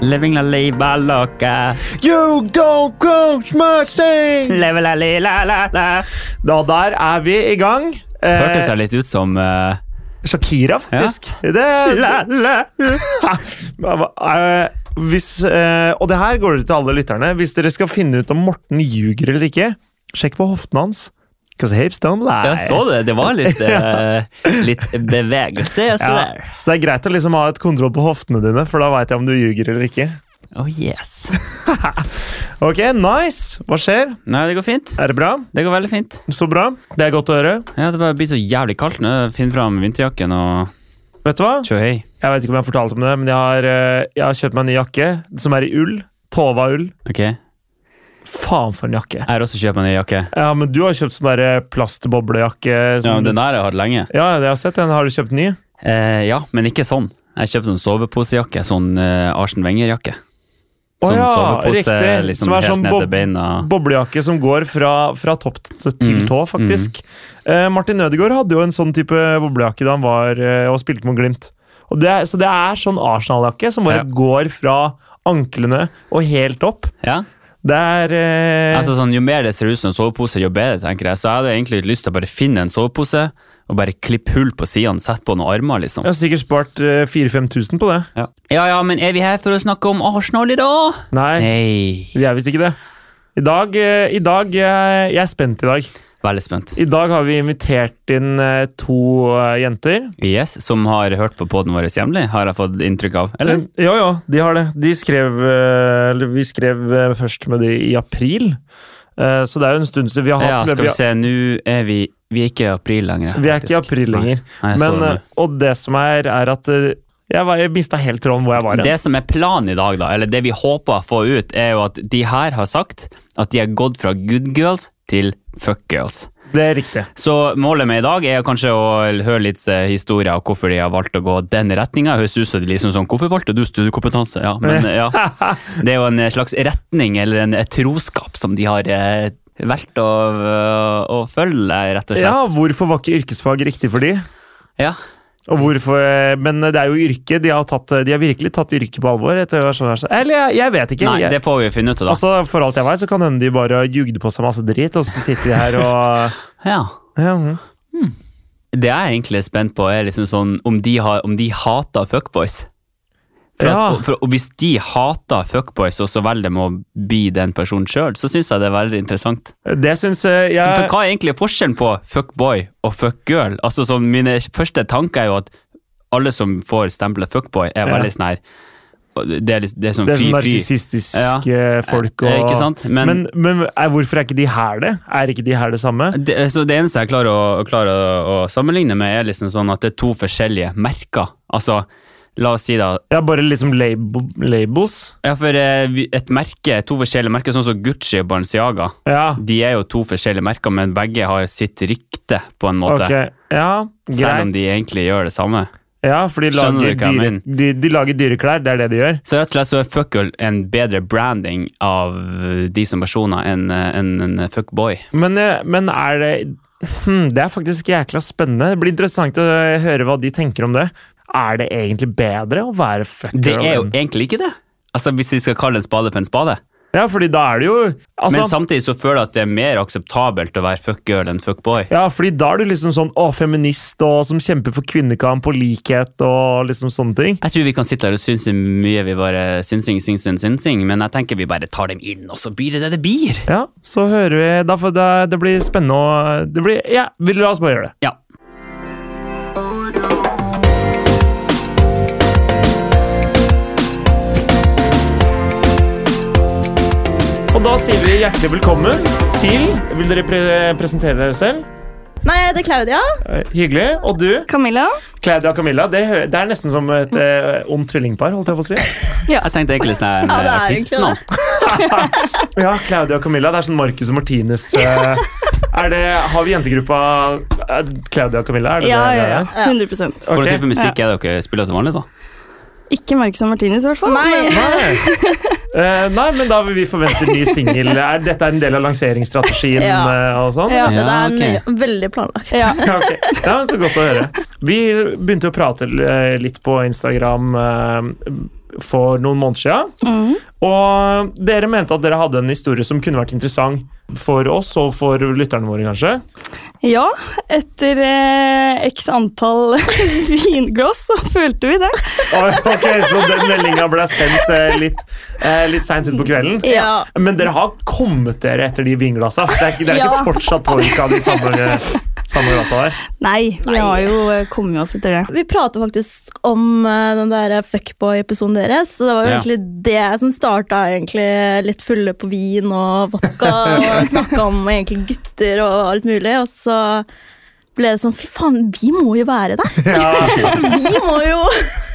Living la liva loca. You don't coach my sing! Live la li la la la. Da der er vi i gang. Eh, Hørtes jeg litt ut som eh, Shakira, faktisk. Det, la, la. Eh, hvis, eh, og det her går det til alle lytterne. Hvis dere skal finne ut om Morten ljuger eller ikke, sjekk på hoftene hans. Cause hips don't lie. Jeg så det. Det var litt, eh, litt bevegelse. Jeg så Ja. der. Så det er greit å liksom ha et kontroll på hoftene dine, for da veit jeg om du ljuger eller ikke. Oh yes. Ok, nice! Hva skjer? Nei, det går fint. Er det bra? Det går veldig fint. Så bra. Det er godt å høre. Ja, Det bare blir så jævlig kaldt nå. Finn fram vinterjakken og Vet du hva? tjo hei. Jeg vet ikke om jeg har fortalt om det, men jeg har, eh, jeg har kjøpt meg en ny jakke som er i ull. Tova-ull. Ok. Jeg Faen for en jakke. har også kjøpt meg en ny jakke. Ja, men du har kjøpt sånn derre plastboblejakke. Ja, Som, men Den der har jeg hatt lenge. Ja, det har jeg sett. Den har du kjøpt ny? Eh, ja, men ikke sånn. Jeg kjøpte sånn soveposejakke. Sånn eh, Arsen Wenger-jakke. Å Sånn ja, riktig. liksom Som er helt sånn ned bob- til beina. Boblejakke som går fra, fra topp t- Mm, til tå, faktisk. Eh, Martin Ødegaard hadde jo en sånn type boblejakke da han var eh, og spilte mot Glimt. Og det, er- så det er sånn Arsenal-jakke som bare Ja. går fra anklene og helt opp. Ja. Det er eh, Altså sånn, Jo mer det ser ut som en sovepose, jo bedre, tenker jeg. Så jeg hadde egentlig litt lyst til å bare finne en sovepose og bare klippe hull på sidene, sette på noen armer, liksom. Jeg har sikkert spart 4000-5000 på det. Ja. ja ja, men er vi her for å snakke om Arsenal i dag? Nei, Nei. vi er visst ikke det. I dag, eh, i dag eh, Jeg er spent i dag. Veldig spent. I dag har vi invitert inn eh, to eh, jenter. Yes, som har hørt på poden vår jevnlig, har jeg fått inntrykk av. Eller? Men, ja, ja, de har det. De skrev, eh, eller vi skrev eh, først med de i april, Eh, så det er jo en stund siden vi har Ja, hatt skal vi, vi se, nå er vi Vi er ikke i april lenger. vi er ikke i faktisk. april lenger. Nei, jeg så Men, det nå. eh, og det som er, er at eh, jeg, var- jeg mista helt tråden hvor jeg var. hen. Det som er planen i dag, da, eller det vi håper å få ut, er jo at de her har sagt at de har gått fra good girls til fuck girls. Det er riktig. Så målet med i dag er kanskje å høre litt eh, historier og hvorfor de har valgt å gå den retninga. Høres ut som de liksom sånn Hvorfor valgte du studiekompetanse? Ja, men eh, ja. Det er jo en eh, slags retning eller en et troskap som de har eh, valgt å, eh, å følge, rett og Ja, slett. hvorfor var ikke yrkesfag riktig for de? Ja. Og hvorfor, eh, men det er jo yrket. De har, tatt, de har virkelig tatt yrket på alvor. Etter, hva som er så- eller jeg, jeg vet ikke. Nei, jeg, det får vi finne ut av, da. altså, for alt jeg vet, så kan hende de bare jugde på seg masse drit, og så sitter de her og Ja. ja, mm. Det jeg er egentlig er spent på, er liksom sånn om de, har, om de hater fuckboys. For Ja. at, for, og hvis de hater fuckboys, og så velger de å bli den personen sjøl, så syns jeg det er veldig interessant. Det syns jeg Så, for hva er egentlig forskjellen på fuckboy og fuckgirl? Altså, sånn, mine første tanker er jo at alle som får stempelet fuckboy, er Ja. veldig sånn her og Det er, litt- det er sånn Det er sånn fy-fy. narsissistiske folk og Eh, ikke sant? Men- men, men er, hvorfor er ikke de her det? Er ikke de her det samme? Det, så det eneste jeg klarer, å, klarer å, å sammenligne med, er liksom sånn at det er to forskjellige merker. Altså, la oss si da Ja, bare liksom lab labels. Ja, for eh, vi- et merke, to forskjellige merker, sånn som Gucci og Balenciaga, Ja, de er jo to forskjellige merker, men begge har sitt rykte, på en måte. ok. Ja, Selv om greit. de egentlig gjør det samme. Ja, for de Skjønner lager, du hva jeg dyre, de, de lager dyreklær, det er det de gjør. Så rett og slett så er fuckgirl en bedre branding av de som personer enn eh, enn en fuckboy. Men, eh, men er det hmm, Det er faktisk jækla spennende. Det blir interessant å høre hva de tenker om det. Er det egentlig bedre å være fucker? Det er jo enn- egentlig ikke det. Altså Hvis vi skal kalle en spade for en spade. Ja, fordi da er det jo altså, Men samtidig så føler jeg at det er mer akseptabelt å være fuckgirl enn fuckboy. Ja, fordi da er du liksom sånn å, feminist og som kjemper for kvinnekamp og likhet og liksom sånne ting. Jeg tror vi kan sitte her og synse mye vi bare synsing, synsing, synsing, men jeg tenker vi bare tar dem inn, og så blir det det det blir. Ja, så hører vi da, får- da, Det blir spennende å det blir, Ja, vi la oss bare gjøre det. Ja. Og da sier vi hjertelig velkommen til Vil dere pre presentere dere selv? Nei, jeg heter Claudia. Eh, Hyggelig. Og du, Camilla. Claudia og Camilla. Det, hø- det er nesten som et eh, ondt tvillingpar, holdt jeg på å si. Jeg tenkte egentlig sånn en Ja, det er eh, egentlig artistnavn. Ja, Claudia og Camilla. Det er sånn Marcus og Martinus. eh, er det, har vi jentegruppa eh, Claudia og Camilla? Er det Ja, det ja, dere ja. er? 100 Ok. Hvilken type musikk er det dere spiller til vanlig, da? Ikke Marcus og Martinus, i hvert fall. Nei. Nei. Eh, nei, men da vil vi forvente ny singel. Er dette en del av lanseringsstrategien Ja. eh, og sånn? Ja. det Ja, er ok. nøye, veldig planlagt. Ja. Ja, ok. ja, men Så godt å høre. Vi begynte å prate eh, litt på Instagram eh, for noen måneder siden. Mm. Og dere mente at dere hadde en historie som kunne vært interessant for oss og for lytterne våre, kanskje. Ja, etter eh, x antall vinglass så følte vi det. Oi, Ok, Så den meldinga ble sendt eh, litt, eh, litt seint utpå kvelden. Ja. Men dere har kommet dere etter de vinglassa? Det er ikke, det er Ja. ikke fortsatt påvirka av de samme, samme glassa der? Nei, vi Nei. har jo eh, kommet oss etter det. Vi prater faktisk om eh, den der fuckboy-episoden deres. Så det var jo Ja. egentlig det som starta egentlig litt fulle på vin og vodka. og Snakka om egentlig gutter og alt mulig. Og så ble det sånn Fy faen, vi må jo være der! Ja. Vi må jo,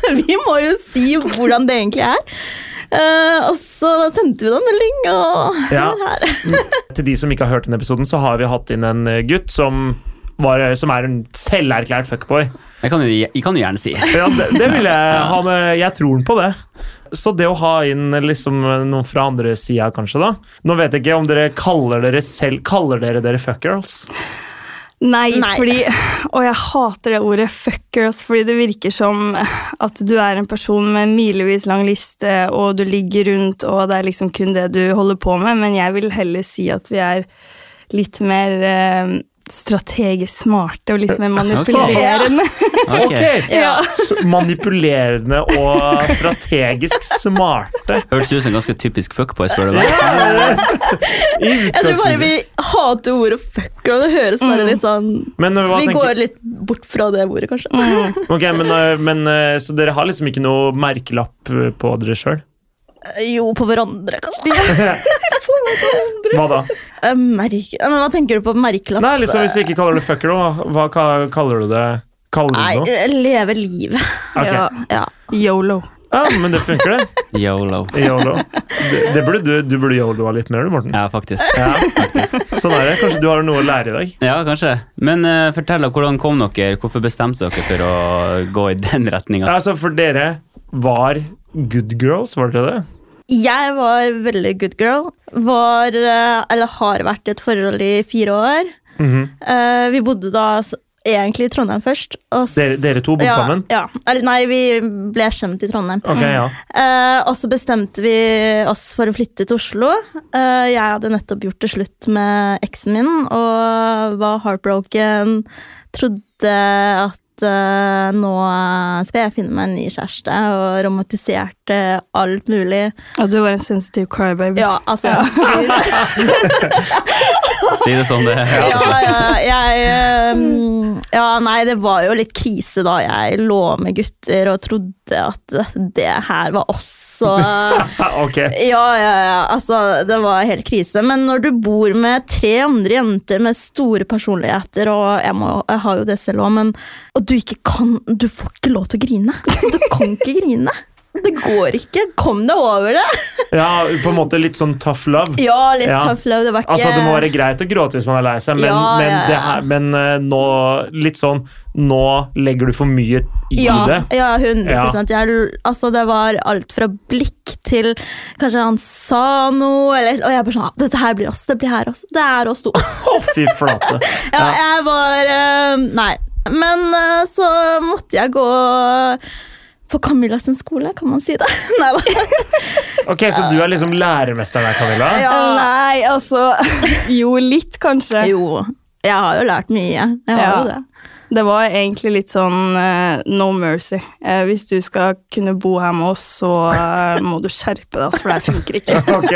vi må jo si hvordan det egentlig er. Eh, og så sendte vi dem en melding, og her, Ja. Mm. her. Til de som ikke har hørt den episoden, så har vi hatt inn en eh, gutt som, var, eh, som er en selverklært fuckboy. Jeg kan jo, jeg kan jo gjerne si. Ja, det, det vil jeg. Han, eh, jeg tror han på det. Så det å ha inn liksom noen fra andre sida, kanskje, da Nå vet jeg ikke om dere kaller dere selv Kaller dere dere fuckgirls? Nei, Nei. fordi Og jeg hater det ordet fuckers, fordi det virker som at du er en person med en milevis lang liste, og du ligger rundt, og det er liksom kun det du holder på med, men jeg vil heller si at vi er litt mer eh, strategisk smarte og litt mer manipulerende. Ok. Ja. S- Manipulerende og strategisk smarte. Hørtes ut som en ganske typisk fuckboy, spør du meg. I Jeg tror bare vi utgangspunktet. hater ordet fucker, og det høres bare Mm. litt sånn Men, uh, hva Vi tenker- går litt bort fra det ordet, kanskje. Mm. Ok, men, uh, men uh, Så dere har liksom ikke noe merkelapp uh, på dere sjøl? Jo, på hverandre, kanskje. Hva da? Eh, Merke. Nei, Men hva tenker du på merkelapp? Nei, liksom Hvis dere ikke kaller det fucker, hva, hva ka- kaller du det? Kaller Nei, du det noe? eh, leve livet. Ok. Ja. Ja. Yolo. Ja, men det funker, det. Yolo. Yolo. Det, det burde du, du burde yoloa litt mer, du, Morten. Ja, faktisk. Ja. Sånn er det. Kanskje du har noe å lære i dag. Ja, kanskje. Men eh, fortell, da, hvordan kom dere? Hvorfor bestemte dere for å gå i den retninga? Altså, For dere var good girls, var dere det? Jeg var veldig good girl. Var, eh, eller har vært i et forhold i fire år. Mhm. Eh, Vi bodde da s- egentlig i Trondheim først. og s- Dere- dere to bodde ja, sammen? Ja. Eller nei, vi ble kjent i Trondheim. Ok, ja. Eh, og så bestemte vi oss for å flytte til Oslo. Eh, jeg hadde nettopp gjort det slutt med eksen min og var heartbroken. Trodde at eh, nå skal jeg finne meg en ny kjæreste, og romantiserte alt mulig. Og du var en sensitiv crybaby. Ja, altså ja, Si det som det er. ja, jeg, eh, ja, nei, det var jo litt krise da jeg lå med gutter og trodde at det her var oss. Og Ja, ok. Ja, ja, ja. Altså, det var helt krise. Men når du bor med tre andre jenter med store personligheter, og jeg, må, jeg har jo det selv òg, men Og du ikke kan Du får ikke lov til å grine. Altså, du kan ikke grine. Det går ikke. Kom deg over det. Ja, på en måte litt sånn tough love. Ja, litt Ja. tøff love. Det var ikke Altså, Det må være greit å gråte hvis man er lei seg, men, Ja, men, ja, ja. det her, men eh, nå litt sånn Nå legger du for mye i ja, det. ja, 100 jeg, altså, Det var alt fra blikk til Kanskje han sa noe, eller, og jeg bare sånn Dette her blir oss. Det blir her også. Det er oss to. Å, fy flate. Ja, jeg var eh, Nei. Men eh, så måtte jeg gå på Camilla sin skole, kan man si det? Nei da. Ok, Så du er liksom læremesteren her, Camilla? Ja. Nei, altså Jo, litt, kanskje. Jo, jeg har jo lært mye. Jeg har Ja. jo det. Det var egentlig litt sånn eh, no mercy. Eh, hvis du skal kunne bo her med oss, så eh, må du skjerpe deg, ass, for det her funker ikke. Ok,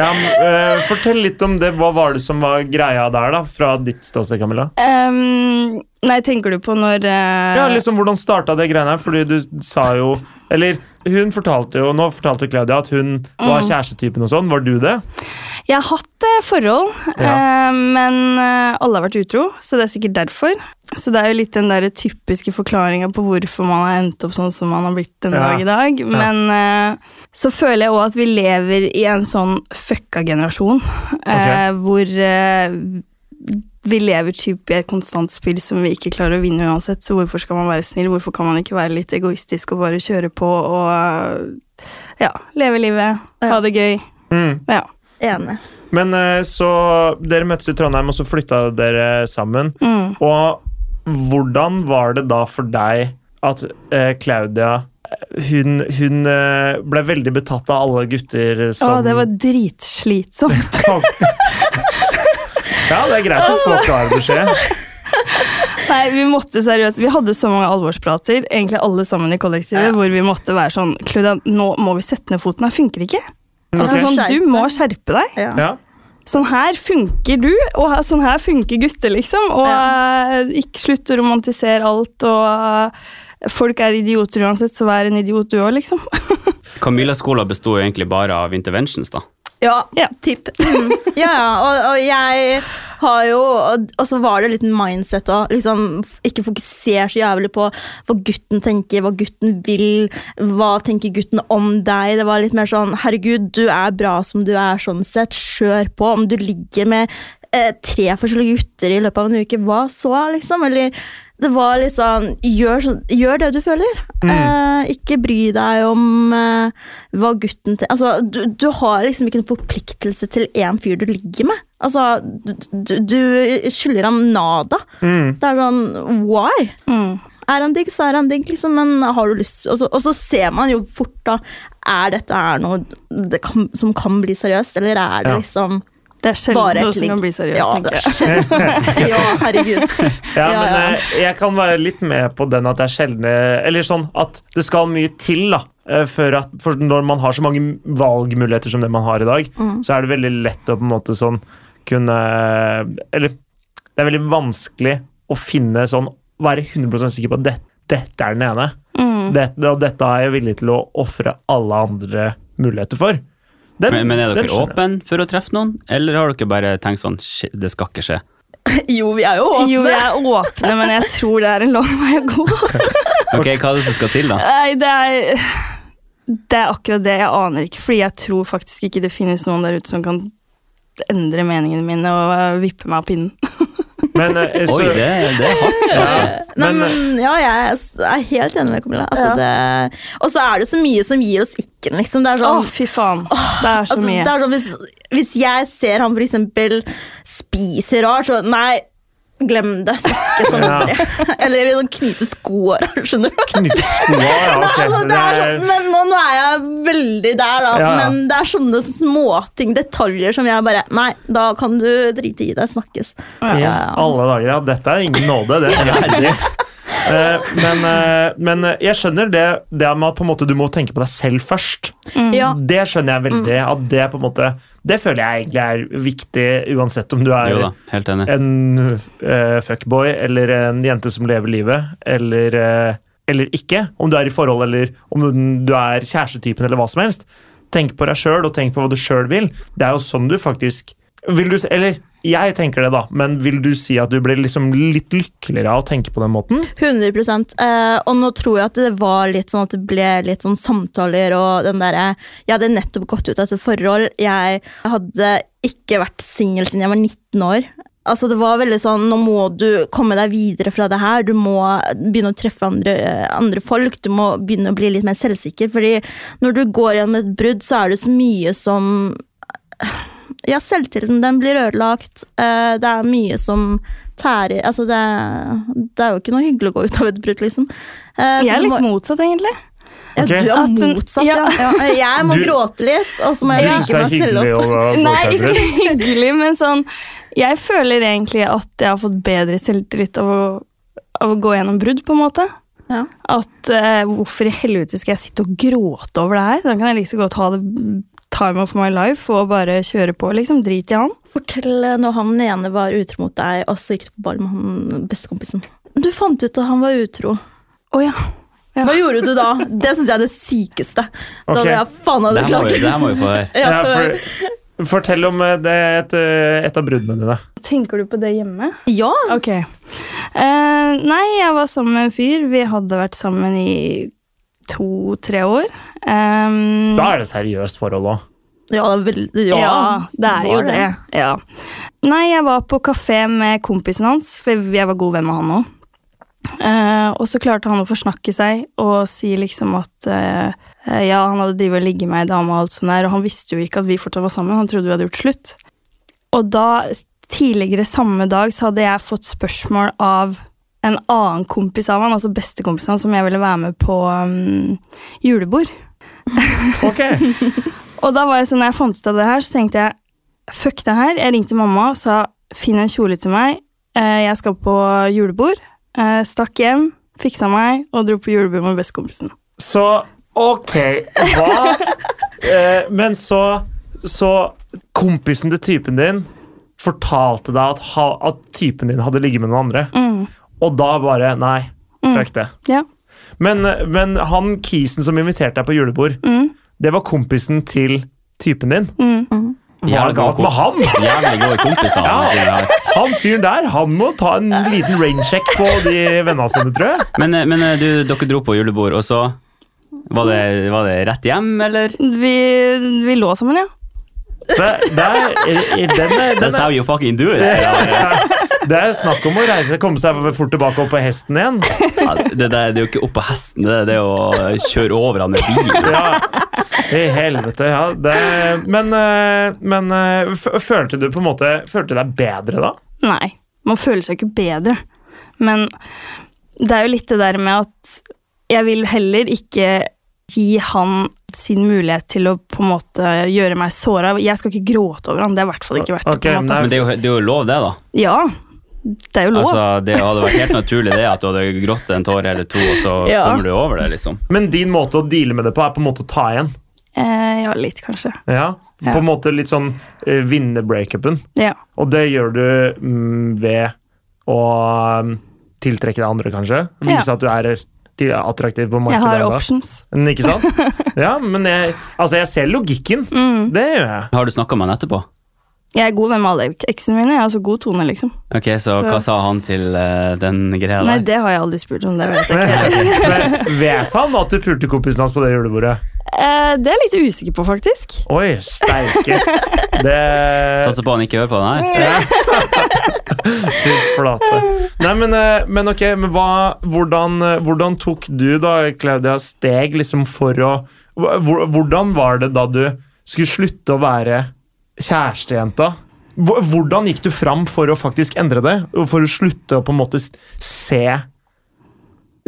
ja, men, eh, Fortell litt om det. Hva var det som var greia der, da? Fra ditt ståsted, Camilla? Em, nei, tenker du på når eh, Ja, liksom Hvordan starta det greiene her? Fordi du sa jo Eller hun fortalte jo Nå fortalte Claudia at hun var Mm. kjærestetypen og sånn. Var du det? Jeg har hatt eh, forhold, eh, men eh, alle har vært utro, så det er sikkert derfor. Så det er jo litt den der typiske forklaringa på hvorfor man har endt opp sånn som man har blitt den Ja. dag i dag. Men eh, så føler jeg òg at vi lever i en sånn fucka generasjon, eh, hvor eh, vi lever typ i et konstant spill som vi ikke klarer å vinne uansett, så hvorfor skal man være snill? Hvorfor kan man ikke være litt egoistisk og bare kjøre på og eh, ja, leve livet, ha det gøy? Mm. Ja. Enig. Men eh, så Dere møttes i Trondheim, og så flytta dere sammen. Mm. Og hvordan var det da for deg at eh, Claudia hun, hun eh, ble veldig betatt av alle gutter som Å, det var dritslitsomt. Ja, det er greit å få klar beskjed. Nei, vi måtte seriøst Vi hadde så mange alvorsprater, egentlig alle sammen i kollektivet, Ja. hvor vi måtte være sånn Claudia, nå må vi sette ned foten. Her funker ikke. Altså, Ok. sånn, du må skjerpe deg. Ja. Ja. Sånn her funker du, og her, sånn her funker gutter, liksom. Og eh, ikke slutt å romantisere alt, og eh, folk er idioter uansett, så vær en idiot du òg, liksom. Camilla-skolen besto jo egentlig bare av interventions, da. Ja, Ja. typ. Mm. Ja, ja. Og, og jeg har jo Og, og så var det litt mindset òg. Liksom, f- ikke fokuser så jævlig på hva gutten tenker, hva gutten vil, hva tenker gutten om deg. Det var litt mer sånn herregud, du er bra som du er, sånn sett. Kjør på. Om du ligger med eh, tre forskjellige gutter i løpet av en uke, hva så, liksom? Eller det var litt sånn Gjør, så, gjør det du føler. Mm. Eh, ikke bry deg om eh, hva gutten til Altså, du, du har liksom ikke en forpliktelse til én fyr du ligger med. Altså, du, du, du skylder ham nada. Mm. Det er sånn why? Mm. Er han digg, så er han digg, liksom, men har du lyst Og så, og så ser man jo fort, da, er dette her noe det kan, som kan bli seriøst, eller er det Ja. liksom Det er bare sjelden et noe som ligg? kan bli seriøst, ja, tenker jeg. jeg. ja, herregud. Ja, Ja, men ja. eh, jeg kan være litt med på den at det er sjeldne Eller sånn at det skal mye til, da. eh, Før at, for når man har så mange valgmuligheter som det man har i dag, så er det veldig lett å på en måte sånn kunne Eller det er veldig vanskelig å finne sånn Være 100 sikker på at det, dette er den ene. Mm. Dette, og dette er jeg villig til å ofre alle andre muligheter for. Den- Men, men er den dere skjønner jeg. åpne for å treffe noen, eller har dere bare tenkt sånn shit, det skal ikke skje? Jo, vi er jo åpne. Jo, vi er åpne, men jeg tror det er en lang vei å gå. Ok, hva er det som skal til, da? Nei, det er Det er akkurat det. Jeg aner ikke, fordi jeg tror faktisk ikke det finnes noen der ute som kan endre meningene mine og eh, vippe meg av pinnen. Men, eh, så, Oi, det, det er hardt. altså. ja, Nei, men, men, ja, jeg er helt enig med Camilla. Altså, det, og så er det så mye som gir oss ikken, liksom. Det er Å, sånn, fy faen. Det er så altså, mye. det er sånn hvis, hvis jeg ser han for eksempel spiser rart, så nei, glem det. Snakke sånn Ja. om det. Eller sånn knyte skoene, skjønner du? Knytte skoa, ja, ok. Altså, det er sånn, men nå, nå er jeg veldig der, da. Ja, ja. Men det er sånne småting, detaljer, som jeg bare Nei, da kan du drite i det. Snakkes. I Ja. alle dager, ja. Dette er ingen nåde. Det er jævlig. Eh, men, eh, men eh, jeg skjønner det, det med at på en måte du må tenke på deg selv først. Ja. Mm. Det skjønner jeg veldig. At det, på en måte, det føler jeg egentlig er viktig, uansett om du Jo er da, helt enig. en eh, fuckboy eller en jente som lever livet, eller, eh, eller ikke. Om du er i forhold eller om du er kjærestetypen eller hva som helst. Tenk på deg sjøl og tenk på hva du sjøl vil. Det er jo sånn du faktisk vil du, s- Eller jeg tenker det, da, men vil du si at du blir liksom litt lykkeligere av å tenke på den måten? 100 eh, Og nå tror jeg at det var litt sånn at det ble litt sånn samtaler og den derre Jeg hadde nettopp gått ut av et forhold. Jeg hadde ikke vært singel siden jeg var 19 år. Altså Det var veldig sånn Nå må du komme deg videre fra det her. Du må begynne å treffe andre, andre folk. Du må begynne å bli litt mer selvsikker. Fordi når du går gjennom et brudd, så er det så mye som Ja, selvtilliten den blir ødelagt. Eh, Det er mye som tærer Altså, det, det er jo ikke noe hyggelig å gå ut av et brudd, liksom. Eh, Jeg så er du litt må, motsatt, egentlig. ja, Ok. Du At er hun- motsatt, ja. ja. ja. Jeg må Du- gråte litt, og så må Du jeg syns det like er meg selv hyggelig opp. å gå Nei, ut ikke hyggelig, men sånn Jeg føler egentlig at jeg har fått bedre selvtillit av å, av å gå gjennom brudd, på en måte. Ja. At eh, hvorfor i helvete skal jeg sitte og gråte over det her? Da kan jeg like så godt ha det time of my life og bare kjøre på, liksom. Drit i han. Fortell eh, når han ene var utro mot deg, og så gikk du på ball med han bestekompisen. Du fant ut at han var utro. Å ja. Hva gjorde du da? Det syns jeg er det sykeste. Da Ok. hadde jeg faen Det hadde her må klart. vi, det her må vi få høre. Ja, Ja, for, fortell om eh, det, et, eh, et av bruddene dine. Tenker du på det hjemme? ja, Ok. Eh, nei, jeg var sammen med en fyr. Vi hadde vært sammen i to-tre år. Um, Da er det seriøst forhold òg. ja, det er veldig, ja. Ja, det er jo var det. Ja. Nei, jeg var på kafé med kompisen hans, for jeg var god venn med han òg. Eh, og så klarte han å forsnakke seg og si liksom at eh, ja, han hadde drevet og ligget med ei dame og alt sånt der, og han visste jo ikke at vi fortsatt var sammen, han trodde vi hadde gjort slutt. Og da, tidligere samme dag, så hadde jeg fått spørsmål av en annen kompis av han, altså bestekompisen hans, som jeg ville være med på um, julebord. Ok. Og da var jeg sånn, når jeg fant ut av det her, så tenkte jeg fuck det her. Jeg ringte mamma og sa finn en kjole til meg, eh, jeg skal på julebord. Eh, Stakk hjem, fiksa meg og dro på julebord med bestekompisen. Så ok, hva eh, Men så, så kompisen til typen din fortalte deg at, ha, at typen din hadde ligget med noen andre, Mm. og da bare Nei, fuck det. Ja. Men, men han kisen som inviterte deg på julebord, Mm. det var kompisen til typen din. Mm. Hva er galt med han? Jævlig gode kompiser. Ja. Han fyren der, han må ta en liten raincheck på de vennene sine, tror jeg. Men, eh, men eh, du, dere dro på julebord, og så var det, var det rett hjem, eller? Vi, vi lå sammen, ja. Det, det, er, i- i- den er, den That's er, how you fucking altså. do it. Ja, det er snakk om å reise, komme seg fort tilbake opp på hesten igjen. det, der, det er jo ikke oppå hesten, det er det å eh, kjøre over han med bil. Ja, i helvete. Ja. Det, men eh, men eh, f- følte du på en måte Følte du deg bedre da? Nei, man føler seg ikke bedre. Men det er jo litt det der med at jeg vil heller ikke gi han sin mulighet til å på en måte gjøre meg såra. Jeg skal ikke gråte over han, det er i hvert fall ikke verdt det. Ok, på en måte. nei. Men det er, jo, det er jo lov, det, da. Ja, det er jo lov. Altså, det hadde vært helt naturlig det at du hadde grått en tåre eller to, og så Ja. kommer du over det, liksom. Men din måte å deale med det på er på en måte å ta igjen. Eh, ja, litt kanskje. Ja. Ja. På en måte litt sånn eh, vinne breakupen. Ja. Og det gjør du mm, ved å mm, tiltrekke deg andre, kanskje. Ja. Vise at du er til- attraktiv på Jeg markedet. har enda. options. Men Ikke sant? Ja, men jeg, altså jeg ser logikken. Mm. Det gjør jeg. Har du snakka med han etterpå? Jeg er god venn med alle eksene mine. Jeg har så god tone, liksom. Ok, så hva sa han til eh, den greia Nei, der? det har jeg aldri spurt om. Det, vet jeg. Men vet han at du pulte kompisen hans på det julebordet? Eh, det er jeg litt usikker på, faktisk. Oi, steike. Det Satser på han ikke hører på den her. Ja. Fy flate. Nei, men, eh, men ok, men hva, hvordan, eh, hvordan tok du da, Claudia, steg liksom for å Hva- hvor- Hvordan var det da du skulle slutte å være kjærestejenta? Hvor- Hvordan gikk du fram for å faktisk endre det? Og For å slutte å på en måte s- se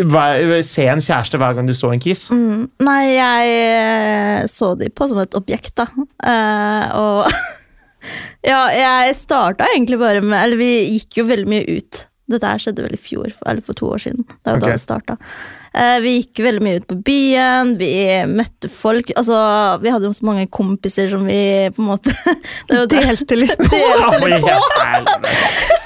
hver, Se en kjæreste hver gang du så en kiss? Mm, nei, jeg eh, så de på som et objekt, da. Eh, og ja, jeg starta egentlig bare med Eller vi gikk jo veldig mye ut. Dette her skjedde vel i fjor, eller for to år siden. Det er jo Ok. da det starta. Eh, vi gikk veldig mye ut på byen, vi møtte folk. Altså, vi hadde jo så mange kompiser som vi på en måte Det var jo Delte litt på. Ja, for jævlig.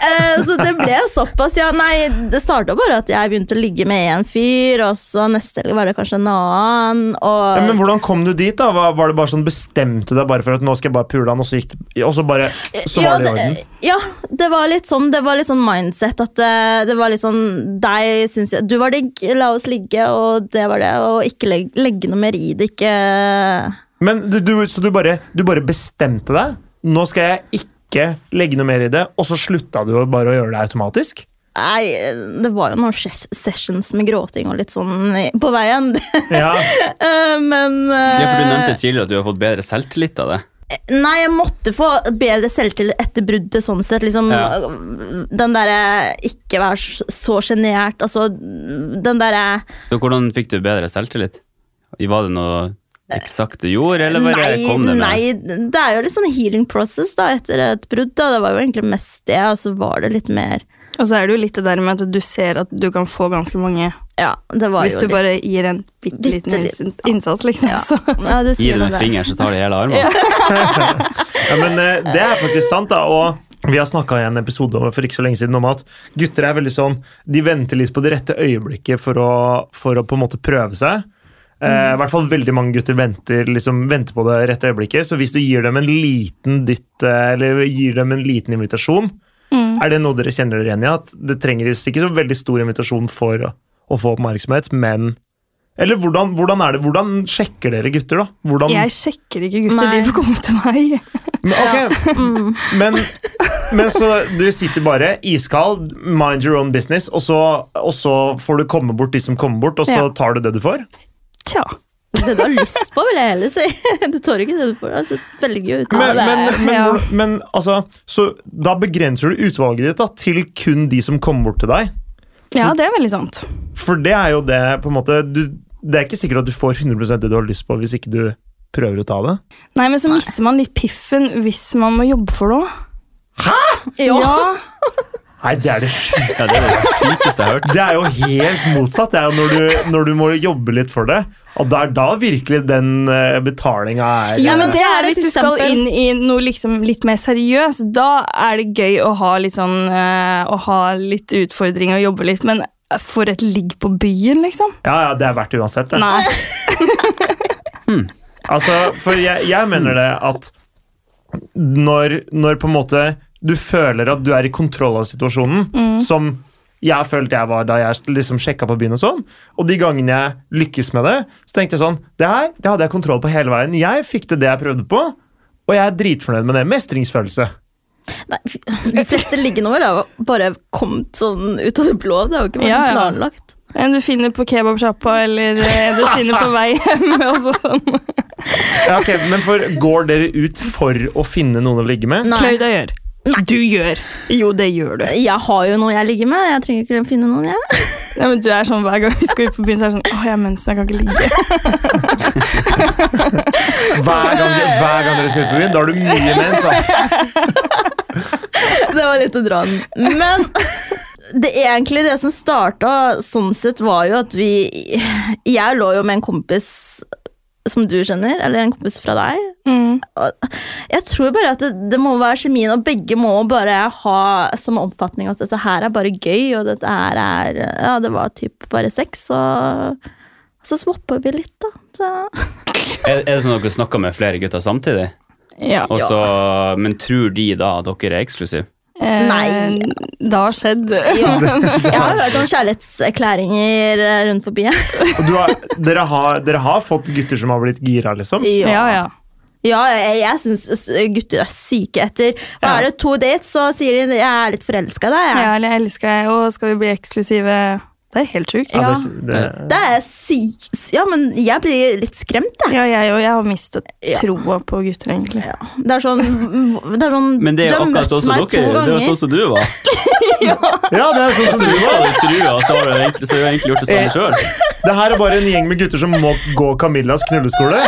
Eh, så det ble såpass, ja. Nei, det starta bare at jeg begynte å ligge med én fyr, og så neste helg var det kanskje en annen, og Ja, men hvordan kom du dit, da? Var, var det bare sånn, Bestemte du deg bare for at nå skal jeg bare pule han, og så, gikk, det- og så, bare, så var det i orden? Ja, det var litt sånn, det var litt sånn mindset. At eh, det var litt sånn Deg syns jeg Du var digg, la oss ligge, og det var det. Og ikke legge, legge noe mer i det. Ikke Men du, du, så du bare, du bare bestemte deg? Nå skal jeg ikke legge noe mer i det, og så slutta du jo bare å gjøre det automatisk? Nei, det var jo noen ses- sessions med gråting og litt sånn i- på veien. Ja, Eh, Men eh, Ja, for Du nevnte tidligere at du har fått bedre selvtillit av det. Nei, jeg måtte få bedre selvtillit etter bruddet, sånn sett. Liksom, Ja. Den derre ikke være s- så sjenert, altså den eh, derre Så hvordan fikk du bedre selvtillit? Var det noe eksakt du gjorde, eller bare kom det med? nei, det er jo litt sånn healing process da, etter et brudd. Da. Det var jo egentlig mest det, og så var det litt mer Og så er det jo litt det der med at du ser at du kan få ganske mange Ja, det var hvis jo du litt bare gir en bitte Bitte liten litt, inns- innsats, liksom. Ja. Så. ja, du Gi sier den noe en der. finger, så tar de hele armen. ja men eh, Det er faktisk sant, da. Og vi har snakka i en episode om, for ikke så lenge siden om at gutter er veldig sånn De venter litt på det rette øyeblikket for å, for å på en måte prøve seg. Eh, I hvert fall veldig mange gutter venter, liksom, venter på det rette øyeblikket. Så hvis du gir dem en liten dytt, eh, eller gir dem en liten invitasjon, er det noe dere kjenner dere igjen i? At det trenger ikke så veldig stor invitasjon for å, å få oppmerksomhet, men Eller hvordan, hvordan er det? Hvordan sjekker dere gutter, da? Hvordan, Jeg sjekker ikke gutter, Nei. de får komme til meg. men, ok, Mm. men, men så du sitter bare iskald, mind your own business, og så, og så får du komme bort de som kommer bort, og så Ja. tar du det du får? Tja. Det du har lyst på, vil jeg heller si. Du tør ikke det du får. Du velger jo ut. Men, det er- men, men, ja. hvor- men altså, så da begrenser du utvalget ditt da, til kun de som kommer bort til deg. Ja, det er veldig sant. For det er jo det på en måte du, Det er ikke sikkert at du får 100 det du har lyst på, hvis ikke du prøver å ta det. Nei, men så mister man litt piffen hvis man må jobbe for noe. Ja. Nei, det er det sjukt. Ja, det er det sykeste jeg har hørt. Det er jo helt motsatt. Det er jo når du, når du må jobbe litt for det. Og det er da virkelig den eh, betalinga er eh, Ja, Ja, men men det ta er et Hvis du skal eksempel. inn i noe liksom litt mer seriøst, da er det gøy å ha litt sånn eh, Å ha litt utfordring og jobbe litt, men for et ligg på byen, liksom. Ja, ja, det er verdt det uansett. Det. Nei. Altså, for jeg, jeg mener det at når, når på en måte du føler at du er i kontroll av situasjonen, Mm. som jeg følte jeg var da jeg liksom sjekka på byen og sånn, og de gangene jeg lykkes med det, så tenkte jeg sånn Det her det hadde jeg kontroll på hele veien. Jeg fikk til det jeg prøvde på, og jeg er dritfornøyd med det. Mestringsfølelse. Nei, fy- de fleste liggende over har jo bare kommet sånn ut av det blå. Det har jo ikke vært Ja, ja. planlagt. En du finner på kebabsjappa, eller eh, du finner på vei hjem. og så sånn. Ja, ok, men for, Går dere ut for å finne noen å ligge med? Nei. Klauda gjør. Du gjør. Jo, det gjør du. Jeg har jo noen jeg ligger med. Jeg trenger ikke finne noen, jeg. Ja, men du er sånn Hver gang vi skal ut på byen, så er det sånn Å, jeg har mensen, jeg kan ikke ligge. Hver gang, hver gang dere skal ut på byen? Da har du mye mens. ass. Det var litt å dra den. Men det egentlig det som starta sånn sett, var jo at vi Jeg lå jo med en kompis som du kjenner, eller en kompis fra deg. Mm. Jeg tror bare at det, det må være kjemien, og begge må bare ha som oppfatning at dette her er bare gøy, og dette her er Ja, det var typ bare sex, og så swapper vi litt, da. Så, Er, er det sånn at dere snakker med flere gutter samtidig? Ja. Og så, Men tror de da at dere er eksklusive? Eh, Nei. Det har skjedd. jeg har hørt om kjærlighetserklæringer rundt forbi. Og du har, dere, har, dere har fått gutter som har blitt gira, liksom? Ja, ja. Ja, jeg, jeg syns gutter er syke etter Hva Ja. er det, to dates, så sier de 'jeg er litt forelska i deg'. Jeg. Jeg elsker deg, og skal vi bli eksklusive? Det er helt sjukt. Altså, det, Det er syk... Ja, men jeg blir litt skremt, jeg. Ja, jeg òg. Jeg har mistet Ja. troa på gutter, egentlig. Ja. Det er sånn, det er sånn Men det er du jo har akkurat møtt sånn som meg to dere. Det er jo ganger. sånn som du var. ja, det er sånn Så som du du sa var. det trua, og så har du egentlig, så har du egentlig gjort det samme sjøl. Det her er bare en gjeng med gutter som må gå Camillas knulleskole.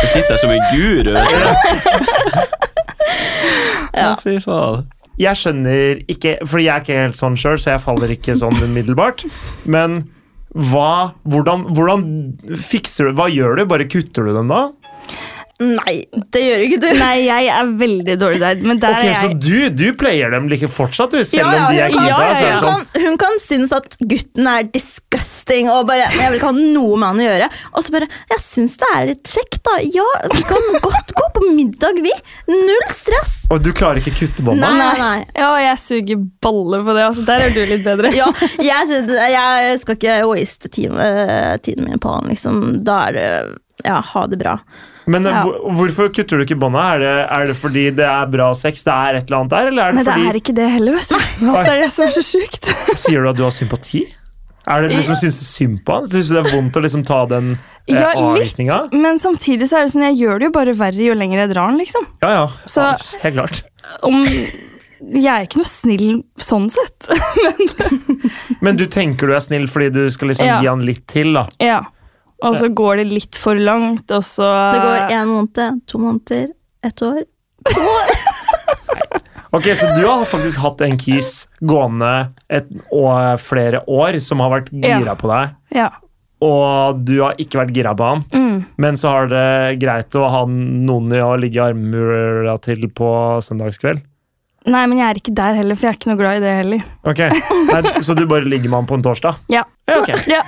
Du sitter her som en guru. vet du. Ja. Å, Fy faen. Jeg skjønner ikke, fordi jeg er ikke helt sånn sjøl, så jeg faller ikke sånn umiddelbart. Men hva, hvordan, hvordan fikser du Hva gjør du? Bare kutter du den da? Nei, det gjør ikke du. Nei, jeg er veldig dårlig der, men der Ok, er Så jeg du, du player dem like fortsatt, du, selv Ja, ja, om de er ja, gira? ja, så er det ja. sånn- Hun, kan, hun kan synes at gutten er disgusting og bare Jeg vil ikke ha noe med han å gjøre. Og så bare Jeg syns det er litt kjekt, da. Ja, vi kan godt gå på middag, vi. Null stress. Og du klarer ikke kutte bånda? Nei, nei, nei. Ja, jeg suger baller på det. Altså, der er du litt bedre. Ja, jeg, synes- jeg skal ikke waste time, eh, tiden min på han, liksom. Da er det Ja, ha det bra. Men eh, Ja. hvor- hvorfor kutter du ikke bånda? Er, det- er det fordi det er bra sex? Det er et eller annet der? Eller er det Men det fordi er ikke det heller, vet du. Nei. Det er det som er så sjukt. Sier du at du har sympati? Er det liksom, Syns du synd på han? Syns du det er vondt å liksom ta den eh, Ja, litt, avvisninga? men samtidig så er det sånn, jeg gjør det jo bare verre jo lenger jeg drar den, liksom. Ja, ja. Så- Ja, Helt klart. Om, jeg er ikke noe snill sånn sett. Men du tenker du er snill fordi du skal liksom Ja. gi han litt til, da. Ja. Og så går det litt for langt, og så Det Eh, går én måned, to måneder, ett år. Ok, Så du har faktisk hatt en kis gående et og flere år som har vært Ja. gira på deg, Ja. og du har ikke vært gira på han, Mm. men så har det greit å ha noen i å ligge i armhula til på søndagskveld? Nei, men jeg er ikke der heller, for jeg er ikke noe glad i det heller. Ok, Nei, Så du bare ligger med han på en torsdag? Ja. Ja, ok. Ja.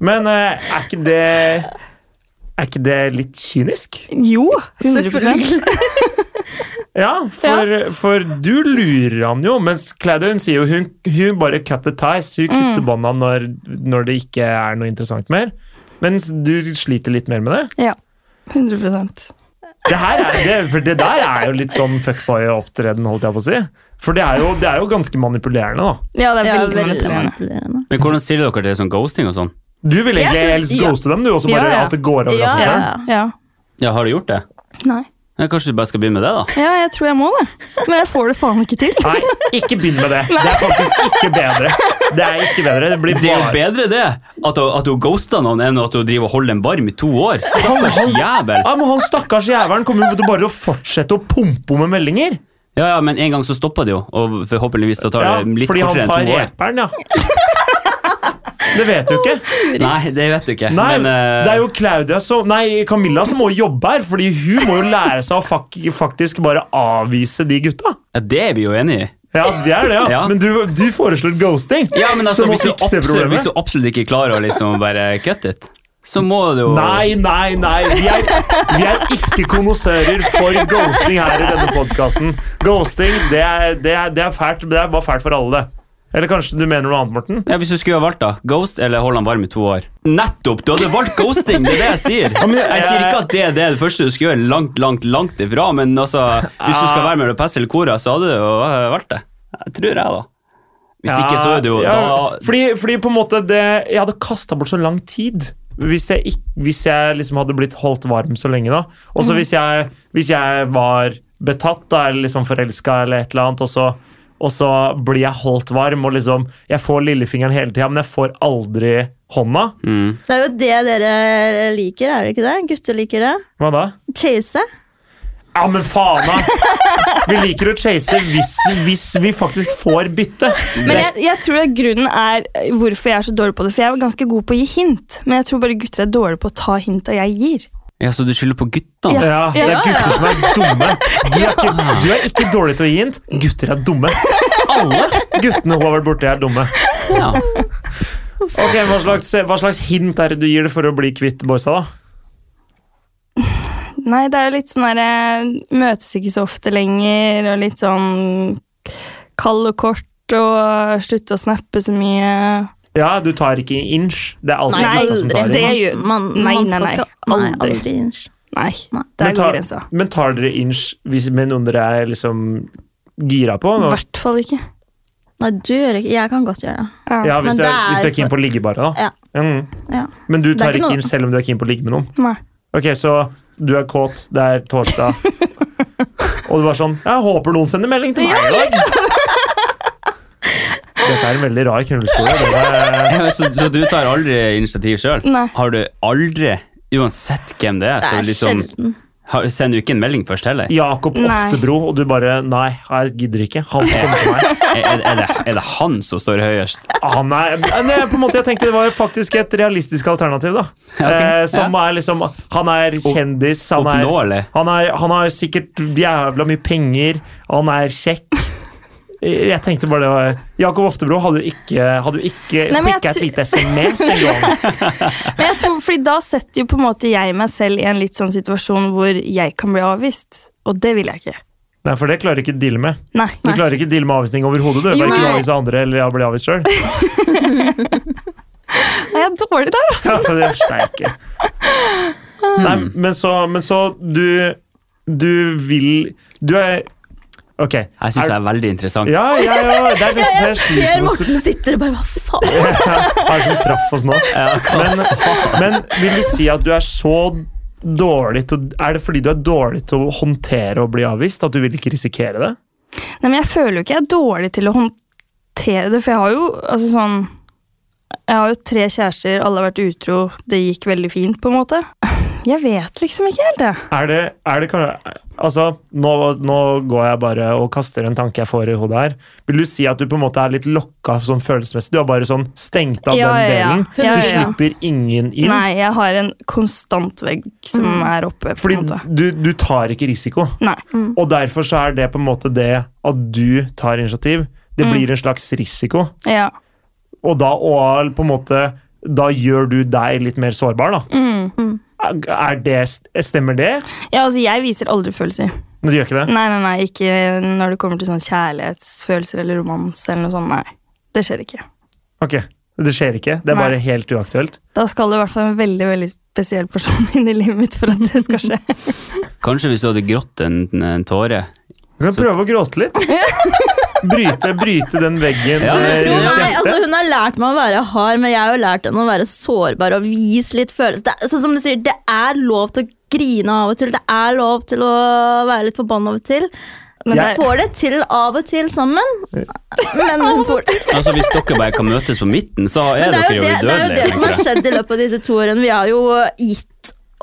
Men eh, er ikke det Er ikke det litt kynisk? Jo, 100 Ja, for, for du lurer han jo, mens Claudia hun sier jo hun, hun bare cut the ties. Hun kutter bånda når, når det ikke er noe interessant mer. Mens du sliter litt mer med det. Ja. 100 Det, her er, det, for det der er jo litt sånn fuckboy-opptreden, holdt jeg på å si. For det er jo, det er jo ganske manipulerende, da. Ja, det er Ja, veldig manipulerende. manipulerende. Men hvordan stiller dere til sånn ghosting og sånn? Du vil Jeg egentlig synes- helst ja. ghoste dem, du, og så Ja, bare ja. at det går over av Ja, seg ja, sjøl. ja. Ja. Ja, har du gjort det? Nei. Ja, kanskje du bare skal begynne med det, da? Ja, jeg tror jeg må det. Men jeg får det faen ikke til. Nei, ikke begynn med det. Det er faktisk ikke bedre. Det er ikke bedre. Det blir Det er jo bare bedre det, at hun, at hun ghoster noen enn at hun driver og holder en varm i to år. Stakkars jævel. ja, men Han stakkars jævelen kommer jo til bare å fortsette å pumpe henne med meldinger. Ja, ja, men en gang så stopper det jo, og forhåpentligvis da tar Ja, det litt fordi han kortere tar enn to år. reperen, ja. Det vet du ikke. Nei, det vet du ikke. Nei, men, eh, det er jo Claudia som Nei, Camilla som må jobbe her, fordi hun må jo lære seg å fak faktisk bare avvise de gutta. ja, det er vi jo enig i. Ja, det er det, ja. Ja. Men du, du foreslår ghosting. Ja, men altså, som å hvis du, fikse absolutt, problemet. hvis du absolutt ikke klarer å liksom bare cut it, så må du jo Nei, nei, nei. Vi er, vi er ikke konnoissører for ghosting her i denne podkasten. Ghosting, det er, det, er, det er fælt. Det er bare fælt for alle, det. Eller kanskje du mener noe annet, Morten? Ja, Hvis du skulle ha valgt, da. Ghost eller hold han varm i to år? Nettopp! Du hadde valgt ghosting! Det er det jeg sier. men jeg- Jeg sier ikke at det er det første du skal gjøre. Langt, langt, langt ifra. Men altså, hvis du skal være med Pest eller Kora, så hadde du jo eh, valgt det. Jeg tror jeg, da. Hvis ikke, så er det jo Ja, ja, da fordi, fordi på en måte det, Jeg hadde kasta bort så lang tid. Hvis jeg, ikk- hvis jeg liksom hadde blitt holdt varm så lenge, da. Og Mhm. så hvis, jeg- hvis jeg var betatt da, eller liksom forelska eller et eller annet, og så, og så blir jeg holdt varm, og liksom Jeg får lillefingeren hele tida, men jeg får aldri hånda. mm. Det er jo det dere liker, er det ikke det? Gutter liker det. Hva da? Chase. Ja, men faen, da! Vi liker å chase hvis, hvis vi faktisk får bytte. Men jeg, jeg tror at grunnen er eh, hvorfor jeg er så dårlig på det. For jeg er ganske god på å gi hint, men jeg tror bare gutter er dårlige på å ta hinta jeg gir. Ja, så du skylder på guttene? Ja, det er gutter som er dumme. Du er ikke, du er ikke dårlig til å gi hint. Gutter er dumme. Alle guttene hun har vært borti, er dumme. Ja. Ok, hva slags, hva slags hint er det du gir det for å bli kvitt boysa, da? Nei, det er jo litt sånn derre Møtes ikke så ofte lenger, og litt sånn kald og kort, og slutte å snappe så mye. Ja, du tar ikke inch. Det er alltid Nei, gutta som tar det inch. gjør- man, Nei, man nei, skal nei. Ikke, nei, Aldri. aldri inch. Nei, Nei. der Men går tar, grensa. men tar dere inch hvis, med noen dere er liksom gira på? I Nå? hvert fall ikke. Nei, du gjør ikke Jeg kan godt gjøre det. Ja, hvis Men du, er, det er hvis du er keen på å ligge, bare. da. Ja. Mm. Ja. Men du Det er tar ikke ikke noe- inch selv om du er keen på å ligge med noen? Nei. Ok, så du er kåt, det er torsdag. Og du var sånn Jeg håper noen sender melding til meg i dag. Dette er en veldig rar knulleskole. Det var- eh, Ja, Så, så du tar aldri initiativ sjøl? Nei. Har du aldri, uansett hvem det er, Det så er liksom sjelden. har, Sender du ikke en melding først heller? Jakob Nei. Oftebro, og du bare Nei, jeg gidder ikke. Han skal komme til meg. Er, er, er, det, er det han som står høyest? Han er, men det er på en måte, jeg tenkte det var faktisk et realistisk alternativ, da. ok, Eh, som er liksom Han er kjendis, han er, Oppnåelig? han er Han har sikkert jævla mye penger, han er kjekk. Jeg tenkte bare det var Jakob Oftebro hadde jo ikke, hadde jo ikke Nei, men jeg skicka et tr- lite SMS engang. Men jeg tror, fordi da setter jo på en måte jeg meg selv i en litt sånn situasjon hvor jeg kan bli avvist, og det vil jeg ikke. Nei, for det klarer ikke du å deale med. Nei. Du klarer ikke å deale med avvisning overhodet. Du Jo, Verken nei. avvise andre eller jeg blir avvist sjøl. Nei, jeg er dårlig der, altså. Nei, men så, men så du, du vil Du er Ok. Jeg syns jeg er veldig interessant. Ja, ja, ja. Det er det som Jeg ser sliter med Morten sitter og bare Hva faen? Hva er det som traff oss nå? Men, men vil du si at du er så dårlig til å- Er det fordi du er dårlig til å håndtere å bli avvist? At du vil ikke risikere det? Nei, men jeg føler jo ikke jeg er dårlig til å håndtere det, for jeg har jo altså sånn Jeg har jo tre kjærester, alle har vært utro, det gikk veldig fint, på en måte. Jeg vet liksom ikke helt, jeg. Er det, er det kan- Altså, nå, nå går jeg bare og kaster en tanke jeg får i hodet her. Vil du si at du på en måte er litt lokka sånn følelsesmessig? Du har bare sånn stengt av Ja, den ja, ja. delen. Ja, Du ja, ja. slipper ingen inn. Mm. Nei, jeg har en konstant vegg som er oppe, på en Fordi måte. Mm. du, du tar ikke risiko. Nei. Og derfor så er det på en måte det at du tar initiativ. Det Mm. blir en slags risiko. Ja. Og da og på en måte Da gjør du deg litt mer sårbar, da. Er- Er det, stemmer det? Mm. ja, altså, jeg viser aldri følelser. Men du gjør ikke det? Nei, nei, nei, ikke når det kommer til sånn kjærlighetsfølelser eller romanse eller noe sånt. Nei, det skjer ikke. Ok. Det skjer ikke. Det er Nei. bare helt uaktuelt. Da skal det i hvert fall en veldig, veldig spesiell person inn i livet mitt for at det skal skje. Kanskje hvis du hadde grått en, en tåre? Du kan prøve å gråte litt. Bryte, bryte den veggen. Ja, Du, det er eh, jo- rundt nei, hjertet. altså, hun har lært meg å være hard, men jeg har jo lært henne å være sårbar og vise litt følelser. Det er- Sånn som du sier, det er lov til å grine av og til. Det er lov til å være litt forbanna av og til. Men Jeg- vi får det til av og til sammen. Men vi får det. Altså, hvis dere bare kan møtes på midten, så er Men det, dere er jo jo det, det er jo det udødelige. som har tenker jeg. skjedd i løpet av disse to årene. Vi har jo gitt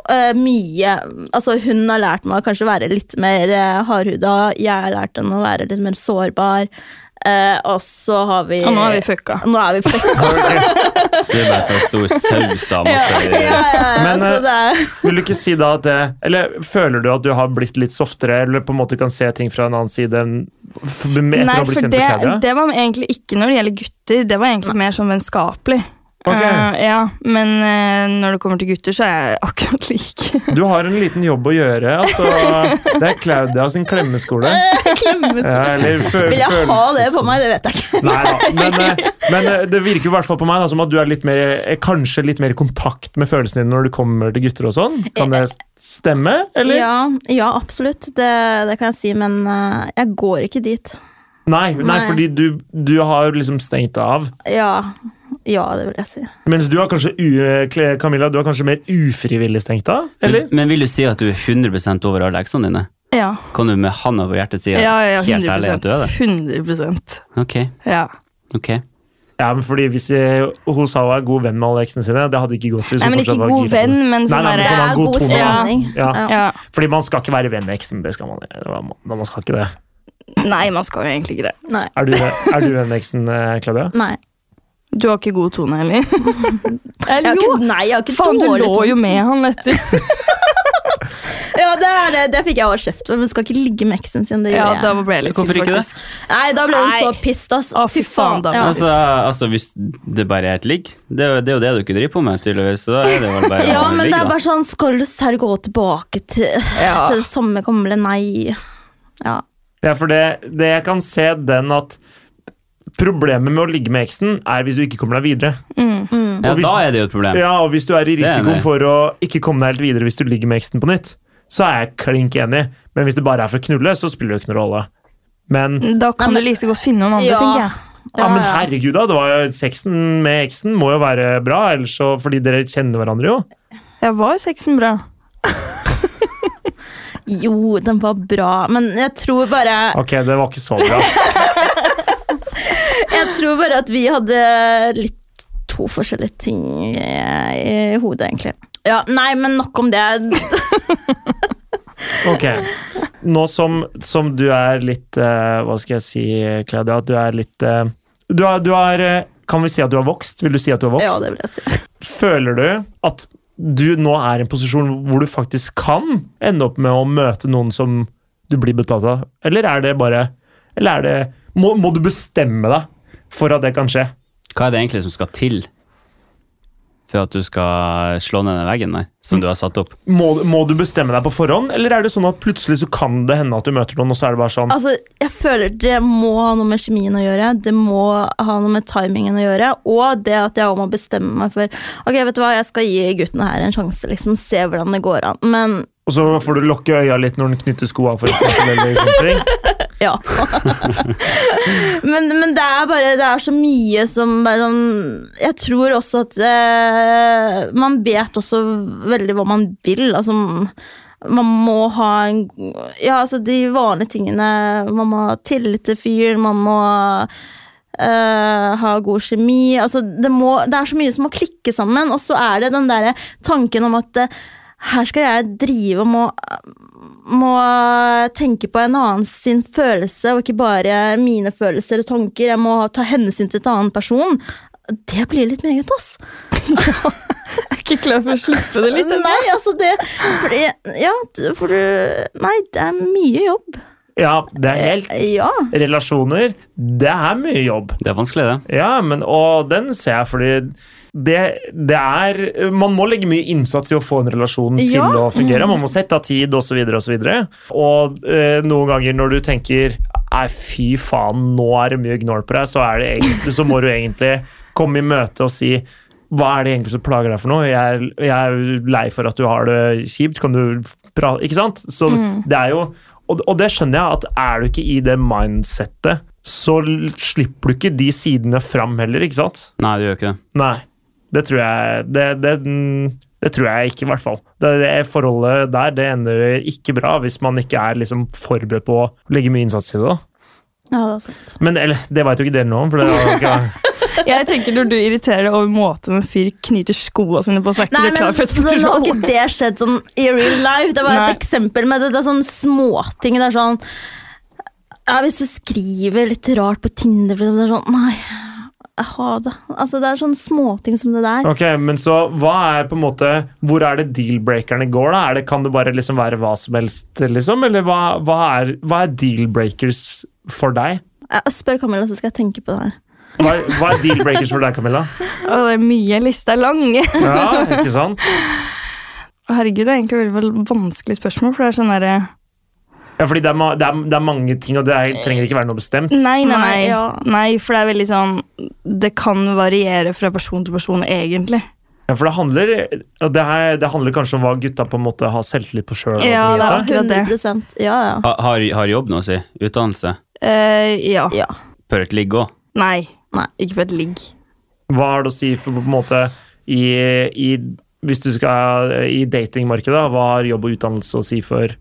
eh, mye Altså, hun har lært meg å kanskje være litt mer uh, hardhuda. Jeg har lært henne å være litt mer sårbar. Eh, og så har vi Og nå er vi fucka. Nå er vi fucka. Det er bare sånn stor saus av ja, masse ja, ja, ja. Men, så eh, det er Vil du ikke si da at det Eller føler du at du har blitt litt softere, eller på en måte kan se ting fra en annen side enn- f- med- etter Nei, å bli for kjent det, med Claudia? det var egentlig ikke når det gjelder gutter. Det var egentlig mer sånn vennskapelig. Ok. Eh, ja, men eh, når det kommer til gutter, så er jeg akkurat lik. Du har en liten jobb å gjøre. Altså, det er Claudia sin klemmeskole. Ja, eller fø- Vil jeg ha det på følelses- meg? Det vet jeg ikke. Nei da, men, eh, men eh, det virker i hvert fall på meg da, som at du er litt mer, eh, kanskje litt mer i kontakt med følelsene dine når du kommer til gutter og sånn. Kan det stemme, eller? Ja, ja absolutt. Det, det kan jeg si, men eh, jeg går ikke dit. Nei, nei, Nei. fordi du, du har liksom stengt det av. Ja, ja det vil jeg si. Mens du har kanskje, u eh, Kle- Camilla, du har kanskje mer ufrivillig stengt av, eller? Men, men vil du si at du er 100 over alle leksene dine? Ja, Kan du med handa på hjertet si ja, ja, ja helt ærlig at du er det? 100 100 Ok, ja. ok. Ja, men fordi hvis eh, jeg, Hosawa er god venn med alle eksene sine, det hadde ikke gått hvis Nei, hun men fortsatt ikke var god gira på venn, det. men Nei, sånn nei, men derre sånn Det har er god god tone, da. stemning. Ja. ja. Fordi man skal ikke være venn med eksen, det skal man, man, man skal ikke det. Nei, man skal jo egentlig ikke det. Nei. Er du, er du venn med eksen, eh, Claudia? Nei. Du har ikke god tone heller. Jeg har Eller jo! ikke, nei, jeg har ikke Faen, du dårlig lå tone. jo med han etter. Ja, det, er det. det fikk jeg også kjeft for, men skal ikke ligge med eksen sin. Det Ja, gjorde da jeg. ble jeg litt Hvorfor sint, ikke det? faktisk. Nei, da ble hun Nei. så pissed, ass. Å, fy faen, da. Ja. Altså, altså, hvis det bare er et ligg, det, er jo- det er jo det du ikke driver på med, tydeligvis. Så da er det vel bare ja, å men ligge, det er da. bare sånn, skal du serr gå tilbake til, Ja. til det samme gamle? Nei. Ja. Ja, for det, det jeg kan se den at Problemet med å ligge med eksen er hvis du ikke kommer deg videre. Mm. Ja, og hvis- da er det jo et problem. Ja, Og hvis du er i er jeg enig risikoen i. for å ikke komme deg helt videre hvis du ligger med eksen på nytt, så er jeg klink enig. Men hvis det bare er for å knulle, så spiller det jo ikke noen rolle. Men, ja, Mm. Da Nei, kan men- du like så godt finne noen andre, Ja. tenker jeg. men herregud, da. Det var jo, sexen med eksen må jo være bra, ellers så, fordi dere kjenner hverandre jo. Ja, var sexen bra? Jo, den var bra, men jeg tror bare Ok, det var ikke så bra. Jeg tror bare at vi hadde litt to forskjellige ting eh, i hodet, egentlig. Ja, nei, men nok om det. Ok. Nå som, som du er litt eh, Hva skal jeg si, Claudia? At du er litt eh, du, er, du er eh, Kan vi si at du har vokst? Vil du si at du har Ja, vokst? det vil jeg si. Føler du at du nå er i en posisjon hvor du faktisk kan ende opp med å møte noen som du blir betalt av? Eller er det bare Eller er det Må, må du bestemme deg for at det kan skje? Hva er det egentlig som skal til for at du skal slå ned den veggen der, som du har satt opp? Må, må du bestemme deg på forhånd, eller er det sånn at plutselig så kan det hende at du møter noen, og så er det bare sånn Altså, jeg føler det må ha noe med kjemien å gjøre, det må ha noe med timingen å gjøre, og det at jeg også må bestemme meg for Ok, vet du hva, jeg skal gi guttene her en sjanse, liksom, se hvordan det går an. Men Og så får du lokke øya litt når den knytter skoa, for eksempel, eller sånne ting. ja. men, men det er bare Det er så mye som bare sånn Jeg tror også at eh, man vet også veldig hva man vil, altså man må ha en Ja, altså de vanlige tingene. Man må ha tillit til fyren, man må eh, ha god kjemi. Altså, det, må, det er så mye som må klikke sammen, og så er det den derre tanken om at eh, her skal jeg drive og må, må tenke på en annen sin følelse, og ikke bare mine følelser og tanker. Jeg må ta hensyn til et annen person. Det blir litt meget, ass. Jeg er ikke klar for å slippe det litt. Nei, altså det fordi, Ja, for du Nei, det er mye jobb. Ja, det er helt Ja. Relasjoner, det er mye jobb. Det er vanskelig, det. Ja, men, og den ser jeg, fordi det, det er Man må legge mye innsats i å få en relasjon til Ja. å fungere. Man må sette av tid, osv., osv. Og, så videre. og eh, noen ganger når du tenker Nei, fy faen, nå er det mye gnål på deg, så, er det egentlig, så må du egentlig komme i møte og si hva er det egentlig som plager deg for noe? Jeg er, jeg er lei for at du har det kjipt. Kan du prate Ikke sant? Så det er jo og, og det skjønner jeg, at er du ikke i det mindsettet, så l- slipper du ikke de sidene fram heller, ikke sant? Nei, du gjør ikke det. Nei. Det tror jeg det, det, mm, Det tror jeg ikke, i hvert fall. Det, det forholdet der det ender ikke bra hvis man ikke er liksom forberedt på å legge mye innsats i det. da. Ja, det er sant. Men eller, det veit jo ikke dere noe om. for det er jo ikke... Jeg tenker Når du irriterer deg over måten en fyr knyter skoene sine på, så er ikke Nei, du men klar for et nå har forhold. ikke det skjedd sånn i real life. Det er bare Nei. et eksempel. Men det, det er sånn småting. Det er sånn ja, Hvis du skriver litt rart på Tinder, for eksempel, det er sånn Nei, jeg har det. Altså, det er sånn småting som det der. Ok, Men så hva er på en måte Hvor er det deal-breakerne går, da? Er det, kan det bare liksom være hva som helst, liksom? Eller hva, hva er, hva er deal-breakers for deg? Jeg spør Camilla, så skal jeg tenke på det her. Hva, hva er deal-breakers for deg, Camilla? Å, det er mye. Lista er lang. Ja, ikke sant? Herregud, det er egentlig et veldig vanskelig spørsmål. For det er sånn derre Ja, fordi det er, ma- det, er, det er mange ting, og det er, trenger ikke være noe bestemt. Nei, nei, Nei, nei. ja. nei. For det er veldig sånn Det kan variere fra person til person, egentlig. Ja, for det handler, og det, her, det handler kanskje om hva gutta på en måte har selvtillit på sjøl. Ja, det er ja, akkurat det. 100 Ja, ja. Ha, har, har jobb noe å si? Utdannelse? Eh, Ah. ja. ja. Bør ikke ligge òg? Nei. Nei. Ikke på et ligg. hva har det å si for på en måte i, i hvis du skal i datingmarkedet, da, hva har jobb og utdannelse å si for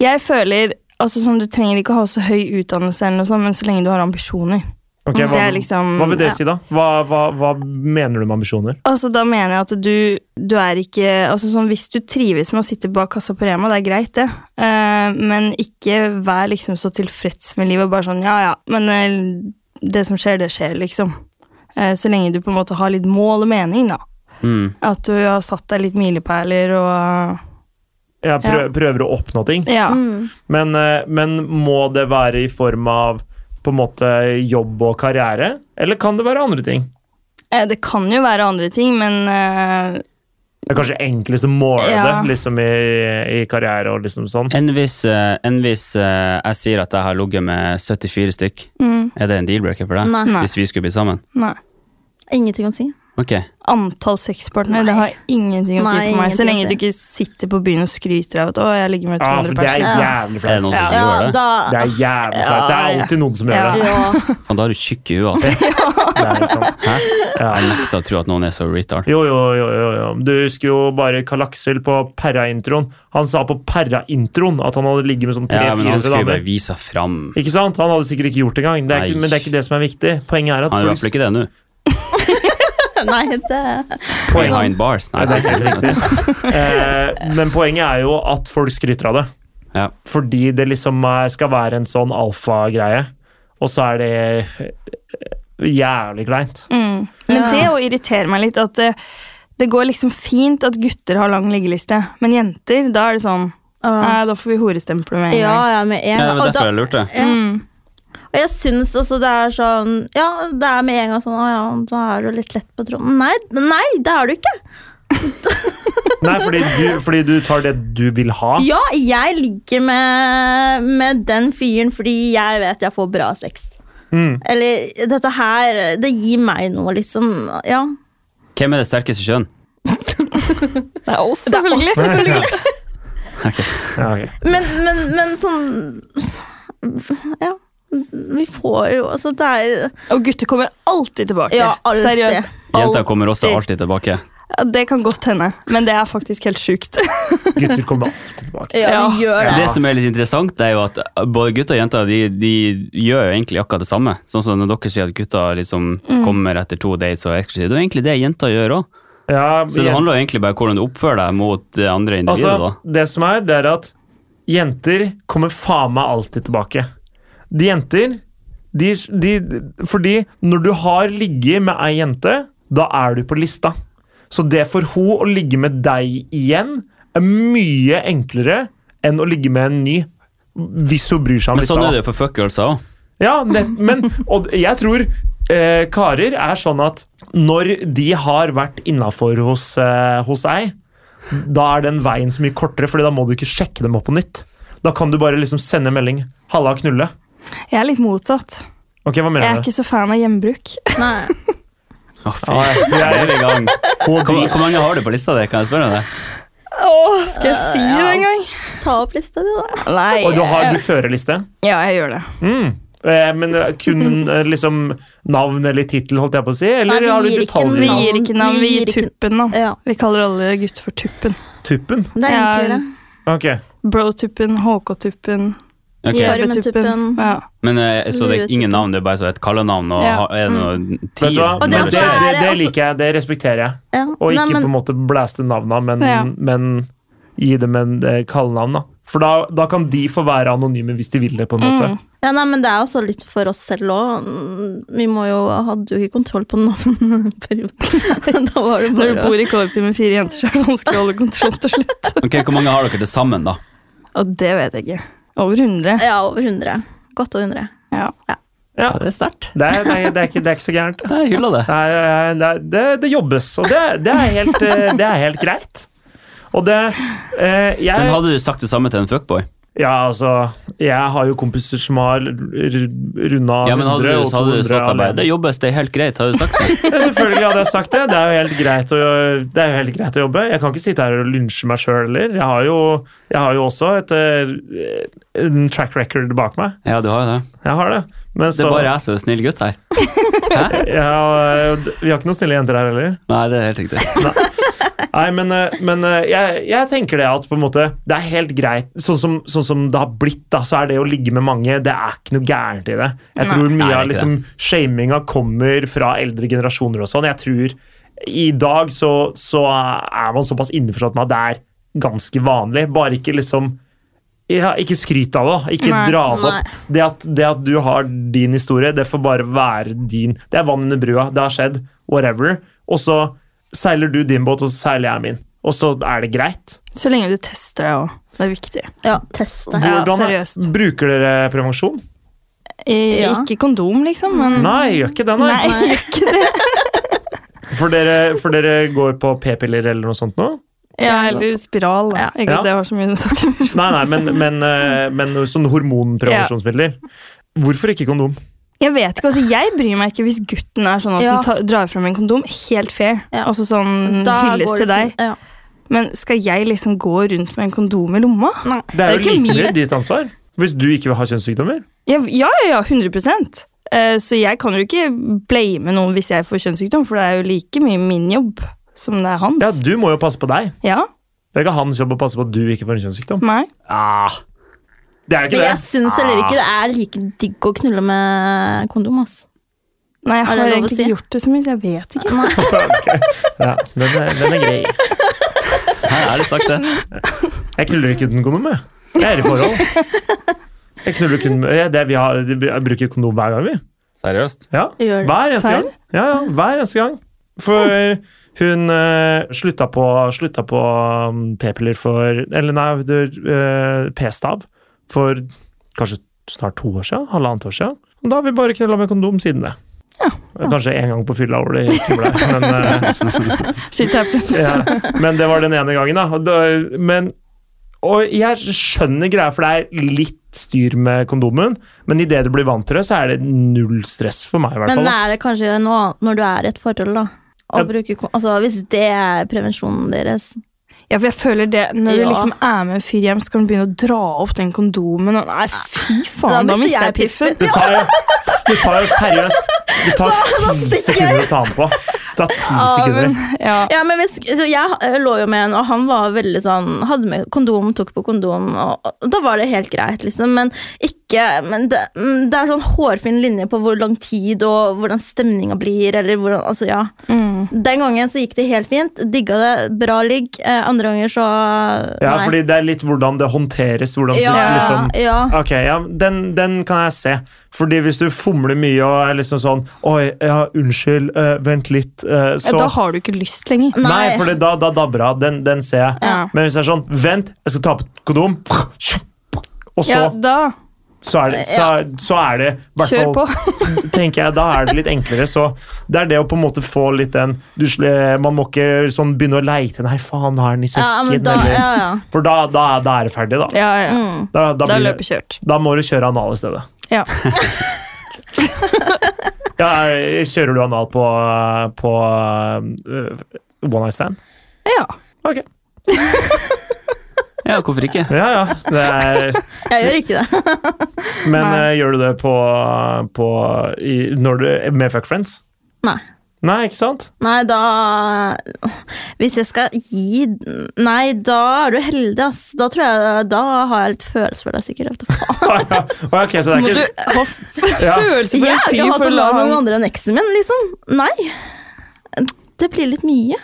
Jeg føler altså sånn, Du trenger ikke å ha så høy utdannelse, eller noe sånt, men så lenge du har ambisjoner. Ok, Det hva, er liksom- hva vil det ja. si, da? Hva, hva, hva mener du med ambisjoner? Altså, Da mener jeg at du, du er ikke altså sånn, Hvis du trives med å sitte bak kassa på Rema, det er greit, det, Eh, men ikke vær liksom så tilfreds med livet og bare sånn Ja, ja, men eh, det som skjer, det skjer, liksom. Eh, så lenge du på en måte har litt mål og mening, da. Mm. At du har satt deg litt milepæler og Jeg prøver, prøver å oppnå ting, Ja. Mm. men, eh, men må det være i form av på en måte jobb og karriere, eller kan det være andre ting? Eh, Det kan jo være andre ting, men eh, Det er kanskje enklest å måle Ja. det liksom i, i karriere og liksom sånn. Enn hvis, eh, enn hvis eh, jeg sier at jeg har ligget med 74 stykk? mm, Er det en deal-breaker for deg? Nei. Nei. Hvis vi skulle blitt sammen? Nei. Ingenting å si. Ok. Antall sexpartnere, det Nei. har ingenting å si Nei, for meg. ingenting Så å lenge du si. ikke sitter på byen og skryter av at 'å, jeg ligger med Ja, for det 200 er personer'. Er jævlig det flaut. noen Ja. som gjør det? da Det er jævlig flaut. Det er alltid noen som gjør det. Ja. Faen, da er du tjukk i huet, altså. det er helt sant. Hæ? Ja. Jeg nekter å tro at noen er så retard. Jo, jo, jo, jo, jo. Du husker jo bare Karl Aksel på Perra-introen. Han sa på Perra-introen at han hadde ligget med sånn Ja, men han 300-400 skulle bare damer. vise seg fram. Ikke sant? Han hadde sikkert ikke gjort det engang. Det er ikke, Nei. men det er ikke det som er viktig. Poenget er at Han er i hvert fall folk ikke det nå. Nei, det Ah. poenget, Behind bars. Nei, Nei, det er ikke helt sikkert. riktig. Eh, Men poenget er jo at folk skryter av det. Ja. Fordi det liksom er- skal være en sånn alfa-greie. Og så er det eh, jævlig kleint. Mm. Men Ja. det å irritere meg litt, at eh, det går liksom fint at gutter har lang liggeliste, men jenter, da er det sånn Ja, Nei, da får vi horestemple med en ja, gang. ja, med en Ja, det gang. var Og da- derfor jeg lurte. ja. Mm. Og jeg syns også det er sånn Ja, det er med en gang sånn Å ja, da er du litt lett på tråden. Nei, nei, det er du ikke! Nei, fordi du, fordi du tar det du vil Ah. ha. Ja, jeg ligger med, med den fyren fordi jeg vet jeg får bra sex. Mm. Eller dette her Det gir meg noe, liksom. Ja. Hvem er det sterkeste kjønn? Det er oss, er oss, selvfølgelig. Ja, Ok. ok. Men, men, men sånn Ja. Vi får jo Altså, det er jo Og gutter kommer alltid tilbake. Ja, alltid. Seriøst. Jenter kommer også Alltid. alltid tilbake. Ja, Det kan godt hende, men det er faktisk helt sjukt. Gutter kommer alltid tilbake. Ja, vi gjør det. Det som er litt interessant, det er jo at uh, både gutter og jenter de, de gjør jo egentlig akkurat det samme. Sånn som når dere sier at gutter liksom kommer etter to dates og er eksklusive. Det er jo egentlig det jenter gjør òg. Ja, Så det jen- handler jo egentlig bare om hvordan du oppfører deg mot det andre individet. altså, det som er, det er at jenter kommer faen meg alltid tilbake. De jenter de, de, Fordi når du har ligget med ei jente, da er du på lista. Så det for hun å ligge med deg igjen er mye enklere enn å ligge med en ny. Hvis hun bryr seg da. om Men sånn lista. er da. det jo for fuckgirlser òg. Ja, nett, men og jeg tror eh, karer er sånn at når de har vært innafor hos, eh, hos ei, da er den veien så mye kortere, Fordi da må du ikke sjekke dem opp på nytt. Da kan du bare liksom sende en melding. 'Halla, knulle'. Jeg er litt motsatt. Ok, hva Jeg er mener du? Ah, ikke så fan av gjenbruk. Nei. Å, fy. Ja, jeg- Da er vi i gang. Hun Hvor, dri- hvor mange har du på lista di, kan jeg spørre deg? Å, skal jeg si det en gang? Ta opp lista di, da. Nei. Og du, har, du fører liste? Ja, jeg gjør det. Mm. Eh, Men eh, kun eh, liksom navn eller tittel, holdt jeg på å si? Eller Nei, vi har du gir ikke en Vi detaljer? gir ikke navn, vi gir tuppen, da. Ja, Vi kaller alle gutter for tuppen. Tuppen? det er Ja. enklere. Ok. Bro-tuppen, HK-tuppen, Ok, Ja. Jeppe-tuppen. Barmen-tuppen. Ja. Men eh, så det er ingen navn, det er bare så et kallenavn og Ja. ha- er det noe Vet du hva? tier? Og Det, det Bare også det, sånn. det, er- liker jeg, det respekterer jeg. Ja. Og Nei, ikke men- på en måte blæste navna, men, Ja. men gi dem en eh, kallenavn, da. For da, da kan de få være anonyme hvis de vil det, på en måte. Mm. Ja, nei, men det er også litt for oss selv òg. Vi må jo hadde jo ikke kontroll på navneperioden. da var det Når du bare å bor i kollektiv med fire jenter, så er det vanskelig å holde kontroll til slutt. Ok, Hvor mange har dere til sammen, da? Og det vet jeg ikke. Over 100. Ja, over 100. Godt over 100. Ja. Ja. det er sterkt. Det, er, det, er, det, er ikke, det er ikke så gærent. Jeg hyller det. Det, er, det, er, det, det jobbes, og det, det, er helt, eh, det er helt greit. Og det eh, jeg, Men hadde du sagt det samme til en fuckboy? Ja, altså Jeg har jo kompiser som har runda Ja, men hadde 100 du, og hadde du 200 stått der bare Det alene. jobbes, det er helt greit, hadde du sagt det? Ja, selvfølgelig hadde jeg sagt det. Det er jo helt greit å, det er jo helt greit å jobbe. Jeg kan ikke sitte her og lynsje meg sjøl heller. Jeg har jo, jeg har jo også et, eh, en track record bak meg. Ja, du har jo det. Jeg har det. Men Det så er bare jeg som er snill gutt her. Hæ? ja, Vi har ikke noen snille jenter her heller. Nei, det er helt riktig. Nei, men, eh, men eh, jeg, jeg tenker det at på en måte det er helt greit. Sånn som, sånn som det har blitt, da, så er det å ligge med mange Det er ikke noe gærent i det. Jeg tror Nei, mye det er av ikke liksom, shaminga kommer fra eldre generasjoner og sånn. Jeg tror i dag så, så er man såpass innforstått med at det er ganske vanlig. Bare ikke liksom ja, Ikke skryt av det. da. Ikke Nei. dra det Nei. opp. Det at, det at du har din historie, det får bare være din. Det er vann under brua. Det har skjedd. Whatever. Og så seiler du din båt, og så seiler jeg min. Og så er det greit. Så lenge du tester deg òg. Det er viktig. Ja, teste. Ja, Hvordan seriøst. Bruker dere prevensjon? I, Ja. Ikke kondom, liksom, men Nei, gjør ikke det, nei. Nei, gjør ikke det. For, dere, for dere går på p-piller eller noe sånt nå? Ja, eller spiral. Da. Ja. Ikke Ja. at det har så mye med saken å gjøre. Nei, nei, men, men, eh, men sånn hormonprevensjonsmidler. Hvorfor ikke kondom? Jeg vet ikke, altså jeg bryr meg ikke hvis gutten er sånn at Ja. den ta, drar frem en kondom. Helt fair. Ja. Altså sånn Da hylles går det til deg. fint. Ja. Men skal jeg liksom gå rundt med en kondom i lomma? Nei. Det er jo Det er ikke like min- mye ditt ansvar. Hvis du ikke vil ha kjønnssykdommer. Jeg, ja, ja, ja, 100 Eh, Så jeg kan jo ikke blame noen hvis jeg får kjønnssykdom, for det er jo like mye min jobb som det er hans. Ja, du må jo passe på deg. Ja, Det er ikke hans jobb å passe på at du ikke får en kjønnssykdom. nei. Ah, Det er jo Men ikke jeg det. syns heller ikke det er like digg å knulle med kondom, ass. Nei, jeg Er har det lov å egentlig ikke si? gjort det så mye, så jeg vet ikke. Ja, den, er, den er grei. her er det sagt, det. Jeg knuller ikke uten kondom, jeg. Jeg er i forhold. Jeg knuller kun med jeg- det vi har, jeg bruker kondom hver gang, vi. Seriøst? Ja, Gjør det. hver eneste Serr? gang. Ja, ja, hver eneste gang. For hun eh, slutta på, slutta på um, p-piller for Eller nei, det, eh, p-stav for kanskje snart to år siden. Halvannet år siden. Og da har vi bare knulla med kondom siden det. Ja. Kanskje én gang på fylla hvor det ikke ble. Men, eh, Shit happens. ja. Men det var den ene gangen, da. Og da- Men, og jeg skjønner greia, for det er litt styr med kondomen, men idet du blir vant til det, så er det null stress for meg, i hvert Men fall. er ass. det kanskje noe annet når du er i et forhold, da? Å Ja. bruke, kon- altså, hvis det er prevensjonen deres Ja, for jeg føler det, når du Ja. liksom er med en fyr hjem, så kan du begynne å dra opp den kondomen, og nei, fy Da faen, da mister mister jeg jeg piffen. piffen. Det tar jo, det tar jo seriøst Det tar ti sekunder å ta den på. Det tar ti sekunder. ja. Ja, Ah, men hvis, så Jeg eh, lå jo med en, og han var veldig sånn Hadde med kondom, tok på kondom, og, og da var det helt greit, liksom. Men ikke men det, mm, det er sånn hårfin linje på hvor lang tid og hvordan stemninga blir, eller hvordan Altså, ja. Mm. Den gangen så gikk det helt fint. Digga det. Bra ligg. Eh, andre ganger så Ja, nei. fordi det er litt hvordan det håndteres. Hvordan ja, liksom ja. Ok, ja, den, den kan jeg se. Fordi hvis du fomler mye og er liksom sånn Oi, ja, unnskyld, eh, vent litt, eh, Ja, så da har du ikke lyst lenger. Nei. Nei, for det, da, da dabber jeg av. Den, den ser jeg. Ja. Men hvis det er sånn Vent, jeg skal ta på et kondom. Og så, Ja, da, så er det, så, er- så er det i hvert kjør fall, på. tenker jeg, Da er det litt enklere. Så det er det å på en måte få litt den du, sle- Man må ikke sånn begynne å leite. Nei, faen, har den i ja, sekken? men da eller, Ja, ja. For da, da, er- da er det ferdig, da. Ja, ja. Mm. Da, da, Da blir, løper kjørt. da må du kjøre anal i stedet. Ja. Ja, er- kjører du anal på, eh, på eh, øh, one night stand? Ja. Ok. Ja, hvorfor ikke? Ja, ja. Det er, Jeg gjør ikke det. men Nei. eh, gjør du det på, på i, når du, med fuck friends? Nei. Nei, ikke sant? Nei, da Hvis jeg skal gi Nei, da er du heldig, ass. Da tror jeg Da har jeg litt følelse for deg, sikkert. Jeg vet da faen. Å, ja. Å, ok, så det Må er du ikke ha f- Ja. følelse for Jeg en har fyr ikke hatt for å det la bra med han noen andre enn eksen min, liksom. Nei. Det blir litt mye.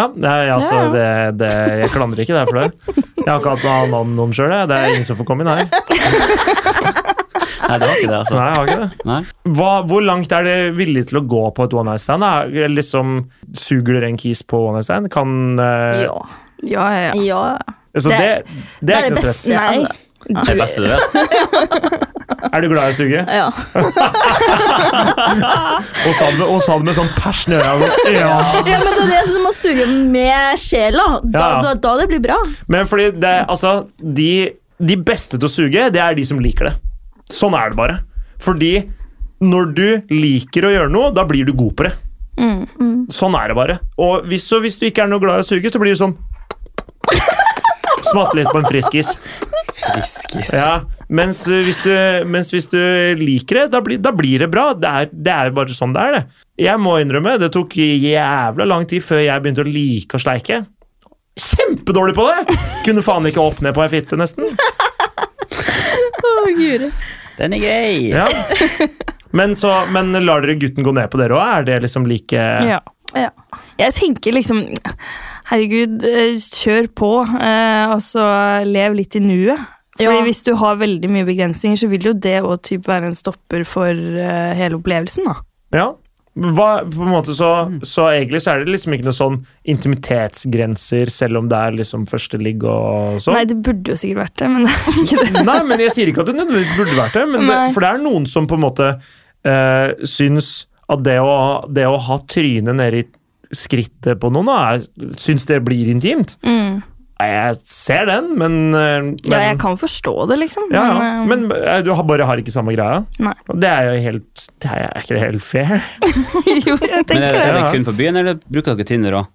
Ja, nei, altså, Ja, det, det, jeg klandrer ikke deg for det. Jeg har ikke hatt noen annen noen sjøl, jeg. Det er ingen som får komme inn her. Nei, Nei, det var ikke det, altså. jeg har ikke det. Nei. Hva, hvor langt er det villig til å gå på et one night stand? da? Er, liksom, suger dere en kis på one night stand? Kan, eh, Ja. Ja, ja, ja. ja. så det, det, Det- er Det er ikke det noe stress. beste. Nei. Det er det beste du vet. Er du glad i å suge? Ja. Og sa det med, og sa det med sånn passion i øynene. Ja. ja, men det er det som må suge med sjela. Da, Ja. da, da det blir bra. Men fordi det, altså, de, de beste til å suge, det er de som liker det. Sånn er det bare. Fordi når du liker å gjøre noe, da blir du god på det. Sånn er det bare. Og hvis, så hvis du ikke er noe glad i å suge, så blir du sånn Smatte litt på en friskis. Friskis. Ja, mens, eh, hvis du, mens hvis du liker det, da, blir- da blir det bra. Det er, det er jo bare sånn det er, det. Jeg må innrømme, det tok jævla lang tid før jeg begynte å like å sleike. Kjempedårlig på det! Kunne faen ikke opp ned på ei fitte, nesten. Den er grei. Ja. Men, så, men lar dere gutten gå ned på dere òg? Er det liksom like ja. Ja. Jeg tenker liksom Herregud, eh, kjør på, eh, og så lev litt i nuet. Fordi Ja. Hvis du har veldig mye begrensninger, så vil jo det også typ være en stopper for eh, hele opplevelsen. da. Ja. Hva, på en måte så, så egentlig så er det liksom ikke noe sånn intimitetsgrenser, selv om det er liksom første ligg og sånn? Nei, det burde jo sikkert vært det, men det er ikke det. Nei, men jeg sier ikke at det nødvendigvis burde vært det, men det, Nei. for det er noen som på en måte eh, syns at det å, det å ha trynet nede i skrittet på noen, da, er, syns det blir intimt. Mm. Nei, Jeg ser den, men, eh, men Ja, jeg kan forstå det, liksom. ja, ja. men, eh, Men eh, du har- bare har ikke samme greia? Nei. Og Det er jo helt det er, er ikke det helt fair? jo, jeg Men er, tenker er det. det Ja. kun på byen, eller bruker dere Tinder òg?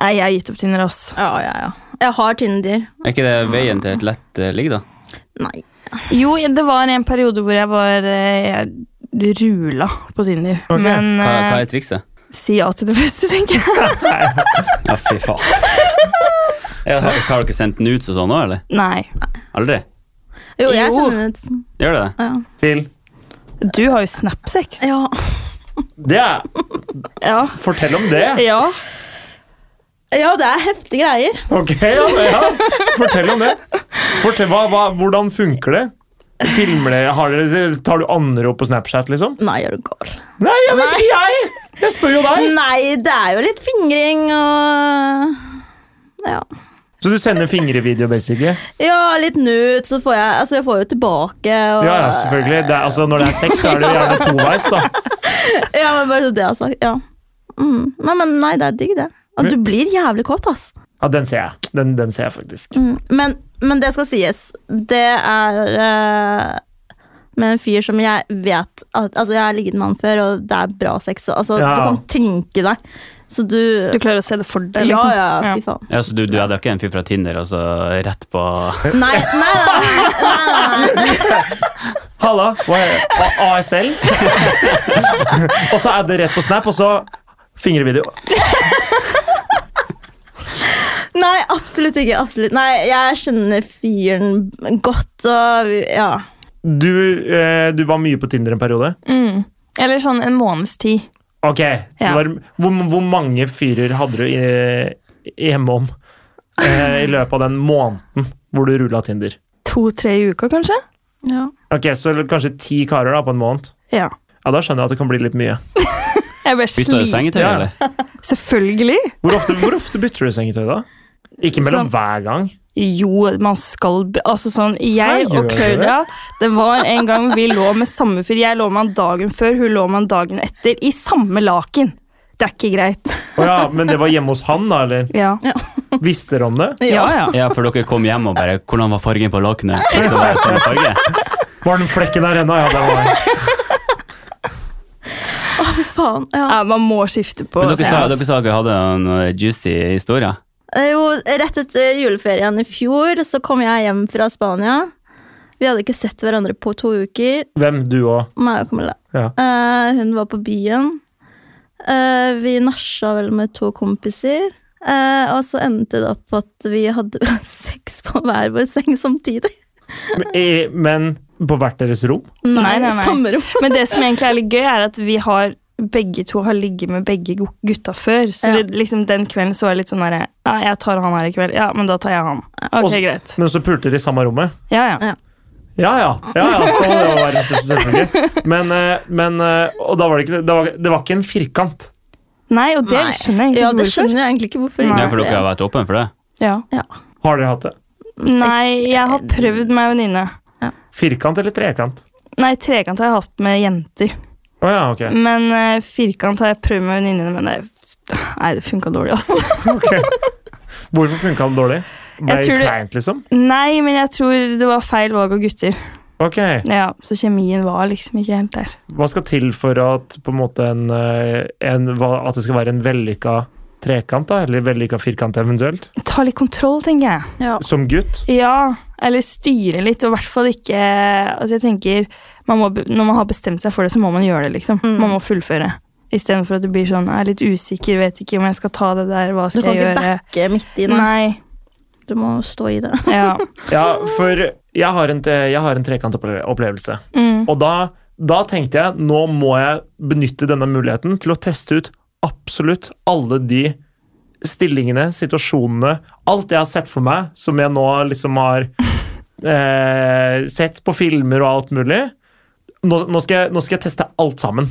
Nei, jeg har gitt opp Tinder, ass. Ja, ja, ja. Jeg har Tinder. Er ikke det veien til et lett eh, ligg, da? Nei. Jo, det var en periode hvor jeg var eh, jeg rula på Tinder. Ok. Men Hva, eh, hva er trikset? si ja til det beste, tenker jeg. Ja, fy faen. Ja, har, har dere sendt nudes og sånn òg, eller? Nei. Aldri? Jo, jeg Jo. sender ut Gjør dere det? Ja. Til Du har jo Snapsex. ja. det er, Ja. Fortell om det! ja. Ja, det er heftige greier. Ok, ja, ja. Fortell om det. Fortell, hva, hva, hvordan funker det? Filmer det? Har dere, tar du anrop på Snapchat, liksom? Nei, er du gal. Nei, jeg vet ikke jeg! Jeg spør jo deg! Nei, det er jo litt fingring og Ja. Så du sender fingrevideo, basically? Ja, litt nude, så får jeg Altså, jeg får jo tilbake og Ja, ja, selvfølgelig. Det er, altså, når det er sex, så er det jo gjerne toveis, da. Ja, men bare så det jeg har sagt. Ja. Mm. Nei, men nei, det er digg, det. Og du blir jævlig kåt, ass. Ja, den ser jeg. Den, den ser jeg faktisk. Mm. Men, men det skal sies, det er eh, med en fyr som jeg vet at, Altså, jeg har ligget med han før, og det er bra sex. Og, altså, Ja. Du kan tenke deg. Så du, Du klarer å se det for deg, Ja, liksom. ja, fy faen. Ja, så du, du hadde ikke en fyr fra Tinder, altså rett på Nei, nei, nei, nei, nei, nei. Halla! Hva er det? A- ASL? og så er det rett på Snap, og så fingrevideo. nei, absolutt ikke. Absolutt. Nei, jeg kjenner fyren godt, og vi- ja. Du, eh, du var mye på Tinder en periode. Mm. Eller sånn en måneds tid. Ok, så Ja. var, hvor, hvor mange fyrer hadde du eh, hjemme om eh, i løpet av den måneden hvor du rulla Tinder? To-tre i uka, kanskje? ja. Ok, Så kanskje ti karer da på en måned? Ja. Ja, Da skjønner jeg at det kan bli litt mye. Jeg ble Bytta du sliten. sengetøy, Ja. eller? Selvfølgelig! Hvor ofte, hvor ofte bytter du sengetøy, da? Ikke mellom Sånn. hver gang? Jo, man skal be- Altså sånn, Hei, jeg gjør og du Claudia Det var en gang vi lå med samme fyr. Jeg lå med han dagen før, hun lå med han dagen etter. I samme laken! Det er ikke greit. Å ja, Men det var hjemme hos han, da? eller? Ja, Visste dere om det? ja. ja. Ja, for dere kom hjem og bare Hvordan var fargen på lakenet? Og så var det samme farge. Var den flekken der ennå? Ja, det var den. Faen. Ja. man må skifte på Men dere sa senga, dere, altså. sa dere hadde en eh, juicy historie. Eh, Jo, rett etter juleferien i fjor så kom jeg hjem fra Spania. Vi hadde ikke sett hverandre på to uker. Hvem? Du òg? Meg og Camilla. Ja. Eh, hun var på byen. Eh, vi nasja vel med to kompiser. Eh, og så endte det opp at vi hadde sex på hver vår seng samtidig. Men, eh, men på hvert deres rom? Nei, nei, nei. Samme rom. Men det som egentlig er litt gøy, er at vi har begge to har ligget med begge gu- gutta før. Så Ja. vi, liksom den kvelden så var det litt sånn derre Ja, jeg tar han her i kveld. Ja, men da tar jeg han. Ok, Også- greit. Men så pulte dere i samme rommet? Ja, ja. Ja, ja. ja, ja sånn det var verdens største selvfølge. Men, eh, men eh, Og da var det ikke det var, det var ikke en firkant. Nei, og det Nei. skjønner jeg Ja, det egentlig ikke hvorfor. skjønner jeg egentlig ikke hvorfor. Det Nei. er fordi dere har vært åpne for det. Ja. Har dere hatt det? Nei, jeg har prøvd med ei venninne. Firkant eller trekant? Nei, trekant har jeg hatt med jenter. Å ja, ok. Men eh, firkant har jeg prøvd med venninnene, men det, nei, det funka dårlig, altså. Hvorfor funka den dårlig? Ble Jeg det tror det- kleint, liksom? Nei, men jeg tror det var feil valg av gutter. Ok. Ja, Så kjemien var liksom ikke helt der. Hva skal til for at, på en måte en, eh, en, hva- at det skal være en vellykka trekant, da? Eller vellykka firkant eventuelt? Ta litt kontroll, tenker jeg. Ja. Som gutt? Ja, eller styre litt, og i hvert fall ikke Altså, jeg tenker man må, be- Når man har bestemt seg for det, så må man gjøre det, liksom. Mm. Man må fullføre. Istedenfor at det blir sånn Jeg er litt usikker, vet ikke om jeg skal ta det der, hva Du skal kan jeg ikke gjøre? backe midt i den. Nei. Du må stå i det. Ja. Ja, for jeg har en, te- jeg har en trekantopplevelse. Mm. Og da, da tenkte jeg nå må jeg benytte denne muligheten til å teste ut absolutt alle de stillingene, situasjonene, alt jeg har sett for meg, som jeg nå liksom har eh, sett på filmer og alt mulig. Nå, nå, skal jeg, nå skal jeg teste alt sammen.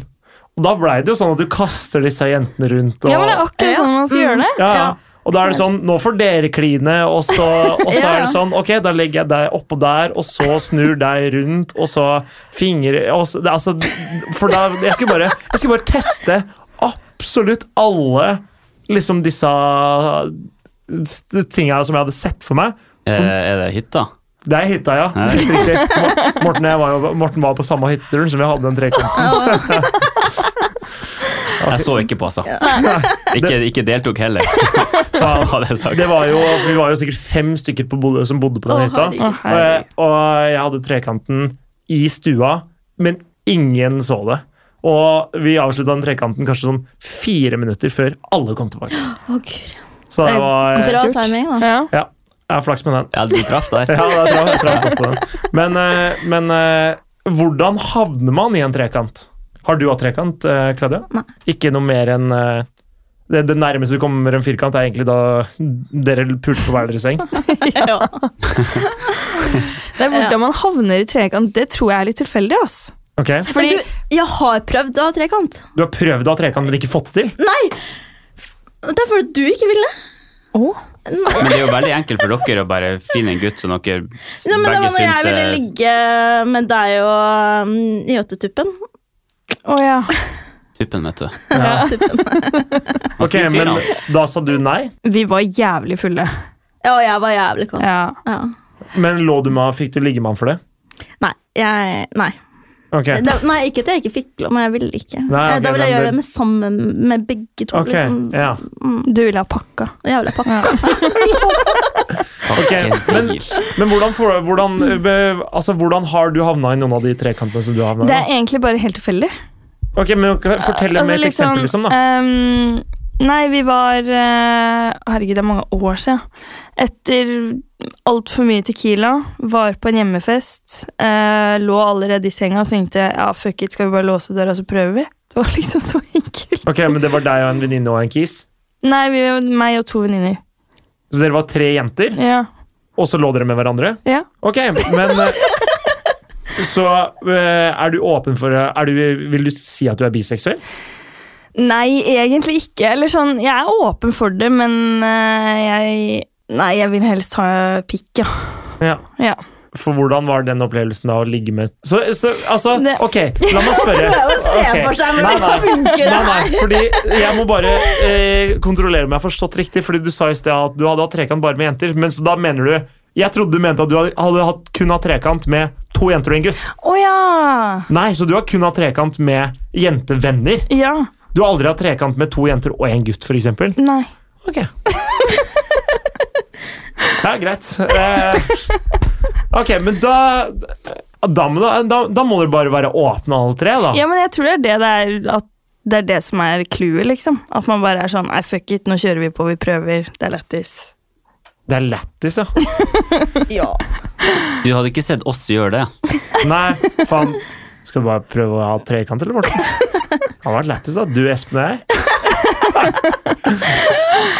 Og da blei det jo sånn at du kaster disse jentene rundt. Og, ja, men det er akkurat Ja. sånn man skal Mm. gjøre det. ja, ja. Ja. Og da er det sånn, nå får dere kline, og så, og så er det sånn, ok, da legger jeg deg oppå der, og så snur deg rundt, og så fingre, og så, det, er altså, for da, jeg skulle bare, jeg skulle bare teste absolutt alle, liksom disse s- tingene som jeg hadde sett for meg. Er det, Eh, er det hytta? Det er hytta, ja. Ja. Helt riktig. Mor- Morten, og jeg var jo, Morten var på samme hytteturen som vi hadde den trekanten. Jeg så ikke på, altså. Ikke, ikke deltok heller. Faen. Hva hadde jeg sagt? Det var jo, vi var jo sikkert fem stykker på bodde, som bodde på den Å, hytta. herregud. Å, Og jeg, herregud. Eh, og jeg hadde trekanten i stua, men ingen så det. Og vi avslutta den trekanten kanskje sånn fire minutter før alle kom tilbake. Å, gud. Så det var Bra kult. timing, da. Ja. Ja, jeg har flaks med den. Ja, du traff der. Ja, det er bra, jeg traff godt på den. Men, eh, men eh, hvordan havner man i en trekant? Har du hatt trekant, eh, Claudia? Nei. Ikke noe mer enn eh, det, det nærmeste du kommer en firkant, er egentlig da dere pulte på hver deres seng. Det er hvordan man havner i trekant, det tror jeg er litt tilfeldig, ass. Ok, Fordi Men du, jeg har prøvd å ha trekant. Du har prøvd å ha trekant, men ikke fått det til? Nei! Det er fordi du ikke ville. Å, Men det er jo veldig enkelt for dere å bare finne en gutt som dere s- Ja, men det begge var når jeg ville syns eh, ligge med deg og um, jøtetuppen. å ja. er tuppen, vet du. Ja. Tuppen. Ok, men da sa du nei. Vi var jævlig fulle. Ja, og jeg var jævlig kvalm. Ja. Ja. Men lå du med Fikk du ligge med ham for det? Nei, jeg Nei. Ok, Det, nei, ikke at jeg ikke fikk lov, men jeg ville ikke. Eh, Nei, ok, da ville men jeg gjøre det- det med sammen med begge to. ok, Liksom. ja. Du ville ha pakka. Jævla pakka. Fuck, Ok, en men- deal. Men hvordan, får, hvordan, ø, be- altså, hvordan har du havna i noen av de trekantene som du havna i? Det da? er egentlig bare helt tilfeldig. Ok, men Fortell med Altså, et litt eksempel, sånn, liksom. da. ehm, nei, vi var eh, Herregud, det er mange år siden. Etter altfor mye Tequila, var på en hjemmefest, eh, lå allerede i senga og tenkte ja, fuck it, skal vi bare låse døra, så prøver vi? Det var liksom så enkelt. Ok, Men det var deg og en venninne og en kis? Nei, vi, meg og to venninner. Så dere var tre jenter, Ja. og så lå dere med hverandre? ja. Ok, men ø, Så ø, er du åpen for ø, er du, Vil du si at du er biseksuell? Nei, egentlig ikke. Eller sånn, jeg er åpen for det, men eh, jeg Nei, jeg vil helst ha pikk, ja. Ja. ja. For hvordan var den opplevelsen av å ligge med Så, så altså, Det- ok, la meg spørre. Prøve å se Ok. for seg Nei, hvordan det nei. funker. Nei, det her. nei, fordi jeg må bare eh, kontrollere om jeg har forstått riktig. Fordi du sa i sted at du hadde hatt trekant bare med jenter. Men så da mener du Jeg trodde du mente at du hadde- hadde hatt, kun hatt trekant med to jenter og en gutt. Å ja! Nei, så du har kun hatt trekant med jentevenner. Ja. Du har aldri hatt trekant med to jenter og en gutt, f.eks. Nei. Ok. Ja, greit. Eh, ok, men da da, må da, da da må dere bare være åpne, alle tre. da. Ja, men jeg tror det er det det er, at det er det som er clouet, liksom. At man bare er sånn Nei, fuck it, nå kjører vi på, vi prøver. Det er lættis. Det er lættis, ja. Ja. Du hadde ikke sett oss gjøre det. Nei, faen. Skal vi bare prøve å ha trekant, eller, Morten? Det hadde vært lættis, da. Du, Espen og jeg.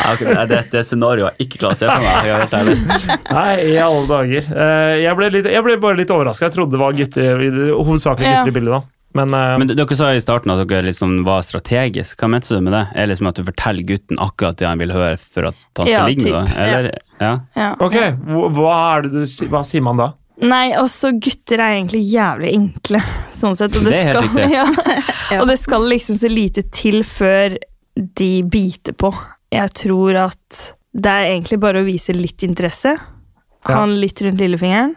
Ja, ok, det- det er et scenario jeg ikke klarer å se for meg. Jeg er helt ærlig. Nei, i alle dager. Eh, Jeg ble, litt, jeg ble bare litt overraska. Jeg trodde det var gutter, hovedsakelig Ja. gutter i bildet, da. Men, eh, Men d- dere sa i starten at dere liksom var strategisk. Hva mente du med det? Er det liksom at du forteller gutten akkurat det han vil høre for at han skal Ja, ligge med typ. deg? Eller? Ja. Ja. ok, hva, hva, er det du, si- hva sier man da? Nei, også gutter er egentlig jævlig enkle, sånn sett. Og det, Det er helt skal, riktig. ja. Og det skal liksom så lite til før de biter på. Jeg tror at det er egentlig bare å vise litt interesse. Ja. Ha den litt rundt lillefingeren.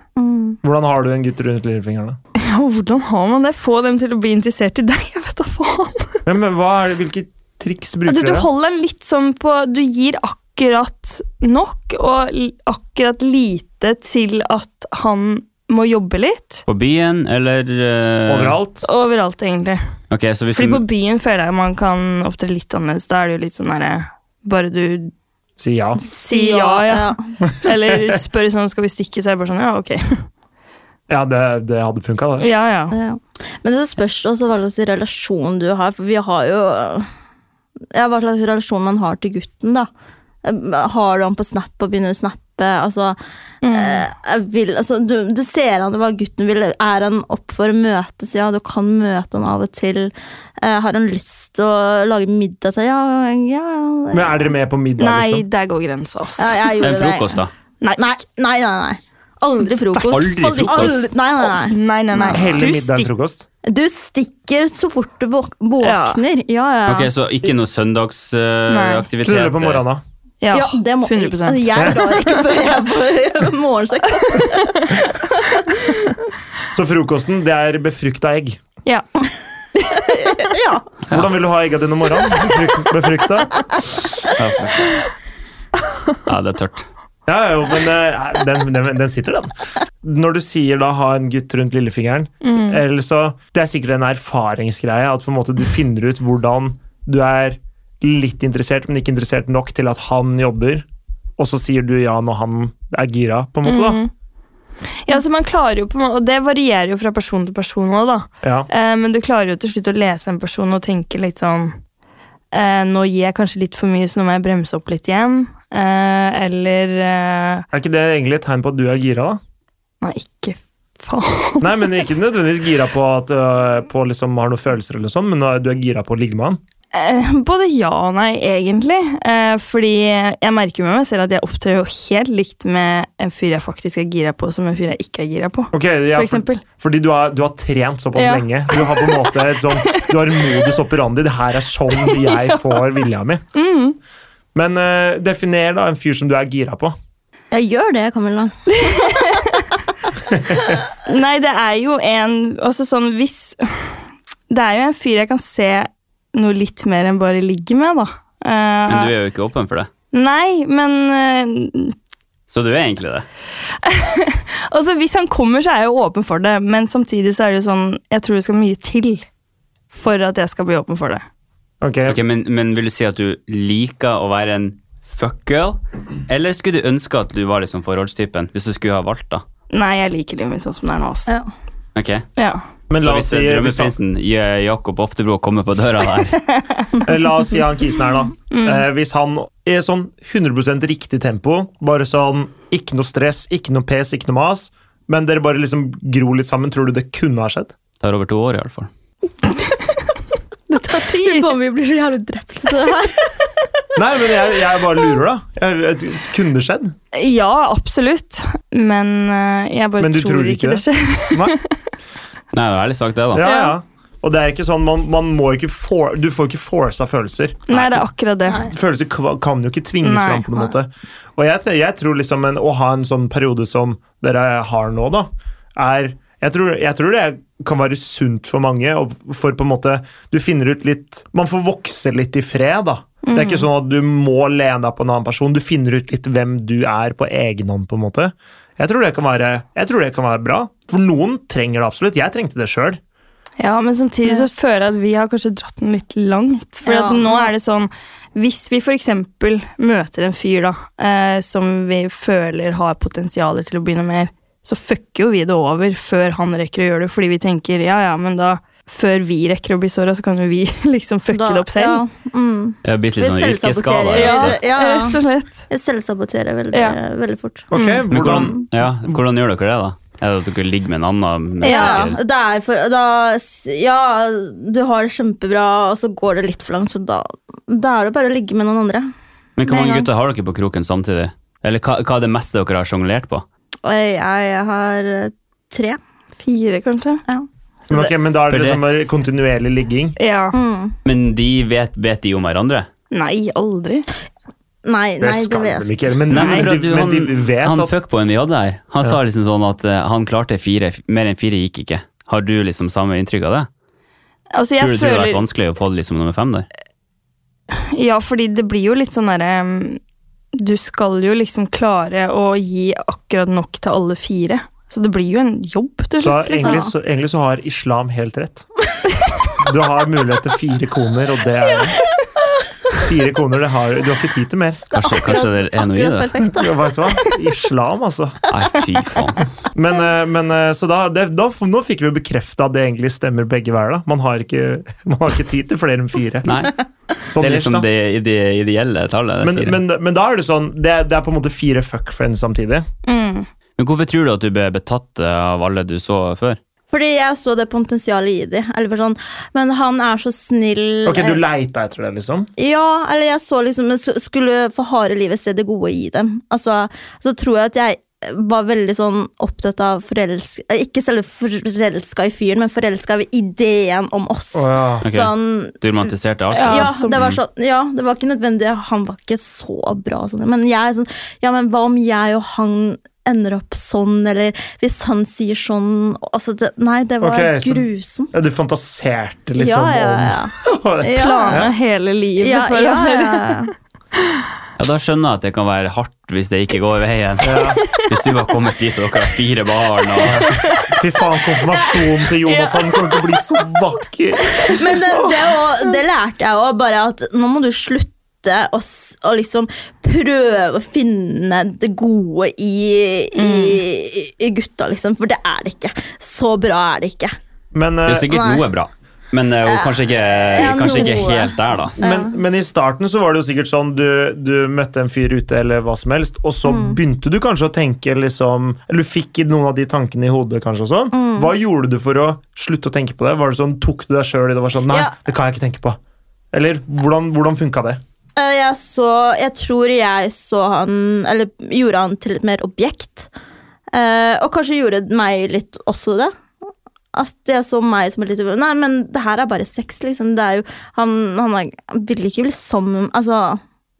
Mm. Hvordan har du en gutt rundt lillefingrene? Ja, og hvordan har man det? Få dem til å bli interessert i deg, jeg vet da faen. Men, men hva er det, hvilke triks Ja, Du, bruker Altså, du dere? holder den litt sånn på Du gir akkurat nok, og l- akkurat lite til at han må jobbe litt. På byen, eller eh, Overalt? Overalt, egentlig. Ok, så hvis Fordi du, på byen føler jeg man kan opptre litt annerledes. Da er det jo litt sånn derre Bare du Si ja. Si ja, ja. Eller spør sånn Skal vi stikke? Så er det bare sånn Ja, ok. Ja, det, det hadde funka, det. Ja, ja. Ja. Men så spørs det også hva slags relasjon du har, for vi har jo Ja, hva slags relasjon man har til gutten, da. Har du han på Snap og begynner å snappe? Altså, eh, jeg vil, altså du, du ser han hva gutten vil. Er han opp for å møtes? Ja, du kan møte han av og til. Eh, har han lyst til å lage middag? Så, ja, ja, Men er dere med på middag, Nei, liksom? der går grensa, ass. ja, en jeg gjorde det. frokost, da. Nei. Nei, nei, nei. nei. Aldri frokost. Aldri frokost. Aldri- nei, nei, nei. Nei, nei, nei. Heller Du middag enn stikker. frokost? Du stikker så fort du våk- våkner. Ja, ja. ja. Ok, Så ikke noe søndagsaktivitet? Knulle på morgenen, da. Ja, Ja, det må, 100 altså, Jeg drar ikke før jeg får morgensekk. Så frokosten, det er befrukta egg. Ja. Ja. Hvordan vil du ha egga dine om morgenen? Befrukt- Befrukta? Ja, det er tørt. Ja, jo, men eh, den, den, den sitter, den. Når du sier da 'ha en gutt rundt lillefingeren', Mm. eller så Det er sikkert en erfaringsgreie, at på en måte du finner ut hvordan du er litt interessert, men ikke interessert nok til at han jobber, og så sier du ja når han er gira, på en måte, da. Mm. ja, så man klarer jo på en måte Og det varierer jo fra person til person òg, da. Ja. Eh, men du klarer jo til slutt å lese en person og tenke litt sånn eh, Nå gir jeg kanskje litt for mye, så nå må jeg bremse opp litt igjen. Eh, eller eh, Er ikke det egentlig et tegn på at du er gira, da? Nei, ikke faen. Nei, men ikke nødvendigvis gira på at øh, på liksom har noen følelser eller sånn, men at du er gira på å ligge med han. Eh, både ja og nei, egentlig. Eh, fordi jeg merker jo med meg selv at jeg opptrer jo helt likt med en fyr jeg faktisk er gira på, som en fyr jeg ikke er gira på. Ok, ja, For eksempel. Fordi du har, du har trent såpass Ja. lenge. Du har på en måte et sånn Du har en modus operandi. Det her er sånn jeg får vilja mi. Mm. Men eh, definer da en fyr som du er gira på. Jeg gjør det, Camilla. Nei, det er jo en Også sånn hvis Det er jo en fyr jeg kan se noe litt mer enn bare ligge med, da. Eh, Men du er jo ikke åpen for det. Nei, men eh, Så du er egentlig det. Altså, hvis han kommer, så er jeg jo åpen for det, men samtidig så er det jo sånn Jeg tror det skal mye til for at jeg skal bli åpen for det. Ok, Ok, men, men vil du si at du liker å være en fuckgirl? Eller skulle du ønske at du var liksom forholdstypen, hvis du skulle ha valgt, da? Nei, jeg liker livet mitt sånn som det er nå, altså. Ja. Ok, Ja. Men Så la oss, hvis si, eh, hvis han, drømmeprinsen eh, Jakob Oftebro kommer på døra der eh, la oss si han kisen her, da. Eh, hvis han i sånn 100 riktig tempo, bare sånn ikke noe stress, ikke noe pes, ikke noe mas, men dere bare liksom gror litt sammen, tror du det kunne ha skjedd? Tar over to år, i alle fall. Det tar tid. vi blir så jævlig drept av det her. Nei, men jeg, jeg bare lurer, da. Jeg, jeg, kunne det skjedd? Ja, absolutt. Men eh, jeg bare Men du tror, tror ikke ikke det skjer. Nei? Nei, det er ærlig sagt, det, da. Ja, ja. Og det er ikke sånn, man, man må ikke for, Du får ikke forsa følelser. Nei, det er akkurat det. Følelser kva- kan jo ikke tvinges Nei. fram på noen måte. Og jeg, t- jeg tror liksom en, å ha en sånn periode som dere har nå, da, er jeg tror, jeg tror det kan være sunt for mange, og for på en måte Du finner ut litt Man får vokse litt i fred, da. Det er Mm. ikke sånn at du må lene deg på en annen person. Du finner ut litt hvem du er på egen hånd, på en måte. Jeg tror det kan være, jeg tror det kan være bra. For noen trenger det absolutt. Jeg trengte det sjøl. Ja, men samtidig så Ja. føler jeg at vi har kanskje dratt den litt langt. For Ja. at nå er det sånn Hvis vi f.eks. møter en fyr da, eh, som vi føler har potensial til å bli noe mer, så fucker jo vi det over før han rekker å gjøre det, fordi vi tenker ja, ja, men da før vi rekker å bli såra, så kan jo vi liksom fucke Da- det opp selv. Ja, mm. Jeg har blitt litt Vi sånn selvsaboterer, yrkesskada. ja. Ja. rett og slett. Jeg selvsaboterer veldig, Ja. veldig fort. Ok, Men hvordan, hvordan, ja, hvordan gjør dere det, da? Er det at dere ligger med en annen? mens Ja, dere- det er for, da, s- ja, du har det kjempebra, og så går det litt for langt, så da, da er det bare å ligge med noen andre. Men hvor Med en mange gang. gutter har dere på kroken samtidig? Eller hva, hva er det meste dere har sjonglert på? Og jeg, jeg har eh, tre. Fire, kanskje. Ja. Så ok, men da er For det det- liksom bare kontinuerlig ligging. det, ja. Mm. Men de vet, vet de om hverandre? Nei, aldri. Nei, Det nei, det skal vet de jeg. ikke gjøre. Men, Nei, men for men, at de, du, men han, de vet han at fuckboyen vi hadde her, han sa liksom sånn at eh, han klarte fire, f- mer enn fire gikk ikke. Har du liksom samme inntrykk av det? Tror du Altså, jeg det hadde føler vært vanskelig å få liksom nummer fem der? Ja, fordi det blir jo litt sånn derre um, Du skal jo liksom klare å gi akkurat nok til alle fire. Så det blir jo en jobb til så slutt, liksom. egentlig, så, egentlig så har islam helt rett. Du har mulighet til fire koner, og det er Fire koner, det har, du har ikke tid til mer. Kanskje, kanskje det er noe i Akkurat det? perfekt, da. Vet du hva? Islam, altså. Nei, fy faen. Men, eh, men eh, så da, det, da, nå fikk vi bekrefta at det egentlig stemmer begge hver. da. Man har ikke, man har ikke tid til flere enn fire. Nei, det Sånn er ellers, liksom da. det ide- ideelle tallet. men, Det er fire. men, men da er det sånn Det, er- det er på en måte fire fuck friends samtidig. Mm. Men hvorfor tror du at du ble betatt eh, av alle du så før? Fordi jeg så det potensialet i de. Eller bare sånn, men han er så snill. Ok, Du eh, leita etter det, liksom? Ja, eller jeg så liksom men så Skulle for harde livet se det gode i dem. Altså, så tror jeg at jeg var veldig sånn opptatt av forelsk... eh, Ikke selve forelska i fyren, men forelska i ideen om oss. Å, ja. Mm. Ok, Sånn Du romantiserte alt? Ja, ja, som- det var sånn, ja, det var ikke nødvendig. Han var ikke så bra. og Sånn. Men jeg er sånn, ja, men hva om jeg og han ender opp sånn, eller hvis han sier sånn altså det, Nei, det var Ok, så- grusomt. Ja, du fantaserte liksom ja, ja, ja. om Ja. Plane hele livet ja, for ja, å ja, ja. Ja, Da skjønner jeg at det kan være hardt hvis det ikke går veien. Ja. Hvis du var kommet dit og dere har fire barn og Fy faen, konfirmasjonen til Jonathan kommer til å bli så vakker! Men det, det, er jo- det lærte jeg òg, bare at nå må du slutte å, s- å liksom prøve å finne det gode i, i, Mm. i gutta, liksom. For det er det ikke. Så bra er det ikke. Men, Det eh, er sikkert Nei. noe bra, men eh, kanskje ikke, kanskje ikke noe. helt der, da. men, men i starten så var det jo sikkert sånn du, du møtte en fyr ute eller hva som helst, og så begynte du kanskje å tenke liksom Eller du fikk noen av de tankene i hodet, kanskje, og sånn. Hva gjorde du for å slutte å tenke på det? Var det sånn, Tok du deg sjøl i det og var sånn Nei, Ja. det kan jeg ikke tenke på. Eller hvordan, hvordan funka det? Eh, Jeg så Jeg tror jeg så han Eller gjorde han til et mer objekt. Eh, og kanskje gjorde meg litt også det. At jeg så meg som et lite Nei, men det her er bare sex, liksom. Det er jo Han, han, er, han vil ikke bli sammen Altså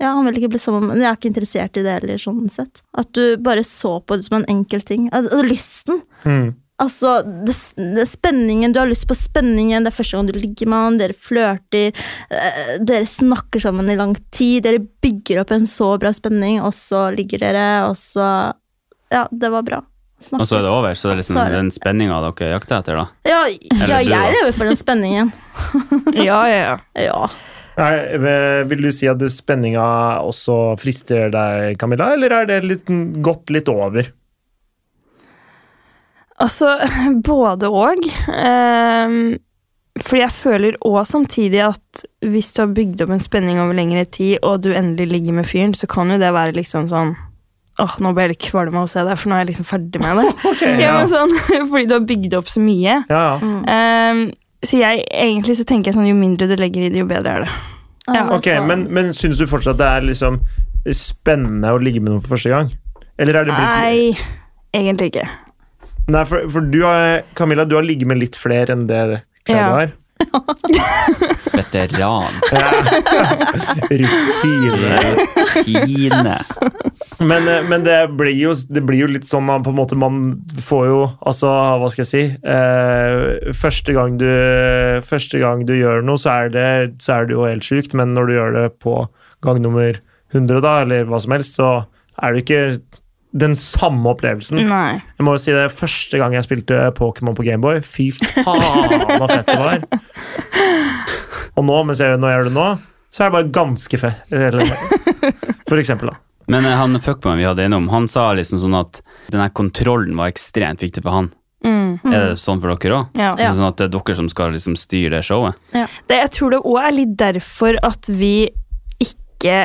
ja, han vil ikke bli sammen med Jeg er ikke interessert i det heller, sånn sett. At du bare så på det som en enkel ting. Al- Altså, lysten. Mm. Altså, det, det, spenningen, du har lyst på spenningen, det er første gang du ligger med han, dere flørter, eh, dere snakker sammen i lang tid, dere bygger opp en så bra spenning, og så ligger dere, og så Ja, det var bra. Og så er det over, så det er liksom Så er det- den spenninga dere jakter etter, da. Ja, ja Eller du, da. jeg lever for den spenningen. Ja, ja, ja. Ja. Er, eh, vil du si at det- spenninga også frister deg, Camilla, eller er det litt, gått litt over? Altså, både og. Ehm, fordi jeg føler òg samtidig at hvis du har bygd opp en spenning over lengre tid, og du endelig ligger med fyren, så kan jo det være liksom sånn Åh, nå ble jeg litt kvalm av å se deg, for nå er jeg liksom ferdig med det. ja, men sånn, fordi du har bygd opp så mye. Ja, ja. Mm. Ehm, så jeg, egentlig så tenker jeg sånn, jo mindre du legger i det, jo bedre er det. Ja. Ok, altså. men, men syns du fortsatt det er liksom spennende å ligge med noen for første gang? Eller er det blitt Nei, egentlig ikke. Nei, for, for du har, Camilla, du har ligget med litt flere enn det Claudia Ja. har. Veteran. Rutine. Rutine. Men, eh, men det, blir jo, det blir jo litt sånn man på en måte Man får jo Altså, hva skal jeg si eh, første, gang du, første gang du gjør noe, så er det, så er det jo helt sjukt, men når du gjør det på gang nummer 100, da, eller hva som helst, så er det ikke den samme opplevelsen. Nei. Jeg må jo si det første gang jeg spilte Pokémon på Gameboy. Fy faen, hva fett det var! Og nå, mens jeg, når jeg gjør det nå, så er det bare ganske fett. Eller, for eksempel, da. Men eh, han fuckboyen vi hadde innom, han sa liksom sånn at den her kontrollen var ekstremt viktig for han. Mm. Er det sånn for dere òg? Ja. Ja. Sånn at det er dere som skal liksom styre det showet? Det, jeg tror det òg er litt derfor at vi ikke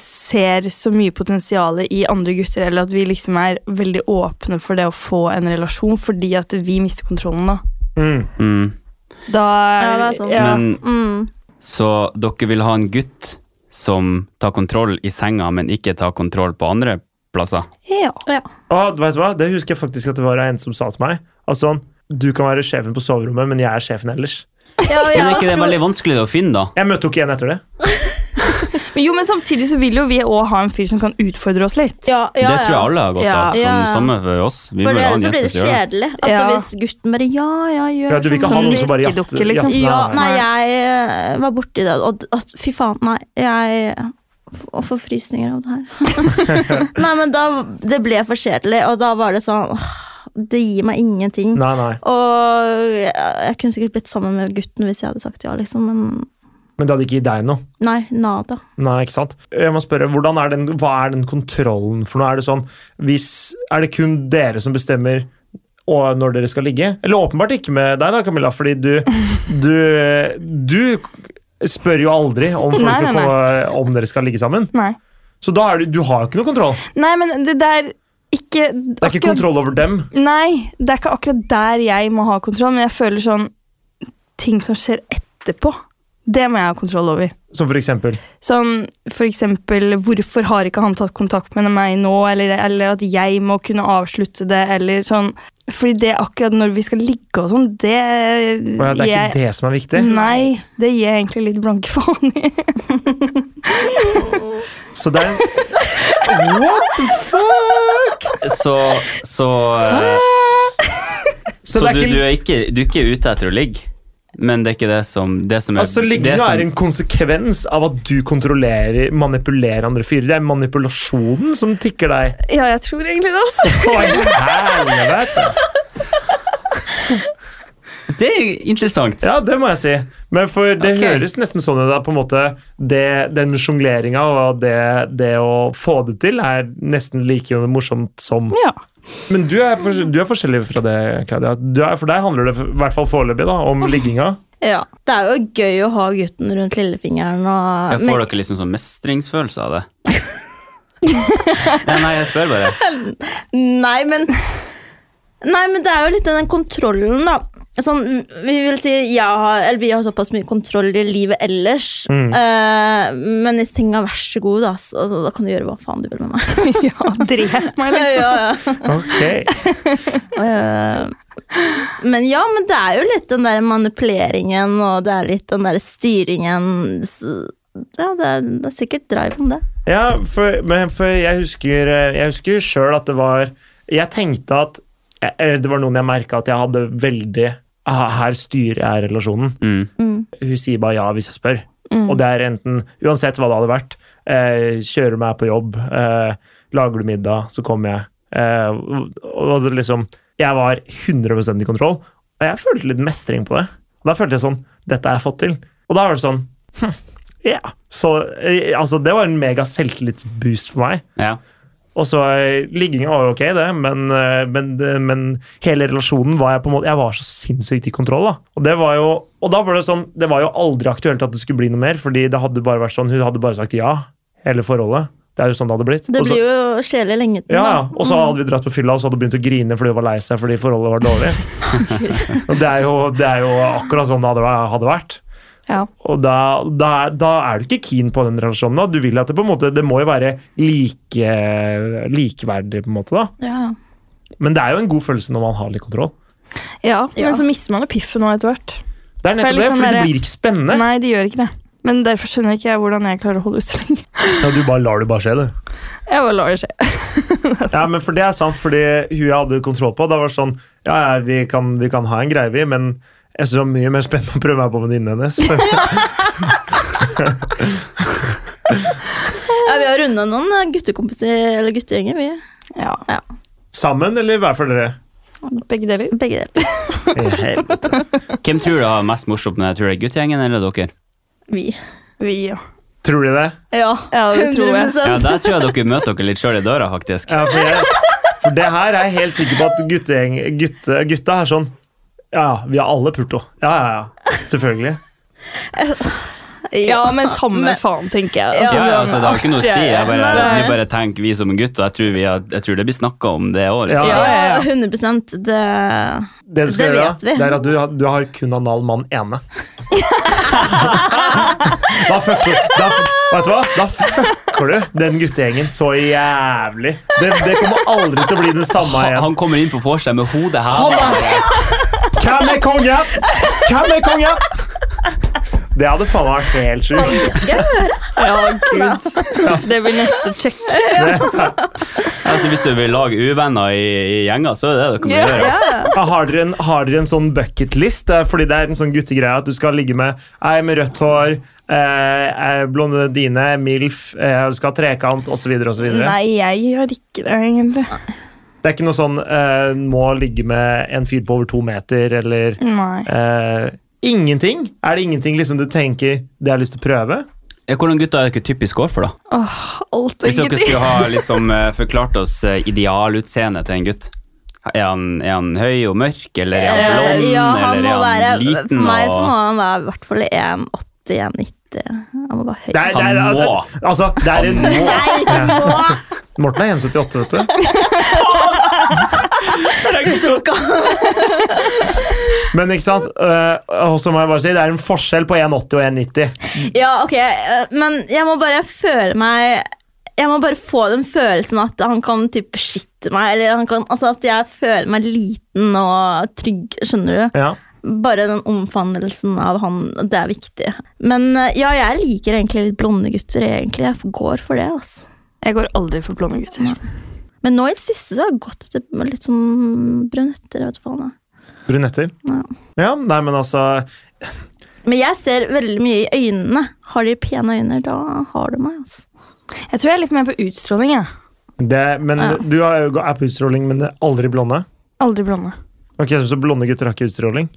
ser så mye potensial i andre gutter, eller at vi liksom er veldig åpne for det å få en relasjon, fordi at vi mister kontrollen da. Mm. Mm. Da Ja, det er sant. ja. Men Mm. så dere vil ha en gutt som tar kontroll i senga, men ikke tar kontroll på andre plasser? Ja. Ja. Ah, vet du hva? Det husker jeg faktisk at det var en som sa til meg. Altså, sånn, du kan være sjefen på soverommet, men jeg er sjefen ellers. Ja, og Men er jeg ikke det tror- veldig vanskelig å finne, da? Jeg møtte jo ikke igjen etter det. Men jo, men samtidig så vil jo vi òg ha en fyr som kan utfordre oss litt. Ja, ja, det tror jeg ja. alle har godt Ja. av. Som Ja. Samme for oss. Vi For må jo ha ellers en så blir jente det som gjør det. kjedelig. Altså Ja. Hvis gutten bare Ja, ja, gjør Ja, du vil ikke sånn ha Sånn noen som bare virkedukke, jatter- liksom. jatter- Ja, nei, Nei. jeg eh, var borti det, og d- at, fy faen, nei. Jeg f- får frysninger av det her. nei, men da Det ble for kjedelig, og da var det sånn åh, Det gir meg ingenting. Nei, nei. Og jeg, jeg kunne sikkert blitt sammen med gutten hvis jeg hadde sagt ja, liksom, men Men det hadde ikke gitt deg noe. nei, nada. Nei, ikke sant? Jeg må spørre, hvordan er den, Hva er den kontrollen for noe? Er det sånn, hvis, er det kun dere som bestemmer og når dere skal ligge? Eller åpenbart ikke med deg, da, Camilla, fordi du Du, du spør jo aldri om, folk Nei, skal nei, nei. komme, om dere skal ligge sammen. Nei. Så da er du, du har jo ikke noe kontroll. Nei, men det der ikke Det er ikke kontroll over dem. Nei, det er ikke akkurat der jeg må ha kontroll, men jeg føler sånn Ting som skjer etterpå, det må jeg ha kontroll over. Som for eksempel Sånn for eksempel Hvorfor har ikke han tatt kontakt med meg nå? Eller, eller at jeg må kunne avslutte det, eller sånn. Fordi det akkurat når vi skal ligge og sånn, det Å ja, Det er jeg- ikke det som er viktig. Nei, det gir jeg egentlig litt blanke faen i. Så det er What the fuck?! Så, så, eh, Så, så det du, er du, ikke er ikke, du er ikke ute etter å ligge, men det er ikke det som, det som er sånn- Altså, det Ligginga som, er en konsekvens av at du kontrollerer, manipulerer andre fyrer. Det er manipulasjonen som tikker deg. Ja, jeg tror egentlig det, altså. Å, helvete! Det er interessant. Ja, det må jeg si. Men for det Ok. høres nesten sånn ut. da, på en måte, det, Den sjongleringa og det, det å få det til er nesten like morsomt som Ja. Men du er, fors- du er forskjellig fra det, Claudia. Du er, for deg handler det, i hvert fall foreløpig, da, om ligginga. Ja. Det er jo gøy å ha gutten rundt lillefingeren og Jeg får dere liksom sånn mestringsfølelse av det? nei, nei, jeg spør bare. Nei, men Nei, men det er jo litt den kontrollen, da. Sånn, vi vil si jeg har, eller vi har såpass mye kontroll i livet ellers, Mm. eh, men i senga, vær så god, da. Så, altså, da kan du gjøre hva faen du vil med meg. ja Drep meg, liksom. ja, ja. Ok. Eh, men ja, men det er jo litt den der manipuleringen, og det er litt den der styringen så, Ja, det er, det er sikkert drive om det. Ja, for, men for jeg husker eh, Jeg husker sjøl at det var Jeg tenkte at eh, Eller det var noen jeg merka at jeg hadde veldig ah, Her styrer jeg relasjonen. Mm. Hun sier bare ja hvis jeg spør. Og det er enten Uansett hva det hadde vært. Eh, kjører meg på jobb. Eh, lager du middag, så kommer jeg. Eh, og- og det liksom Jeg var 100 i kontroll, og jeg følte litt mestring på det. Og da følte jeg sånn Dette har jeg fått til. Og da var det sånn hm, Ja. Så eh, altså, det var en mega selvtillitsboost for meg. Ja. Og så eh, Ligginga var jo ok, det, men, eh, men, det- men hele relasjonen var jeg på en måte Jeg var så sinnssykt i kontroll, da. Og det var jo og da ble det sånn, det var jo aldri aktuelt at det skulle bli noe mer, fordi det hadde bare vært sånn, hun hadde bare sagt ja, hele forholdet. Det er jo sånn det hadde blitt. Det Og så- blir jo kjedelig lenge til, ja, ja. da. Og så hadde vi dratt på fylla, og så hadde hun begynt å grine fordi hun var lei seg fordi forholdet var dårlig. og det er, jo, det er jo akkurat sånn det hadde væ- hadde vært. Ja. Og da, da, da er du ikke keen på den relasjonen. da. Du vil at det på en måte, det må jo være like, likeverdig, på en måte. da. Ja, ja. Men det er jo en god følelse når man har litt kontroll. ja, Ja. men så mister man jo piffen nå etter hvert. Det er nettopp litt det, sånn fordi det der- blir ikke spennende. Nei, de gjør ikke det. Men derfor skjønner ikke jeg hvordan jeg klarer å holde ut så lenge. Ja, du bare lar det bare skje, du. Jeg bare lar det skje. Ja, men for det er sant, fordi hun jeg hadde kontroll på, da var det sånn Ja, ja, vi kan, vi kan ha en greie, vi, men jeg syns det var mye mer spennende å prøve meg på venninnen hennes. Ja, vi har runda noen guttekompiser, eller guttegjenger, vi. Ja, Sammen, eller hver for dere? Begge deler. Begge deler. I helvete. Hvem tror du har mest morsomt med det? Tror du det er guttegjengen eller dere? Vi. Vi, ja. Tror de det? Ja, Ja, det tror jeg. 100%. Ja, Der tror jeg dere møter dere litt sjøl i døra, faktisk. Ja, for, jeg, for det her er jeg helt sikker på at guttegjeng, gutte, gutta er sånn Ja, vi har alle pulto. Ja, ja, ja. Selvfølgelig. Ja, men samme faen, tenker jeg. Ja, Altså, ja, altså, det har ikke noe å si. Jeg bare, Nei. vi bare tenker vi som gutter. Jeg tror, vi har, jeg tror det blir snakka om det òg. Liksom. Ja, ja, ja. 100 det Det du skal Det gjøre, vet da, vi. det er at du, har- du har kun anal mann ene. da fucker da, Vet du hva? Da fucker du den guttegjengen så jævlig. Det, det kommer aldri til å bli det samme Han, igjen. han kommer inn på vorset med hodet Han her. er Hvem er konge? Hvem er konge? Det hadde faen meg vært helt sjukt. Ja, gud. Det blir neste check. Altså, hvis du vil lage uvenner i, i gjenger, så er det det dere må Ja, gjøre. Ja, Har dere en, har dere en sånn bucketlist? Eh, Fordi det er en sånn guttegreie at du skal ligge med ei med rødt hår, eh, eh, blondine, MILF, eh, du skal ha trekant osv. Det Nei, jeg har ikke det, egentlig. er ikke noe sånn eh, må ligge med en fyr på over to meter eller Nei. eh, Ingenting? Er det ingenting liksom du tenker det har jeg lyst til å prøve? Ja, Hvordan gutter er dere typisk går for, da? Åh, alt og Hvis dere ingenting. skulle ha liksom, eh, forklart oss eh, idealutseendet til en gutt. Er han, er han høy og mørk, eller er han Eh, blond, ja, han eller må er han være, liten? For meg så må og... han være i hvert fall 1,80-1,90. Han må være høy. Det er- det er- Han må. Altså, det er en, Nei, ikke nå! Morten er 1,78, vet du. Utelukka. Men ikke sant? Eh, og så må jeg bare si, det er en forskjell på 1,80 og 1,90. Ja, ok, eh, men jeg må bare føle meg Jeg må bare få den følelsen at han kan typ beskytte meg, eller han kan, altså at jeg føler meg liten og trygg, skjønner du? Ja. Bare den omfavnelsen av han, det er viktig. Men eh, ja, jeg liker egentlig litt blonde gutter, egentlig. Jeg går for det, altså. Jeg går aldri for blonde gutter. Men nå i det siste så har jeg gått etter litt sånn brunetter, jeg vet du faen. jeg. Brunetter. Ja. Ja, nei, men altså Men jeg ser veldig mye i øynene. Har de pene øyne, da har du meg. Altså. Jeg tror jeg er litt mer på utstråling. Jeg. det, men Ja. Du har jo er på utstråling, men det er aldri blonde. Aldri blonde. Ok, Så blonde gutter har ikke utstråling?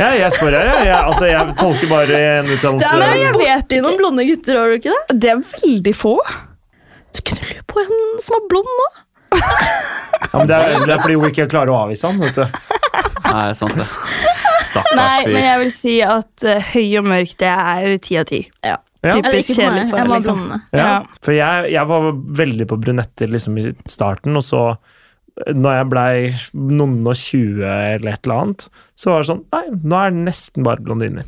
ja, jeg spør her, jeg. Jeg, altså, jeg tolker bare en utdannelse. Nei, jeg vet Det er noen blonde gutter, har du ikke det? Det er veldig få. Du knuller jo på en som er blond nå. Ja, men det, er, det er fordi hun ikke klarer å avvise han. vet du. Nei, sant det. Nei, Stakkars men fyr. jeg vil si at eh, høy og mørk, det er ti av ti. Ja. Ja. Eller Typisk ikke for kjedelig meg. svar, Jeg må ha liksom. blonde. Ja. Ja. For jeg, jeg var veldig på brunetter liksom, i starten, og så når jeg blei noen og tjue eller et eller annet, så var det sånn Nei, nå er det nesten bare blondiner.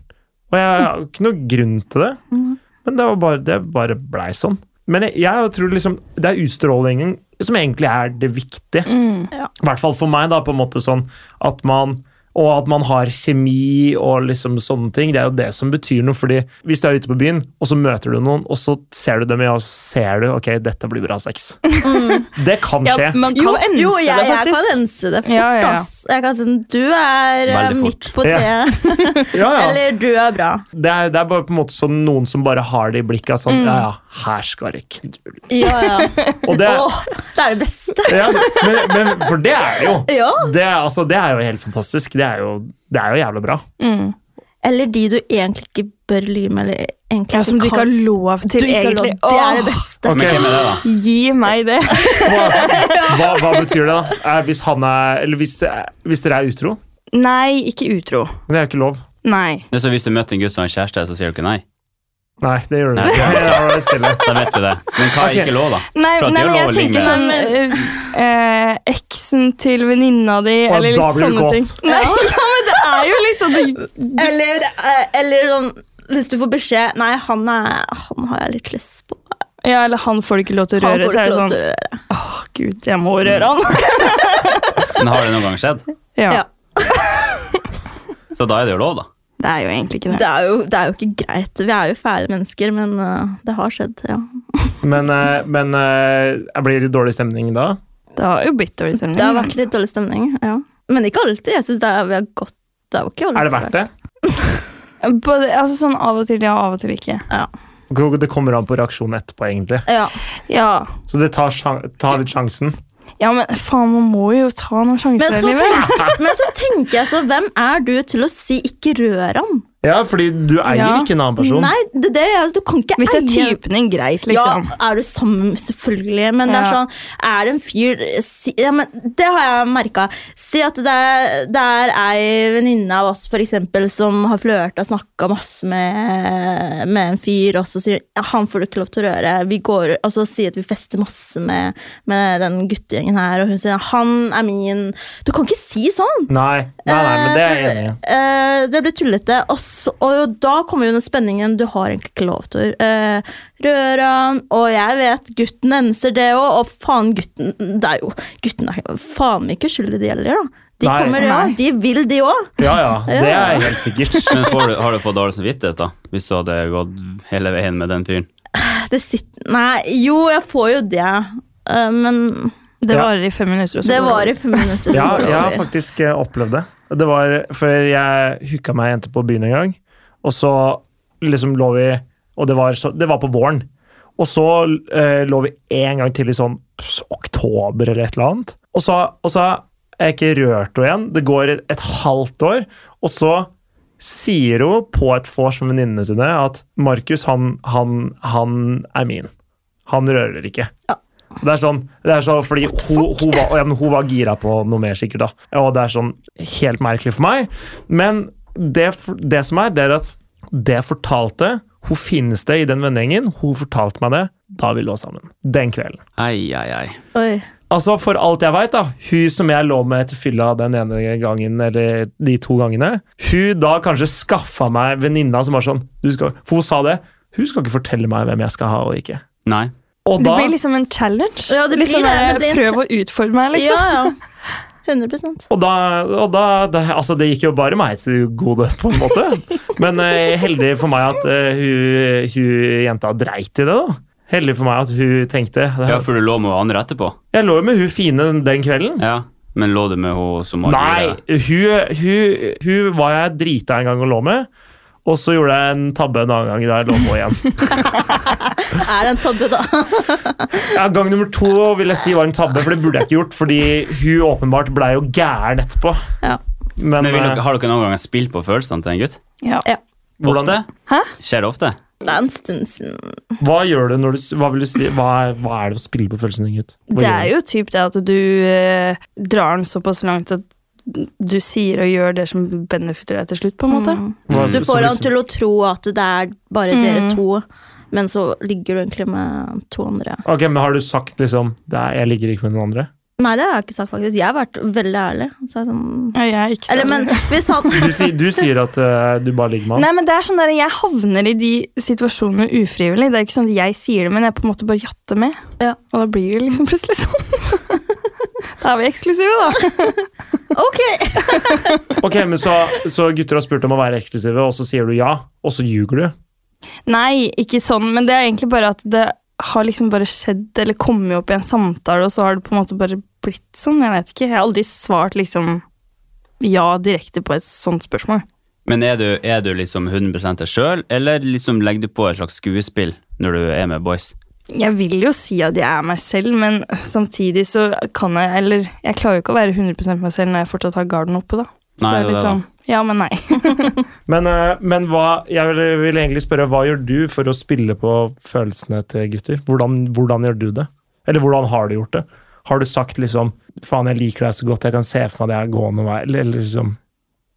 Og jeg har ikke noe grunn til det, men det, var bare, det bare blei sånn. Men jeg, jeg tror liksom det er utstrålingen som egentlig er det viktige. Mm. Ja. I hvert fall for meg, da, på en måte sånn at man og at man har kjemi og liksom sånne ting. Det er jo det som betyr noe. fordi Hvis du er ute på byen, og så møter du noen, og så ser du dem i øya, og så ser du ok, dette blir bra sex. Mm. Det kan Ja, skje. man kan Jo, ense jo jeg, det, jeg kan faktisk. ense det fort, Ja, ja, ja. ass. Jeg kan si du er eh, Veldig fort. midt på treet, Ja, ja. eller du er bra. Det, er, det er bare på en måte sånn noen som bare har det i blikket. av Mm. Sånn, ja, ja, her skal det knulle. Ja, ja. Og det, Åh, det er det beste. ja, men, men, for det er det jo. Ja. Det, er- altså, det er jo helt fantastisk. Det er jo, det er jo jævlig bra. Mm. Eller de du egentlig ikke bør lyve med, eller egentlig Ja, som du ikke har lov til, Du ikke har egentlig. lov. Det er det Åh, beste. Men hvem er det, da? gi meg det. Hva, hva, hva betyr det, da? Eh, Hvis, han er, eller hvis, eh, hvis dere er utro? Nei, ikke utro. Men det er jo ikke lov. Nei. Det er så hvis du møter en gutt som har kjæreste, så sier du ikke nei? Nei, det gjør du Nei. ikke. Ja, da er det stille. Da vet vi det. Men hva er Ok. ikke lov, da? Nei, For at det er nei men lov jeg å tenker ligge. sånn eh, eh, Eksen til venninna di, Og da eller litt blir du sånne kåt. ting. Nei, ja, men det er jo liksom det, Eller, eh, eller sånn hvis du får beskjed Nei, han, er, han har jeg litt lyst på. Ja, eller han får du ikke lov til å Han røre, får så ikke er det lov sånn til å røre. Åh, gud, jeg må røre Mm. han. Men har det noen gang skjedd? Ja. Ja. Så da er det jo lov, da. Det er jo egentlig ikke det. Det er, jo, det er jo ikke greit. Vi er jo fæle mennesker, men øh, det har skjedd, ja. Men, eh, men eh, blir det dårlig stemning da? Det har jo blitt dårlig stemning. Det har vært litt dårlig stemning, ja. Men ikke alltid. Jeg synes det er, vi har gått det er jo ikke alltid. Er det verdt det? Både, altså sånn av og til ja, av og til ikke. Det kommer an på reaksjonen etterpå, egentlig. Ja. Ja, Så det tar, sjan- tar litt sjansen. ja men faen, man må jo ta noen Men sjanser i så, livet. tenk, men så tenker jeg så, hvem er du til å si 'ikke rør han'? Ja, fordi du eier Ja. ikke en annen person. Nei, det, det, er- du kan ikke Hvis det er eie typen din, greit, liksom. Ja, er du sammen, selvfølgelig, men det er Ja. sånn Er det en fyr si, ja, men Det har jeg merka. Si at det er, det er ei venninne av oss for eksempel, som har flørta og snakka masse med, med en fyr, og så sier ja, 'han får du ikke lov til å røre', vi går, og så sier at vi fester masse med, med den guttegjengen her, og hun sier 'han er min' Du kan ikke si sånn! Nei, nei, nei, men det er jeg enig i. Eh, det blir tullete. Og, så, og da kommer jo den spenningen. Du har egentlig ikke lov til å eh, røre han. Og jeg vet gutten enser det òg, og faen, gutten Det er jo Gutten er jo faen ikke skyld i det heller, da. De Nei. kommer, ja. Nei. De vil, de òg. Ja, ja, det er Ja. helt sikkert. Men får du, har du fått dårlig samvittighet, da? Hvis du hadde gått hele veien med den fyren? Det sitter Nei, jo, jeg får jo det. eh, men Det Ja. varer i fem minutter. Og så det går var det i fem minutter. Ja, så går det jeg har over. faktisk eh, opplevd det. Det var før jeg hooka meg ei jente på byen en gang, og så liksom lå vi Og det var, så, det var på våren. Og så eh, lå vi en gang til i sånn pss, oktober eller et eller annet. Og så, og så er jeg ikke rørt henne igjen. Det går et, et halvt år, og så sier hun på et vors med venninnene sine at Markus, han, han, han er min. Han rører ikke. Det er sånn, det er så, fordi hun, hun, var, ja, men hun var gira på noe mer sikkert da. Og det er sånn helt merkelig for meg. Men det, f- det som er, det er at det jeg fortalte, hun finnes det i den vennegjengen, hun fortalte meg det, da vi lå sammen. Den kvelden. Ai, ai, ai. Oi. Altså, for alt jeg veit, da, hun som jeg lå med etter fylla den ene gangen, eller de to gangene, hun da kanskje skaffa meg venninna som var sånn du skal, For hun sa det. Hun skal ikke fortelle meg hvem jeg skal ha og ikke. Nei. Og Det da, blir liksom en challenge. Ja, det blir liksom det, det der, blir en Prøv å utfordre meg, Ja, liksom. ja. 100 Og da, og da det, Altså, det gikk jo bare meg til gode, på en måte. Men eh, heldig for meg at eh, hun, hun jenta dreit i det, da. Heldig for meg at hun tenkte Ja, for du lå med andre etterpå? Jeg lå jo med hun fine den- den kvelden. Ja. Men lå du med hun som var Nei, gira? hun, hun, hun var jeg drita en gang og lå med. Og så gjorde jeg en tabbe en annen gang da jeg lå med henne igjen. Er det en tabbe, da? Ja, gang nummer to vil jeg si var en tabbe, for det burde jeg ikke gjort. Fordi hun åpenbart blei jo gæren etterpå. Ja. Men, Men vil eh, dere, Har dere noen gang spilt på følelsene til en gutt? Ja. Hvordan- Ofte? Hæ? Skjer det ofte? Det er en stund siden. hva gjør du når du Hva, vil du si, hva, er- hva er det å spille på følelsene din, gutt? Hva Det gjør er du? jo typ det at du eh, drar den såpass langt at du sier og gjør det som benefitter deg til slutt, på en Mm. måte. Hva- Du Mm. så får for han eksempel- til å tro at det er bare Mm. dere to, men så ligger du egentlig med to andre. Ok, men har du sagt liksom det er, 'jeg ligger ikke med noen andre'? Nei, det har jeg ikke sagt, faktisk. Jeg har vært veldig ærlig. Så jeg er sånn... Ja, jeg er ikke så Eller, men hvis han Du, si, du sier at eh, du bare ligger med han. Nei, men det er sånn der, Jeg havner i de situasjonene ufrivillig. Det er ikke sånn at jeg sier det, men jeg på en måte bare jatter med. Ja. Og da blir det liksom plutselig sånn. da er vi eksklusive, da. Ok! Ok, men så, så gutter har spurt om å være eksklusive, og så sier du ja, og så ljuger du? Nei, ikke sånn, men det er egentlig bare at det har liksom bare skjedd, eller kommet opp i en samtale, og så har det på en måte bare blitt sånn. Jeg vet ikke. Jeg har aldri svart liksom ja direkte på et sånt spørsmål. Men er du, er du liksom 100 deg sjøl, eller liksom legger du på et slags skuespill når du er med boys? Jeg vil jo si at jeg er meg selv, men samtidig så kan jeg Eller jeg klarer jo ikke å være 100 meg selv når jeg fortsatt har garden oppe, da. Så Nei, det er det er litt det. sånn, ja, men nei. Men, eh, men hva, jeg vil, vil egentlig spørre, hva gjør du for å spille på følelsene til gutter? Hvordan, hvordan gjør du det? Eller hvordan har du gjort det? Har du sagt liksom 'faen, jeg liker deg så godt, jeg kan se for meg det er gående vei'? Eller, eller liksom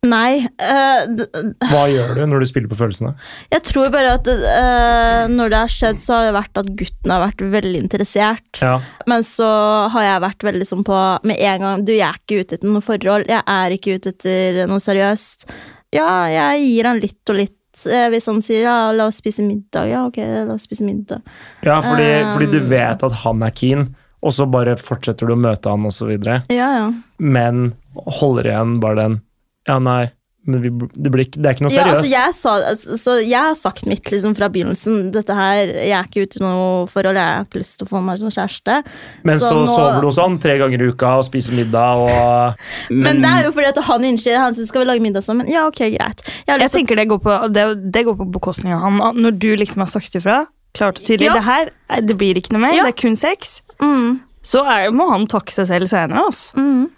Nei. eh, d- Hva gjør du når du spiller på følelsene? jeg tror bare at eh, når det har skjedd, så har det vært at gutten har vært veldig interessert. Ja. Men så har jeg vært veldig sånn på med en gang Du, jeg er ikke ute etter noe forhold. Jeg er ikke ute etter noe seriøst. Ja, jeg gir han litt og litt. Eh, Hvis han sier ja, la oss spise middag. Ja, ok, la oss spise middag. Ja, fordi, Um. fordi du vet at han er keen, og så bare fortsetter du å møte han osv., Ja, ja. men holder igjen bare den 'ja, nei, Men vi, det, blir, ikke- det er ikke noe Ja, altså seriøst. jeg, sa, altså, så jeg har sagt mitt liksom fra begynnelsen. Dette her, Jeg er ikke ute i noe forhold, jeg har ikke lyst til å få meg som kjæreste. Men så, nå- sover du hos han tre ganger i uka og spiser middag og Men det er jo fordi at han innser han sier, skal vi lage middag sammen. Ja, ok, greit. Jeg har Jeg lyst til tenker det går, på, det, det går på bekostning av han. Når du liksom har sagt ifra klart og tydelig Ja. det her eh, det blir ikke noe mer, Ja. det er kun sex, å mm, så er, må han takke seg selv senere. ass. mm.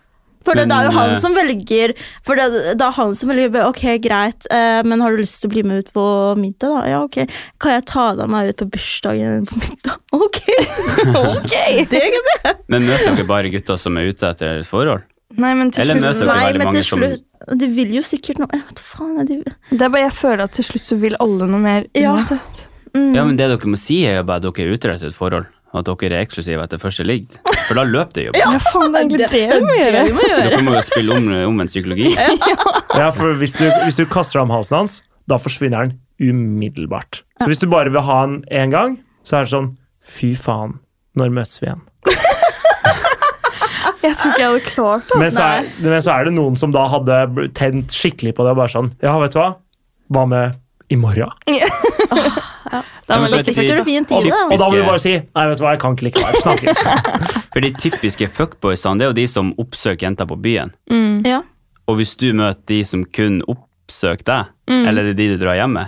For Men, det, det er jo han eh, som velger For det, det er han som velger Ok, greit, eh, men har du lyst til å bli med ut på middag, da? Ja, ok. Kan jeg ta deg med ut på bursdagen på middag? Ok! ok! Det kan vi. Men møter dere bare gutter som er ute etter et forhold? Nei, men til Eller slutt, møter- er jo Nei, veldig men mange til som- slutt De vil jo sikkert noe Jeg vet faen, jeg, de, det er bare, jeg føler at til slutt så vil alle noe mer Ja. uansett. mm. Ja, men det dere må si er jo bare at dere er ute etter et forhold. At dere er eksklusive etter første ligg. For da løper det jo bare. Ja, faen, det er egentlig det, du må gjøre. vi må gjøre. Dere må jo spille om, om en psykologi. Ja, for hvis du, hvis du kaster om halsen hans, da forsvinner han umiddelbart. Så hvis du bare vil ha han én gang, så er det sånn Fy faen, når møtes vi igjen? Jeg tror ikke jeg hadde klart det. Men så, er, men så er det noen som da hadde bl- tent skikkelig på det og bare sånn Ja, vet du hva? Hva med i morgen? Det er men veldig for at sikkert. vi- Sikkert gjør det fint i det. Og da må vi Husker- bare si Nei, vet du hva, jeg kan ikke likevel. Snakkes. For de typiske fuckboysene, det er jo de som oppsøker jenter på byen. Ja. Og hvis du møter de som kun oppsøker deg, Mm. eller det er de du drar hjem med,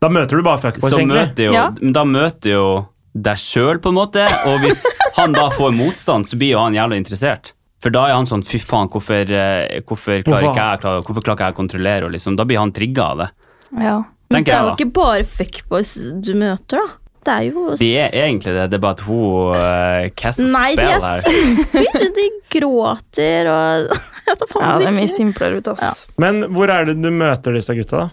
Da møter du bare fuckboys, så egentlig. møter jo, Ja. da møter jo deg sjøl, på en måte. Og hvis han da får motstand, så blir jo han jævla interessert. For da er han sånn fy faen, hvorfor, eh, hvorfor klarer Hvorfor? ikke jeg, klarer, hvorfor klarer ikke jeg å kontrollere henne, liksom. Da blir han trigga av det. Ja. Men Tenker det er jeg da. jo ikke bare fuckboys du møter, da. Det er jo Det er egentlig det, det er bare at hun uh, caster Nei, de spill er her. simple. De gråter og Jeg tar faen ja, det er mye ikke. simplere ut, ass. Men hvor er det du møter disse gutta, da?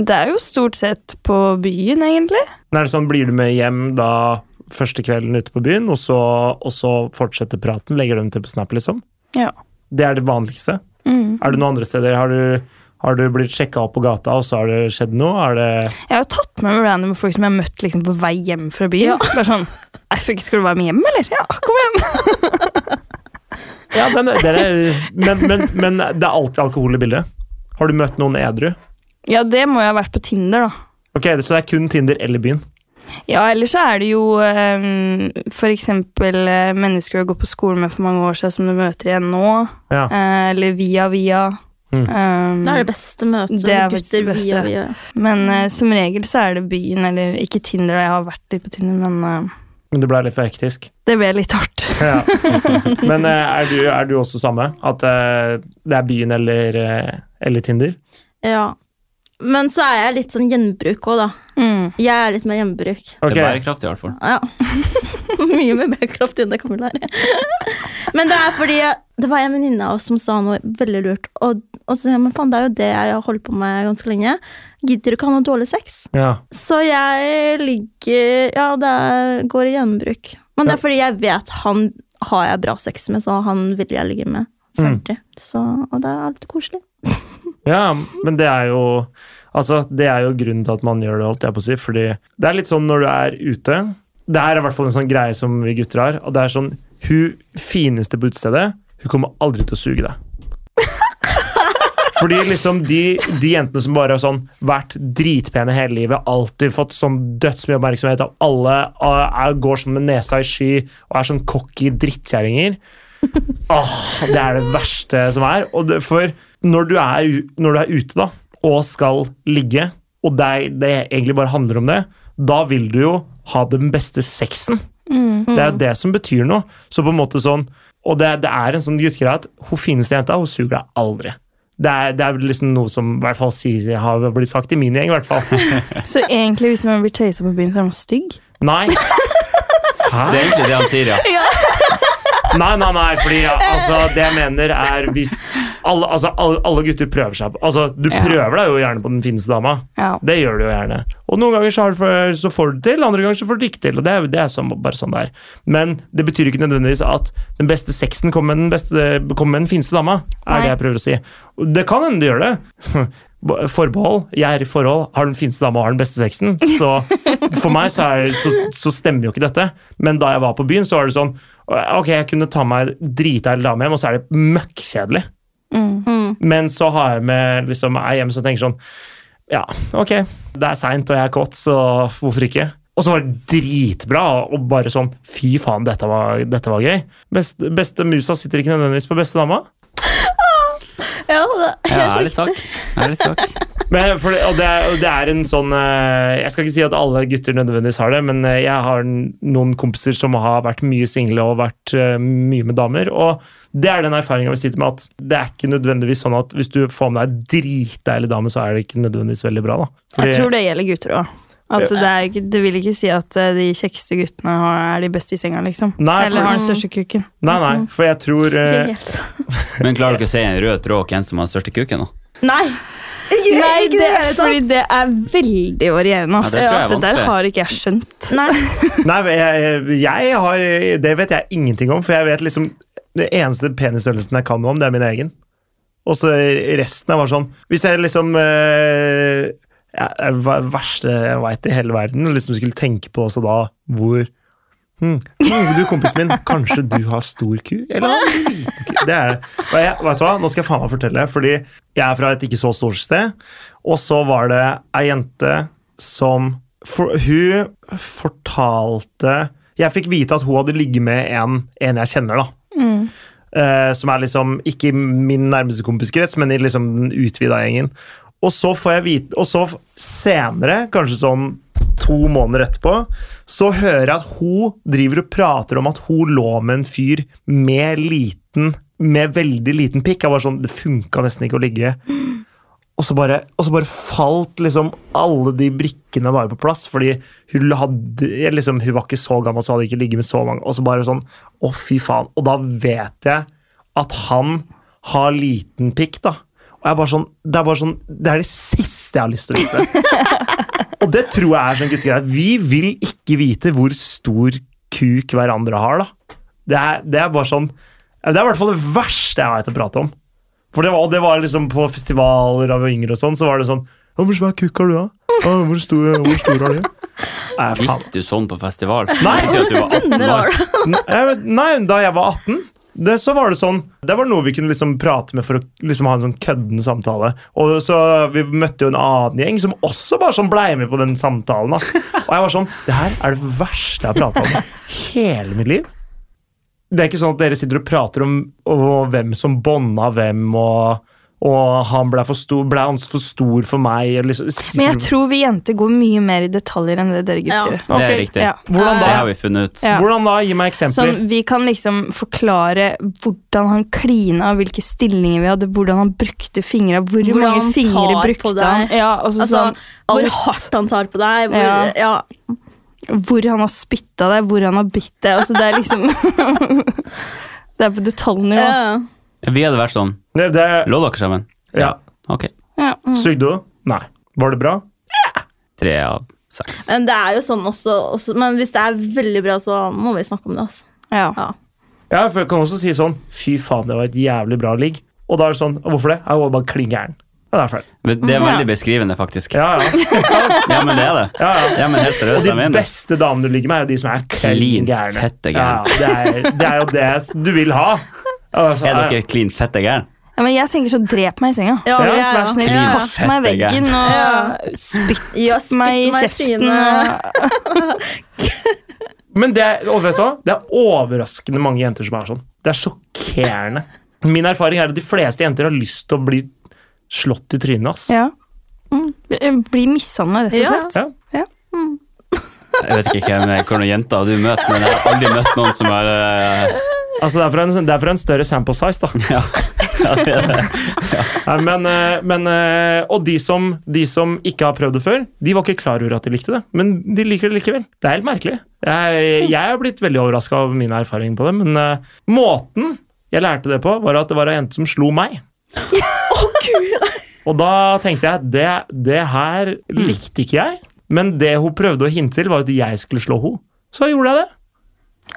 Det er jo stort sett på byen, egentlig. Men Er det sånn, Blir du med hjem da første kvelden ute på byen, og så, og så fortsetter praten? Legger dem til på Snap, liksom? Ja. Det er det vanligste. Mm. Er det noen andre steder? Har du, har du blitt sjekka opp på gata, og så har det skjedd noe? Er det, Jeg har jo tatt med meg random folk som jeg har møtt liksom, på vei hjem fra byen. Bare sånn, «Nei, fuck, Skal du være med hjem, eller? Ja, kom igjen! ja, den, den er, men, men, men det er alltid alkohol i bildet? Har du møtt noen edru? Ja, det må jo ha vært på Tinder, da. Ok, Så det er kun Tinder eller byen? Ja, ellers så er det jo um, f.eks. eh, mennesker du har gått på skole med for mange år siden, som du møter igjen nå. Ja. eh, eller via via. Mm. Um, Det er det beste møtet Det er med faktisk det gutter vi beste. og vi Men eh, som regel så er det byen, eller ikke Tinder, da. jeg har vært litt på Tinder, men eh, Men det ble litt for hektisk. det ble litt hardt. Ja. Men eh, er du, er du også samme? At eh, det er byen eller, eh, eller Tinder? Ja. Men så er jeg litt sånn gjenbruk òg, da. Mm. Jeg er litt mer gjenbruk. Ok. Det er bærekraftig, i hvert fall. Ja. Mye mer bærekraft enn det kan vel være. Men det er fordi det var en venninne av oss som sa noe veldig lurt. Og, og så sier jeg, men faen, det er jo det jeg har holdt på med ganske lenge. Gidder du ikke ha noe dårlig sex? Ja. Så jeg ligger Ja, det er- går i gjenbruk. Men det er fordi jeg vet han har jeg bra sex med, så han vil jeg ligge med. Ferdig. Så, og det er litt koselig. Ja, men det er jo Altså, det er jo grunnen til at man gjør det, holdt jeg på å si. Fordi det er litt sånn når du er ute Det her er i hvert fall en sånn greie som vi gutter har. Og det er sånn Hun fineste på utestedet, hun kommer aldri til å suge deg. Fordi liksom de, de jentene som bare har sånn vært dritpene hele livet, alltid fått sånn dødsmye oppmerksomhet av alle, og er, går sånn med nesa i sky og er sånn cocky drittkjerringer Åh, det er det verste som er. Og det, for når du er, u- når du er ute da, og skal ligge, og det, er- det egentlig bare handler om det, da vil du jo ha den beste sexen. Det er jo det som betyr noe. Så på en måte sånn, og det, det er en sånn guttegreie at hun fineste jenta, hun suger deg aldri. Det er, det er liksom noe som i hvert fall sier, har blitt sagt i min gjeng, i hvert fall. Så egentlig, hvis man blir chasa på byen, så er man stygg? Nei. Det er Hæ? egentlig det han sier, ja. Nei, nei, nei, fordi altså, det jeg mener er hvis alle, altså, alle, alle gutter prøver seg på Altså, du Ja. prøver deg jo gjerne på den fineste dama. Ja. Det gjør du jo gjerne. Og noen ganger så, har du for, så får du det til, andre ganger så får du det ikke til. Og det er, det er sånn, bare sånn det er. Men det betyr ikke nødvendigvis at den beste sexen kommer med den, beste, kommer med den fineste dama. Er Nei. det jeg prøver å si. Og Det kan hende det gjør det. Forbehold. Jeg er i forhold, har den fineste dama og har den beste sexen. Så for meg så, er, så, så stemmer jo ikke dette. Men da jeg var på byen, så var det sånn Ok, jeg kunne ta meg drita dame hjem, og så er det møkkjedelig. Mm. Mm. Men så har jeg med liksom, ei hjemme som tenker sånn Ja, ok, det er seint og jeg er kåt, så hvorfor ikke? Og så var det dritbra, og bare sånn Fy faen, dette var, dette var gøy. Best, beste musa sitter ikke nødvendigvis på beste dama. Ja, det er Ja, helt ærlig sak. riktig. Ærlig sak. Men for det, og det, er, og det er en sånn eh, Jeg skal ikke si at alle gutter nødvendigvis har det, men eh, jeg har n- noen kompiser som har vært mye single og vært eh, mye med damer. Og det er den erfaringa vi sitter med, at det er ikke nødvendigvis sånn at hvis du får med deg ei dritdeilig dame, så er det ikke nødvendigvis veldig bra, da. Jeg tror det gjelder gutter òg. At det, er ikke, det vil ikke si at eh, de kjekkeste guttene har, er de beste i senga, liksom. Nei, Eller for, har den største kuken. nei, nei, for jeg tror Ikke eh, helt. Men klarer dere å se en rød tråd hvem som har den største kuken? da? Nei! Ikke, Nei, ikke det, det hele tatt. fordi det er veldig varierende. ass. Ja, det tror jeg er det der vanskelig. har ikke jeg skjønt. Nei. Nei, men jeg, jeg har Det vet jeg ingenting om, for jeg vet liksom Det eneste penisstørrelsen jeg kan noe om, det er min egen. Og så resten er bare sånn Hvis jeg liksom eh, jeg er det verste jeg veit i hele verden, og liksom skulle tenke på også da hvor hm, hm, Du, kompisen min, kanskje du har stor ku? Eller har du liten ku? Det er det. Og jeg, vet du hva, nå skal jeg faen meg fortelle, fordi jeg er fra et ikke så stort sted, og så var det ei jente som for, Hun fortalte Jeg fikk vite at hun hadde ligget med en, en jeg kjenner, da. Eh, som er liksom ikke i min nærmeste kompiskrets, men i liksom den utvida gjengen. Og så får jeg vite Og så f- senere, kanskje sånn to måneder etterpå, så hører jeg at hun driver og prater om at hun lå med en fyr med liten med veldig liten pikk. Jeg var sånn, Det funka nesten ikke å ligge. Og så, bare, og så bare falt liksom alle de brikkene bare på plass, fordi hun, hadde, liksom, hun var ikke så gammel, så hadde ikke ligget med så mange. Og så bare sånn, å fy faen. Og da vet jeg at han har liten pikk, da. Og jeg er bare sånn, det er bare sånn, det er det siste jeg har lyst til å vite. og det tror jeg er sånn guttegreie. Vi vil ikke vite hvor stor kuk hverandre har, da. Det er, det er bare sånn, det er i hvert fall det verste jeg vet å prate om. For det var, det var liksom på festivaler av yngre og sånn, så var det sånn «Ja, Hvor svær kukk har du, da? Ja, Hvor stor, hvor stor har du? Nei, faen. Gikk du sånn på festival? Nei. Jeg tenkte at du var 18 Venner år. har det. Nei, jeg vet- Nei, da jeg var 18, det, så var det sånn Det var noe vi kunne liksom prate med for å liksom ha en sånn køddende samtale. Og så Vi møtte jo en annen gjeng som også bare sånn blei med på den samtalen. Da. Og jeg var sånn Det her er det verste jeg har prata om i hele mitt liv. Det er ikke sånn at dere sitter og prater om og hvem som bånda hvem, og, og han blei for, stor- ble han for stor for meg. og Liksom, Men Mm. jeg tror vi jenter går mye mer i detaljer enn det dere gutter Ja. gjør. Det er Ok, riktig. Ja. Hvordan Det har da? vi funnet ut. Ja. Hvordan da? Gi meg eksempler. Sånn, vi kan liksom forklare hvordan han klina, hvilke stillinger vi hadde, hvordan han brukte fingra, hvor Hvordan mange han fingre tar på brukte deg. han, ja, altså, Altså, hvor alt. hardt han tar på deg. Hvor, ja. Ja. sånn, hvor han har spytta deg, hvor han har bitt deg. Altså, det er liksom Det er på detaljnivå. ja. Vi hadde vært sånn. Det, det, Lå dere sammen? ja. Ok. Ja. Sugde hun? Nei. Var det bra? Tre av seks. Men det er jo sånn også, også Men hvis det er veldig bra, så må vi snakke om det. Altså. Ja. Ja. Ja, for jeg kan også si sånn Fy faen, det var et jævlig bra ligg. Og da er det sånn Hvorfor det? Jeg var bare klin gæren. Ja, det er flaut. Men Det er Ja. veldig beskrivende, faktisk. Ja, ja. Ja, men det er det. ja, ja. Ja, men helt Og seriøst, jeg de mener det. beste damene du ligger med, er jo de som er klin Klin gærne. fette Ja, gæren. det, er- det er jo det du vil ha. Ja, så- Er dere klin fette gæren? Ja, men jeg tenker så drep meg i senga. Ja, ja, Altså, Vær så snill, ja. kast meg i Fette veggen og Ja. spytt Ja, spytt meg i meg i kjeften. eh. trynet. og- Men det er, og vet du hva? det er overraskende mange jenter som er sånn. Det er sjokkerende. Min erfaring er at de fleste jenter har lyst til å bli slått i trynet. ass. Ja. Bli mishandla, rett og Mm. Ja. slett. Ja. Jeg vet ikke hvem hvilke jenter du møter, men jeg har aldri møtt noen som er eh, Altså, det, er fra en, det er fra en større sample size, da. Ja. ja det er det. Nei, men, eh, men, eh, og de som, de som ikke har prøvd det før, de var ikke klar over at de likte det. Men de liker det likevel. Det er helt merkelig. Jeg, jeg har blitt veldig overraska av min erfaring på det, men eh, måten jeg lærte det på, var at det var ei jente som slo meg. og da tenkte jeg det, det her likte ikke jeg, men det hun prøvde å hinte til, var at jeg skulle slå henne. Så gjorde jeg det.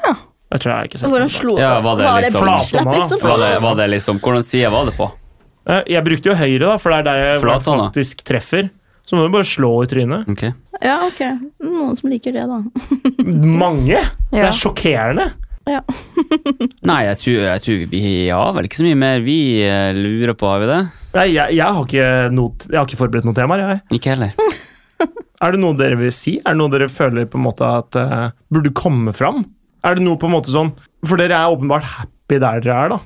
Jeg tror jeg ikke har sett Hvordan den. slo Ja, var det liksom- bitch-slap, Flatånda, liksom? Var det, var det liksom, Hvordan side var det på? Eh, Jeg brukte jo høyre, da, for det er der jeg Flathånda. faktisk treffer. Så må du bare slå i trynet. Ok. Ja, ok. Noen som liker det, da. Mange! Det Ja. er sjokkerende. Ja. Nei, jeg tror, jeg tror vi ja, vel ikke så mye mer. Vi eh, lurer på, har vi det? Nei, jeg, jeg, har ikke noe, jeg har ikke forberedt noen temaer. Jeg. Ikke heller. Er det noe dere vil si? Er det noe dere føler på en måte at eh, burde komme fram? Er det noe på en måte sånn For dere er åpenbart happy der dere er, da.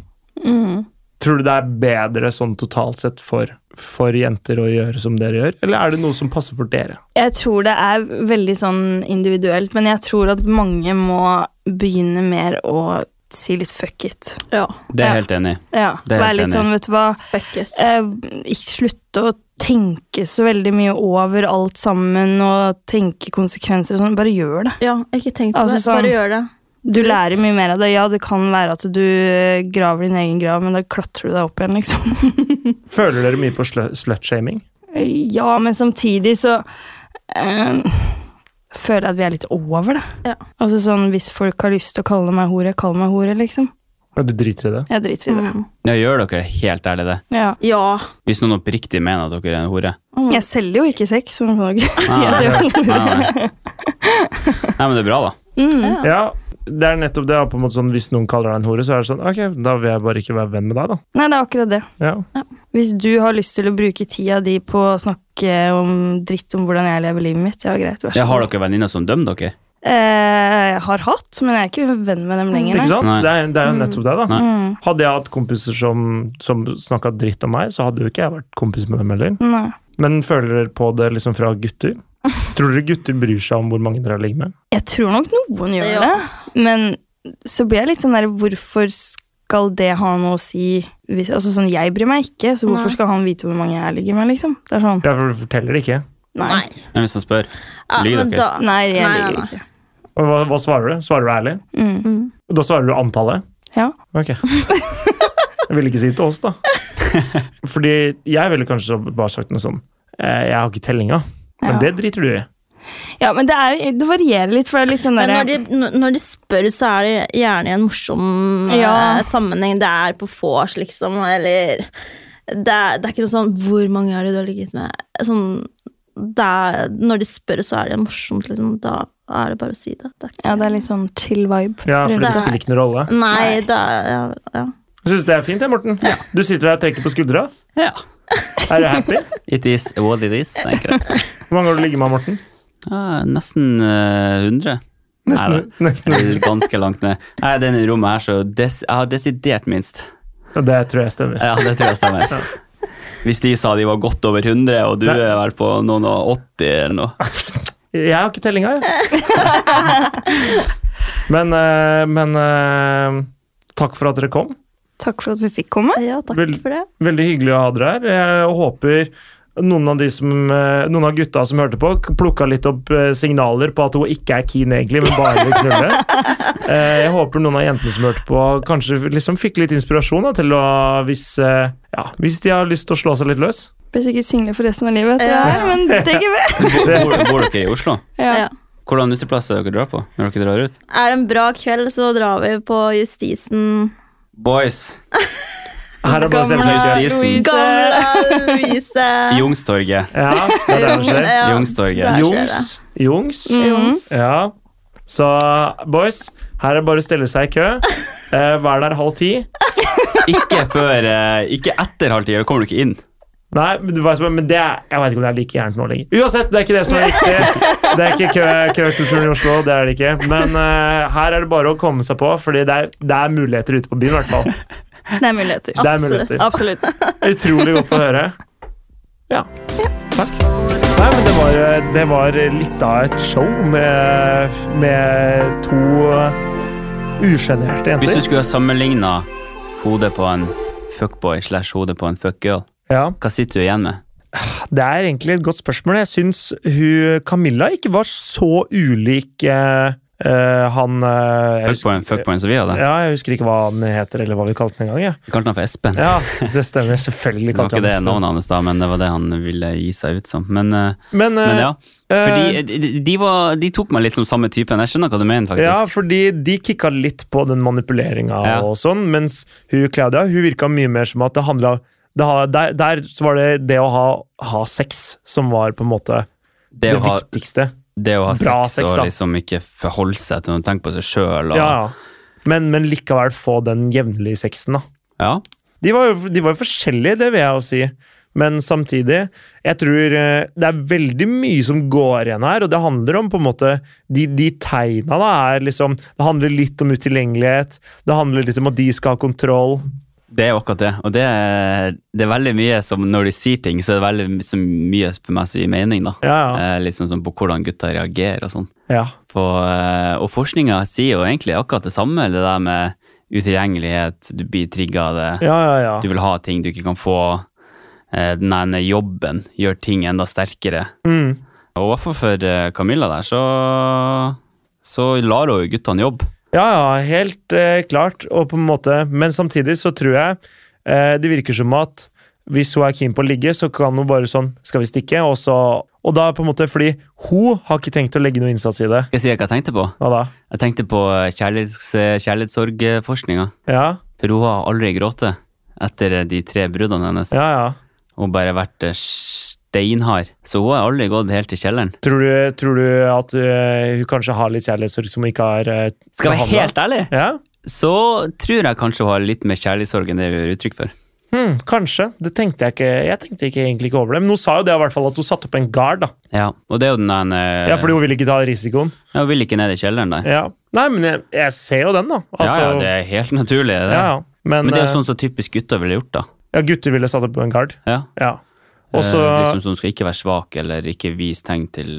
Mm. Tror du det er bedre sånn totalt sett for, for jenter å gjøre som dere gjør, eller er det noe som passer for dere? Jeg tror det er veldig sånn individuelt, men jeg tror at mange må begynne mer å si litt fuck it. ja. Det er Ja. jeg helt enig i. Ja, Det er jeg Være helt litt enig i. sånn, vet du hva Fuckes. eh, Ikke slutte å tenke så veldig mye over alt sammen og tenke konsekvenser og sånn. Bare gjør det. Ja, ikke tenk på Altså, det. sånn- Bare gjør det. Du Absolutt. lærer mye mer av det. Ja, det kan være at du eh, graver din egen grav, men da klatrer du deg opp igjen, liksom. Føler dere mye på slu- slutshaming? Eh, Ja, men samtidig så eh, føler jeg at vi er litt over det. Ja. Altså sånn, Hvis folk har lyst til å kalle meg hore, kall meg hore, liksom. Ja, du driter i det? Jeg driter i det. Mm. Ja, gjør dere helt ærlig det? Ja. Ja. Hvis noen oppriktig mener at dere er en hore. Mm. Jeg selger jo ikke sex, så nå kan du ikke si Nei, at jeg er hore. Nei, nei. nei, men det er bra, da. Mm. Ja. Ja, det er nettopp det. ja, på en måte sånn, Hvis noen kaller deg en hore, så er det sånn Ok, da vil jeg bare ikke være venn med deg, da. Nei, det er akkurat det. Ja. Hvis du har lyst til å bruke tida di på å snakke om dritt om hvordan jeg lever livet mitt, ja greit, vær Ja, så har dere venninner som dømmer dere? Eh, jeg har hatt, men jeg er ikke venn med dem lenger. Ikke Nei. sant? Nei. Det, er, det er jo nettopp det, da. Nei. Mm. Hadde jeg hatt kompiser som, som snakka dritt om meg, så hadde jo ikke jeg vært kompis med dem heller. Nei. Men føler dere på det liksom fra gutter? Tror dere gutter bryr seg om hvor mange dere har ligget med? Jeg tror nok noen gjør Ja. det, men så blir jeg litt sånn der Hvorfor skal det ha noe å si? Hvis, altså sånn, Jeg bryr meg ikke, så hvorfor Nei. skal han vite hvor mange jeg ligger med? liksom? Det er sånn, Ja, for du forteller det ikke. Nei, Nei. Men hvis han spør. Ja, Lyver men dere? da nei jeg Nei, nei, ligger nei. ikke. Og hva, hva svarer du? Svarer du ærlig? Mm. Mm. Da svarer du antallet? Ja. Ok. Jeg ville ikke si det til oss, da. Fordi jeg ville kanskje bare sagt noe sånn eh, Jeg har ikke tellinga. Men Ja. det driter du i. ja, men det, er, det varierer litt, for det er litt sånn Men derre når de, n- når de spør, så er det gjerne i en morsom Ja. eh, sammenheng. Det er på vors, liksom, eller det er, det er ikke noe sånn 'Hvor mange er det du har ligget med?' Sånn, det er, når de spør, så er det morsomt, liksom. Da er det bare å si det. det er ikke, Ja, det er litt sånn chill vibe. Ja, fordi det Nei. spiller ikke noen rolle. Nei, det er ja, ja. Jeg syns det er fint, jeg, Morten. Du sitter der og trekker på skuldra. Ja. Er du happy? It is what it is, tenker jeg. Hvor mange har du ligget med, Morten? Ja, nesten eh, 100. Nei, Nesten. nesten. Eller ganske langt ned. Nei, det er i rommet her, så des jeg har desidert minst. Ja, det tror jeg stemmer. Ja, det tror jeg stemmer. Hvis de sa de var godt over 100, og du Nei. er vel på noen og 80 eller noe. Jeg har ikke tellinga, jeg. Men, eh, men eh, takk for at dere kom. Takk for at vi fikk komme. ja, takk Vel- for det. Veldig hyggelig å ha dere her. Jeg håper noen av, de som, eh, noen av gutta som hørte på, plukka litt opp eh, signaler på at hun ikke er keen egentlig, men bare vil knulle. Eh, Jeg håper noen av jentene som hørte på, kanskje liksom fikk litt inspirasjon da, til å hvis, eh, ja, hvis de har lyst til å slå seg litt løs. Blir sikkert single for resten av livet, etter Ja. det her, men det tenker vi. Bor, bor dere i Oslo? Ja. Ja. Hvordan uteplass er dere drar på når dere drar ut? Er det en bra kveld, så drar vi på Justisen. Boys! Her er bare å se Gamle- seg ut. Justisen. Gamle Louise! Jungstorget. Ja, det er det som skjer. Ja, Jungstorget. der skjer det. Mm. Jungs. Jungs. Jons. Ja. Så boys, her er bare å stille seg i kø. Eh, Vær der halv ti. Ikke før eh, Ikke etter halv ti, da kommer du ikke inn. Nei, men det, var som- men det er, jeg vet ikke om det er like gærent nå lenger. Uansett, det er ikke det som er viktig. Det er ikke kø, køkulturen i Oslo, det er det ikke. Men eh, her er det bare å komme seg på, Fordi det er, det er muligheter ute på byen, i hvert fall. Det er muligheter. Det er Absolutt. muligheter. Absolutt. Utrolig godt å høre. Ja. Takk. Nei, men det var, det var litt av et show med, med to usjenerte Hvis du jenter. skulle ha sammenligna hodet på en fuckboy slash hodet på en fuckgirl, Ja, hva sitter du igjen med? det er egentlig et godt spørsmål. Jeg syns hun Camilla ikke var så ulik eh, eh, han eh, jeg husker- Fuckboyen, fuckboyen som vi hadde? Ja, jeg husker ikke hva han heter, eller hva vi kalte han en gang. Ja. Vi kalte han for Espen. ja, det stemmer. Selvfølgelig Det var kalte ikke vi det han Espen. navnet hans, da, men det var det han ville gi seg ut som. Men, eh, Men, eh, men ja, eh, fordi de, de, var, de tok meg litt som samme typen. Jeg skjønner hva du mener, Ja, faktisk. fordi de kicka litt på den manipuleringa Ja. og sånn, mens hun Claudia hun virka mye mer som at det handla det, ha- der, der så var det det å ha, ha sex som var på en måte det, det, å ha, viktigste. det å ha bra sex, sex, og da. liksom ikke forholde seg til noe, tenke på seg sjøl og Ja, ja. Men, men likevel få den jevnlige sexen, da. Ja. De var, jo, de var jo forskjellige, det vil jeg jo si. Men samtidig, jeg tror eh, det er veldig mye som går igjen her, og det handler om på en måte De, de tegna da er liksom Det handler litt om utilgjengelighet, det handler litt om at de skal ha kontroll. Det er akkurat det. Og det er, det er veldig mye som Når de sier ting, så er det veldig my- så mye for meg som gir mening. da. Ja, ja. Eh, liksom sånn På hvordan gutter reagerer og sånn. ja. På, eh, og forskninga sier jo egentlig akkurat det samme. Det der med utilgjengelighet, du blir trigga av det. Ja, ja, ja. Du vil ha ting du ikke kan få. Eh, Den ene jobben gjør ting enda sterkere. Mm. Og i hvert fall for eh, Camilla der, så, så lar hun jo guttene jobbe. Ja, ja, helt eh, klart. Og på en måte, men samtidig så tror jeg eh, det virker som at hvis hun er keen på å ligge, så kan hun bare sånn Skal vi stikke? Og så Og da på en måte fordi hun har ikke tenkt å legge noe innsats i det. Skal jeg si hva jeg tenkte på? Hva da? Jeg tenkte på eh, kjærlighets, kjærlighetssorgforskninga. Ja, For hun har aldri grått etter de tre bruddene hennes. ja, ja. Hun har bare vært eh, steinhard. Så hun har aldri gått helt til kjelleren. Tror du, tror du at eh, hun kanskje har litt kjærlighetssorg som hun ikke har eh, Skal jeg behandlet? være helt ærlig, Ja, så tror jeg kanskje hun har litt mer kjærlighetssorg enn det hun gir uttrykk for. hmm, kanskje. Det tenkte jeg ikke Jeg tenkte ikke, egentlig ikke over det. Men hun sa jo det i hvert fall at hun satte opp en gard, da. Ja, og det er jo den der eh, Ja, fordi hun ville ikke ta risikoen. ja, Hun vil ikke ned i kjelleren der. Ja. Nei, men jeg, jeg ser jo den, da. Altså, ja, ja, det er helt naturlig. Det. ja, ja. Men, Men det er eh, jo sånn som typisk gutter ville gjort, da. Ja, gutter ville satt opp en gard. Ja. Ja. Og så eh, liksom sånn skal ikke være svak eller ikke vise tegn til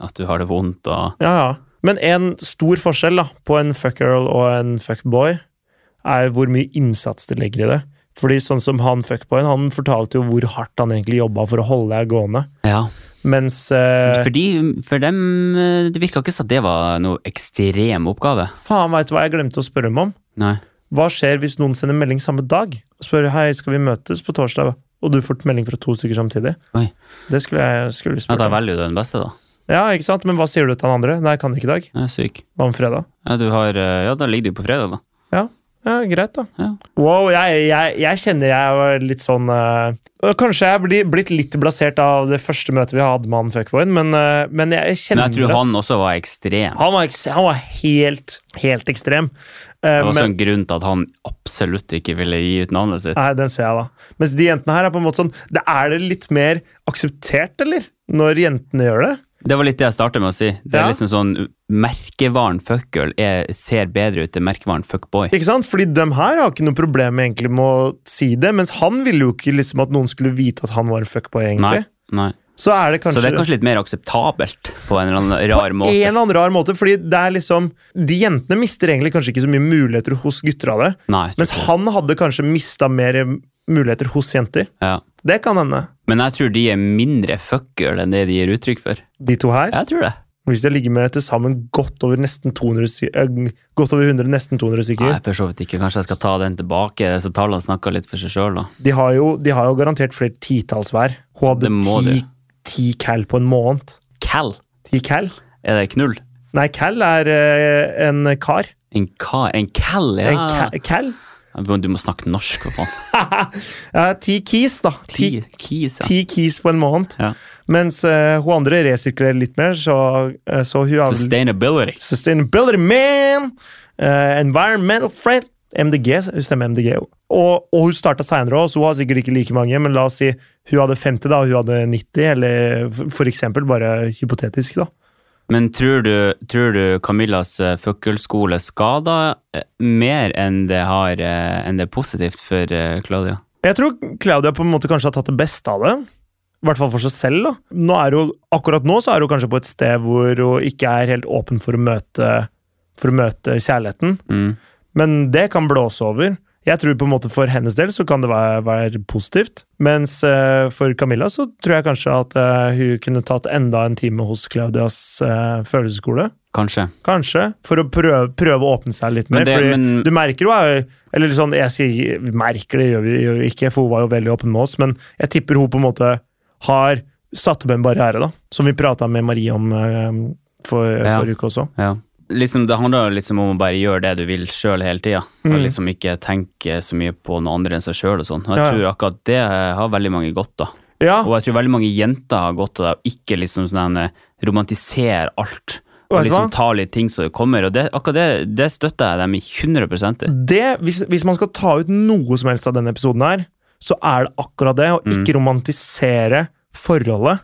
at du har det vondt og Ja, ja. Men en stor forskjell da, på en fuckgirl og en fuckboy er hvor mye innsats de legger i det. Fordi sånn som han fuckboyen, han fortalte jo hvor hardt han egentlig jobba for å holde deg gående. Ja. Mens eh, Fordi, for dem eh, Det virka ikke som at det var noe ekstrem oppgave. Faen, veit du hva jeg glemte å spørre ham om? Nei. Hva skjer hvis noen sender melding samme dag og spør hei, skal vi møtes på torsdag? Og du får melding fra to stykker samtidig? Oi. Det skulle jeg skulle Ja, da spørre om. velger du den beste, da. Ja, ikke sant? Men hva sier du til han andre? Nei, jeg kan ikke i dag. Jeg er syk. Hva om fredag? Ja, du har, eh, ja, da ligger du på fredag, da. Ja, greit, da. Ja. Wow, jeg, jeg, jeg kjenner jeg var litt sånn eh, og Kanskje jeg blir blitt litt blasert av det første møtet vi hadde med han fuckboyen, men, eh, men jeg Men kjenner jeg tror at- han også var ekstrem. han var, eks- han var helt, helt ekstrem. Eh, Det var også men, en grunn til at han absolutt ikke ville gi ut navnet sitt. nei, den ser jeg, da. Mens de jentene her er på en måte sånn det Er det litt mer akseptert, eller? Når jentene gjør det? Det var litt det jeg startet med å si. Det er Ja. liksom sånn Merkevaren fuckgirl er- ser bedre ut enn merkevaren fuckboy. Ikke sant? Fordi dem her har ikke noe problem egentlig med å si det, mens han ville jo ikke liksom at noen skulle vite at han var en fuckboy, Nei, egentlig. nei. Så er det kanskje Så det er kanskje litt mer akseptabelt på en eller annen på rar en måte. eller annen rar måte, fordi det er liksom De jentene mister egentlig kanskje ikke så mye muligheter hos gutter av det, Nei, jeg tror mens ikke det. han hadde kanskje mista mer muligheter hos jenter. ja. Det kan hende. Men jeg tror de er mindre fuckgirl enn det de gir uttrykk for. De to her, Jeg tror det. hvis de ligger med til sammen godt over nesten 200 sty- øh, godt over 100, nesten 200 Nei, stykker, for så vidt ikke. Kanskje jeg skal ta den tilbake. Disse tallene snakker litt for seg sjøl, da. de har, jo, de har jo garantert flere titalls hver. Hun hadde Det må ti, de. ti cal på en måned. Cal. Ti cal? Er det knull? Nei, cal er øh, en kar. En ka... En cal, ja. En ca- cal? Du må snakke norsk, for faen. Ja, ti keys, da. Ti, Ti kis, ja. ti keys på en måned. ja. Mens eh, hun andre resirkulerer litt mer, så, eh, så hun har vel- Sustainability. Sustainability man! Eh, environmental friend! MDG, hun stemmer MDG. jo. Og, og hun starta seinere òg, så hun har sikkert ikke like mange, men la oss si hun hadde 50, da, og hun hadde 90, eller for- for eksempel, bare hypotetisk, da. Men tror du, tror du Camillas eh, fuckgirl-skole skader eh, mer enn det, har, eh, enn det er positivt for eh, Claudia? Jeg tror Claudia på en måte kanskje har tatt det beste av det. I hvert fall for seg selv. da. Nå er hun, akkurat nå så er hun kanskje på et sted hvor hun ikke er helt åpen for å møte, for å møte kjærligheten. Mm. Men det kan blåse over. Jeg tror på en måte For hennes del så kan det være, være positivt. Mens eh, for Camilla så tror jeg kanskje at eh, hun kunne tatt enda en time hos Claudias eh, følelsesskole. Kanskje. Kanskje. For å prøve, prøve å åpne seg litt mer. Men det- fordi men- du merker jo er- Eller sånn, jeg sier vi merker det, gjør vi gjør vi ikke, for hun var jo veldig åpen med oss. Men jeg tipper hun på en måte har satt opp en barriere, da. Som vi prata med Marie om eh, for, Ja. forrige uke også. Ja. Liksom, det handler liksom om å bare gjøre det du vil sjøl hele tida. Mm. Og liksom ikke tenke så mye på noen andre enn seg sjøl og sånn. Og jeg Ja, ja. tror akkurat det har veldig mange godt av. Ja, Og jeg tror veldig mange jenter har godt av det, å ikke liksom sånn eh, romantisere alt. Og Og vet du hva? liksom ta litt ting som kommer. Og det, akkurat det, det støtter jeg dem i 100 i. Det, hvis, hvis man skal ta ut noe som helst av denne episoden her, så er det akkurat det, å Mm. ikke romantisere forholdet,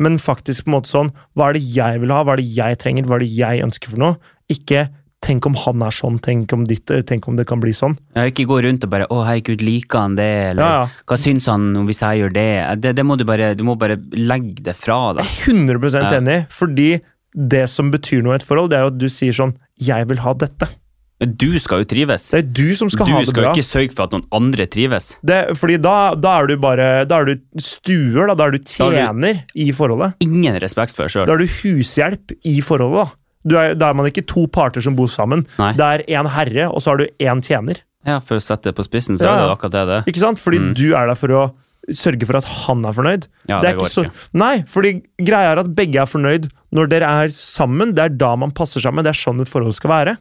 men faktisk på en måte sånn, hva er det jeg vil ha, hva er det jeg trenger, hva er det jeg ønsker for noe? Ikke tenk om han er sånn, tenk om, ditt, eh, tenk om det kan bli sånn. Ja, ikke gå rundt og bare 'Å, herregud, liker han det?' eller Ja, ja. 'Hva syns han om hvis jeg gjør det?' Det, det må du, bare, du må bare legge det fra deg. 100 Ja. enig, fordi det som betyr noe i et forhold, det er jo at du sier sånn, jeg vil ha dette. Du skal jo trives. Det er du som skal du ha det skal bra. jo ikke sørge for at noen andre trives. Det, fordi da, da er du bare, da er du stuer, da, da er du Da er tjener i forholdet. Ingen respekt for deg sjøl. Da er du hushjelp i forholdet, da. Du er, da er man ikke to parter som bor sammen. Nei. Det er én herre, og så er du én tjener. Ja, for å sette det på spissen, så Ja, er det ja. akkurat det det er. Ikke sant? Fordi du er der for å sørge for at han er fornøyd. Mm. Ja, Det er det går ikke så, nei, fordi greia er at begge er fornøyd når dere er sammen. Det er da man passer sammen. Det er sånn et forhold skal være.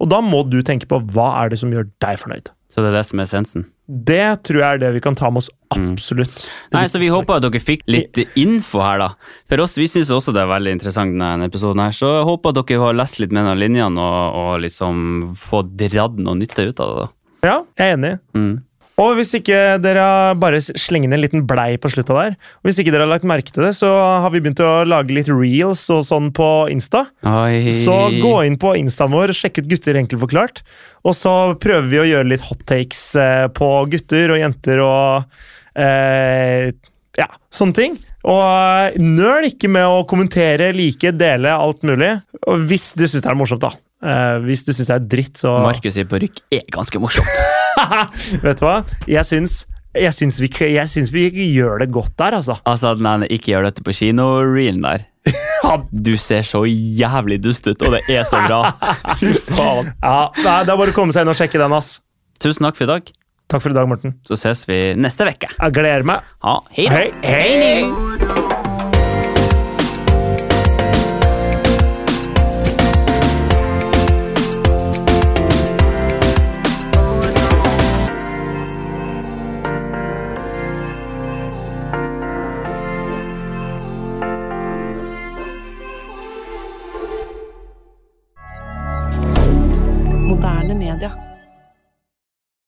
Og da må du tenke på hva er det som gjør deg fornøyd. Så det er det som er essensen. Det tror jeg er det vi kan ta med oss absolutt. Det Mm. Nei, så Vi viktigste. håper at dere fikk litt info her. da. For oss, Vi syns også det er veldig interessant, denne episoden. her, Så jeg håper at dere har lest litt mellom linjene og, og liksom få dratt noe nytte ut av det. da. Ja, jeg er enig. Mm. Og hvis ikke dere har- bare slenger ned en liten blei på slutta der, og hvis ikke dere har lagt merke til det, så har vi begynt å lage litt reels og sånn på Insta. Oi. Så Mm. gå inn på Instaen vår og sjekk ut Gutter enkelt forklart. Og så prøver vi å gjøre litt hot takes eh, på gutter og jenter og eh, ja, sånne ting. Og eh, nøl ikke med å kommentere, like, dele, alt mulig. Og hvis du syns det er morsomt, da. Eh, hvis du syns det er dritt, så Markus i parykk er ganske morsomt. Vet du hva? Jeg syns, jeg syns, vi, ikke- jeg syns vi ikke gjør det godt der, altså. Altså, nei, ikke gjør dette på kino-reelen der. Du ser så jævlig dust ut, og det er så bra. Ja, nei, det er bare å komme seg inn og sjekke den, ass. Tusen takk for i dag. Takk for i dag, Morten. Så ses vi neste uke. Jeg gleder meg. Ha, hei da. Hei! hei.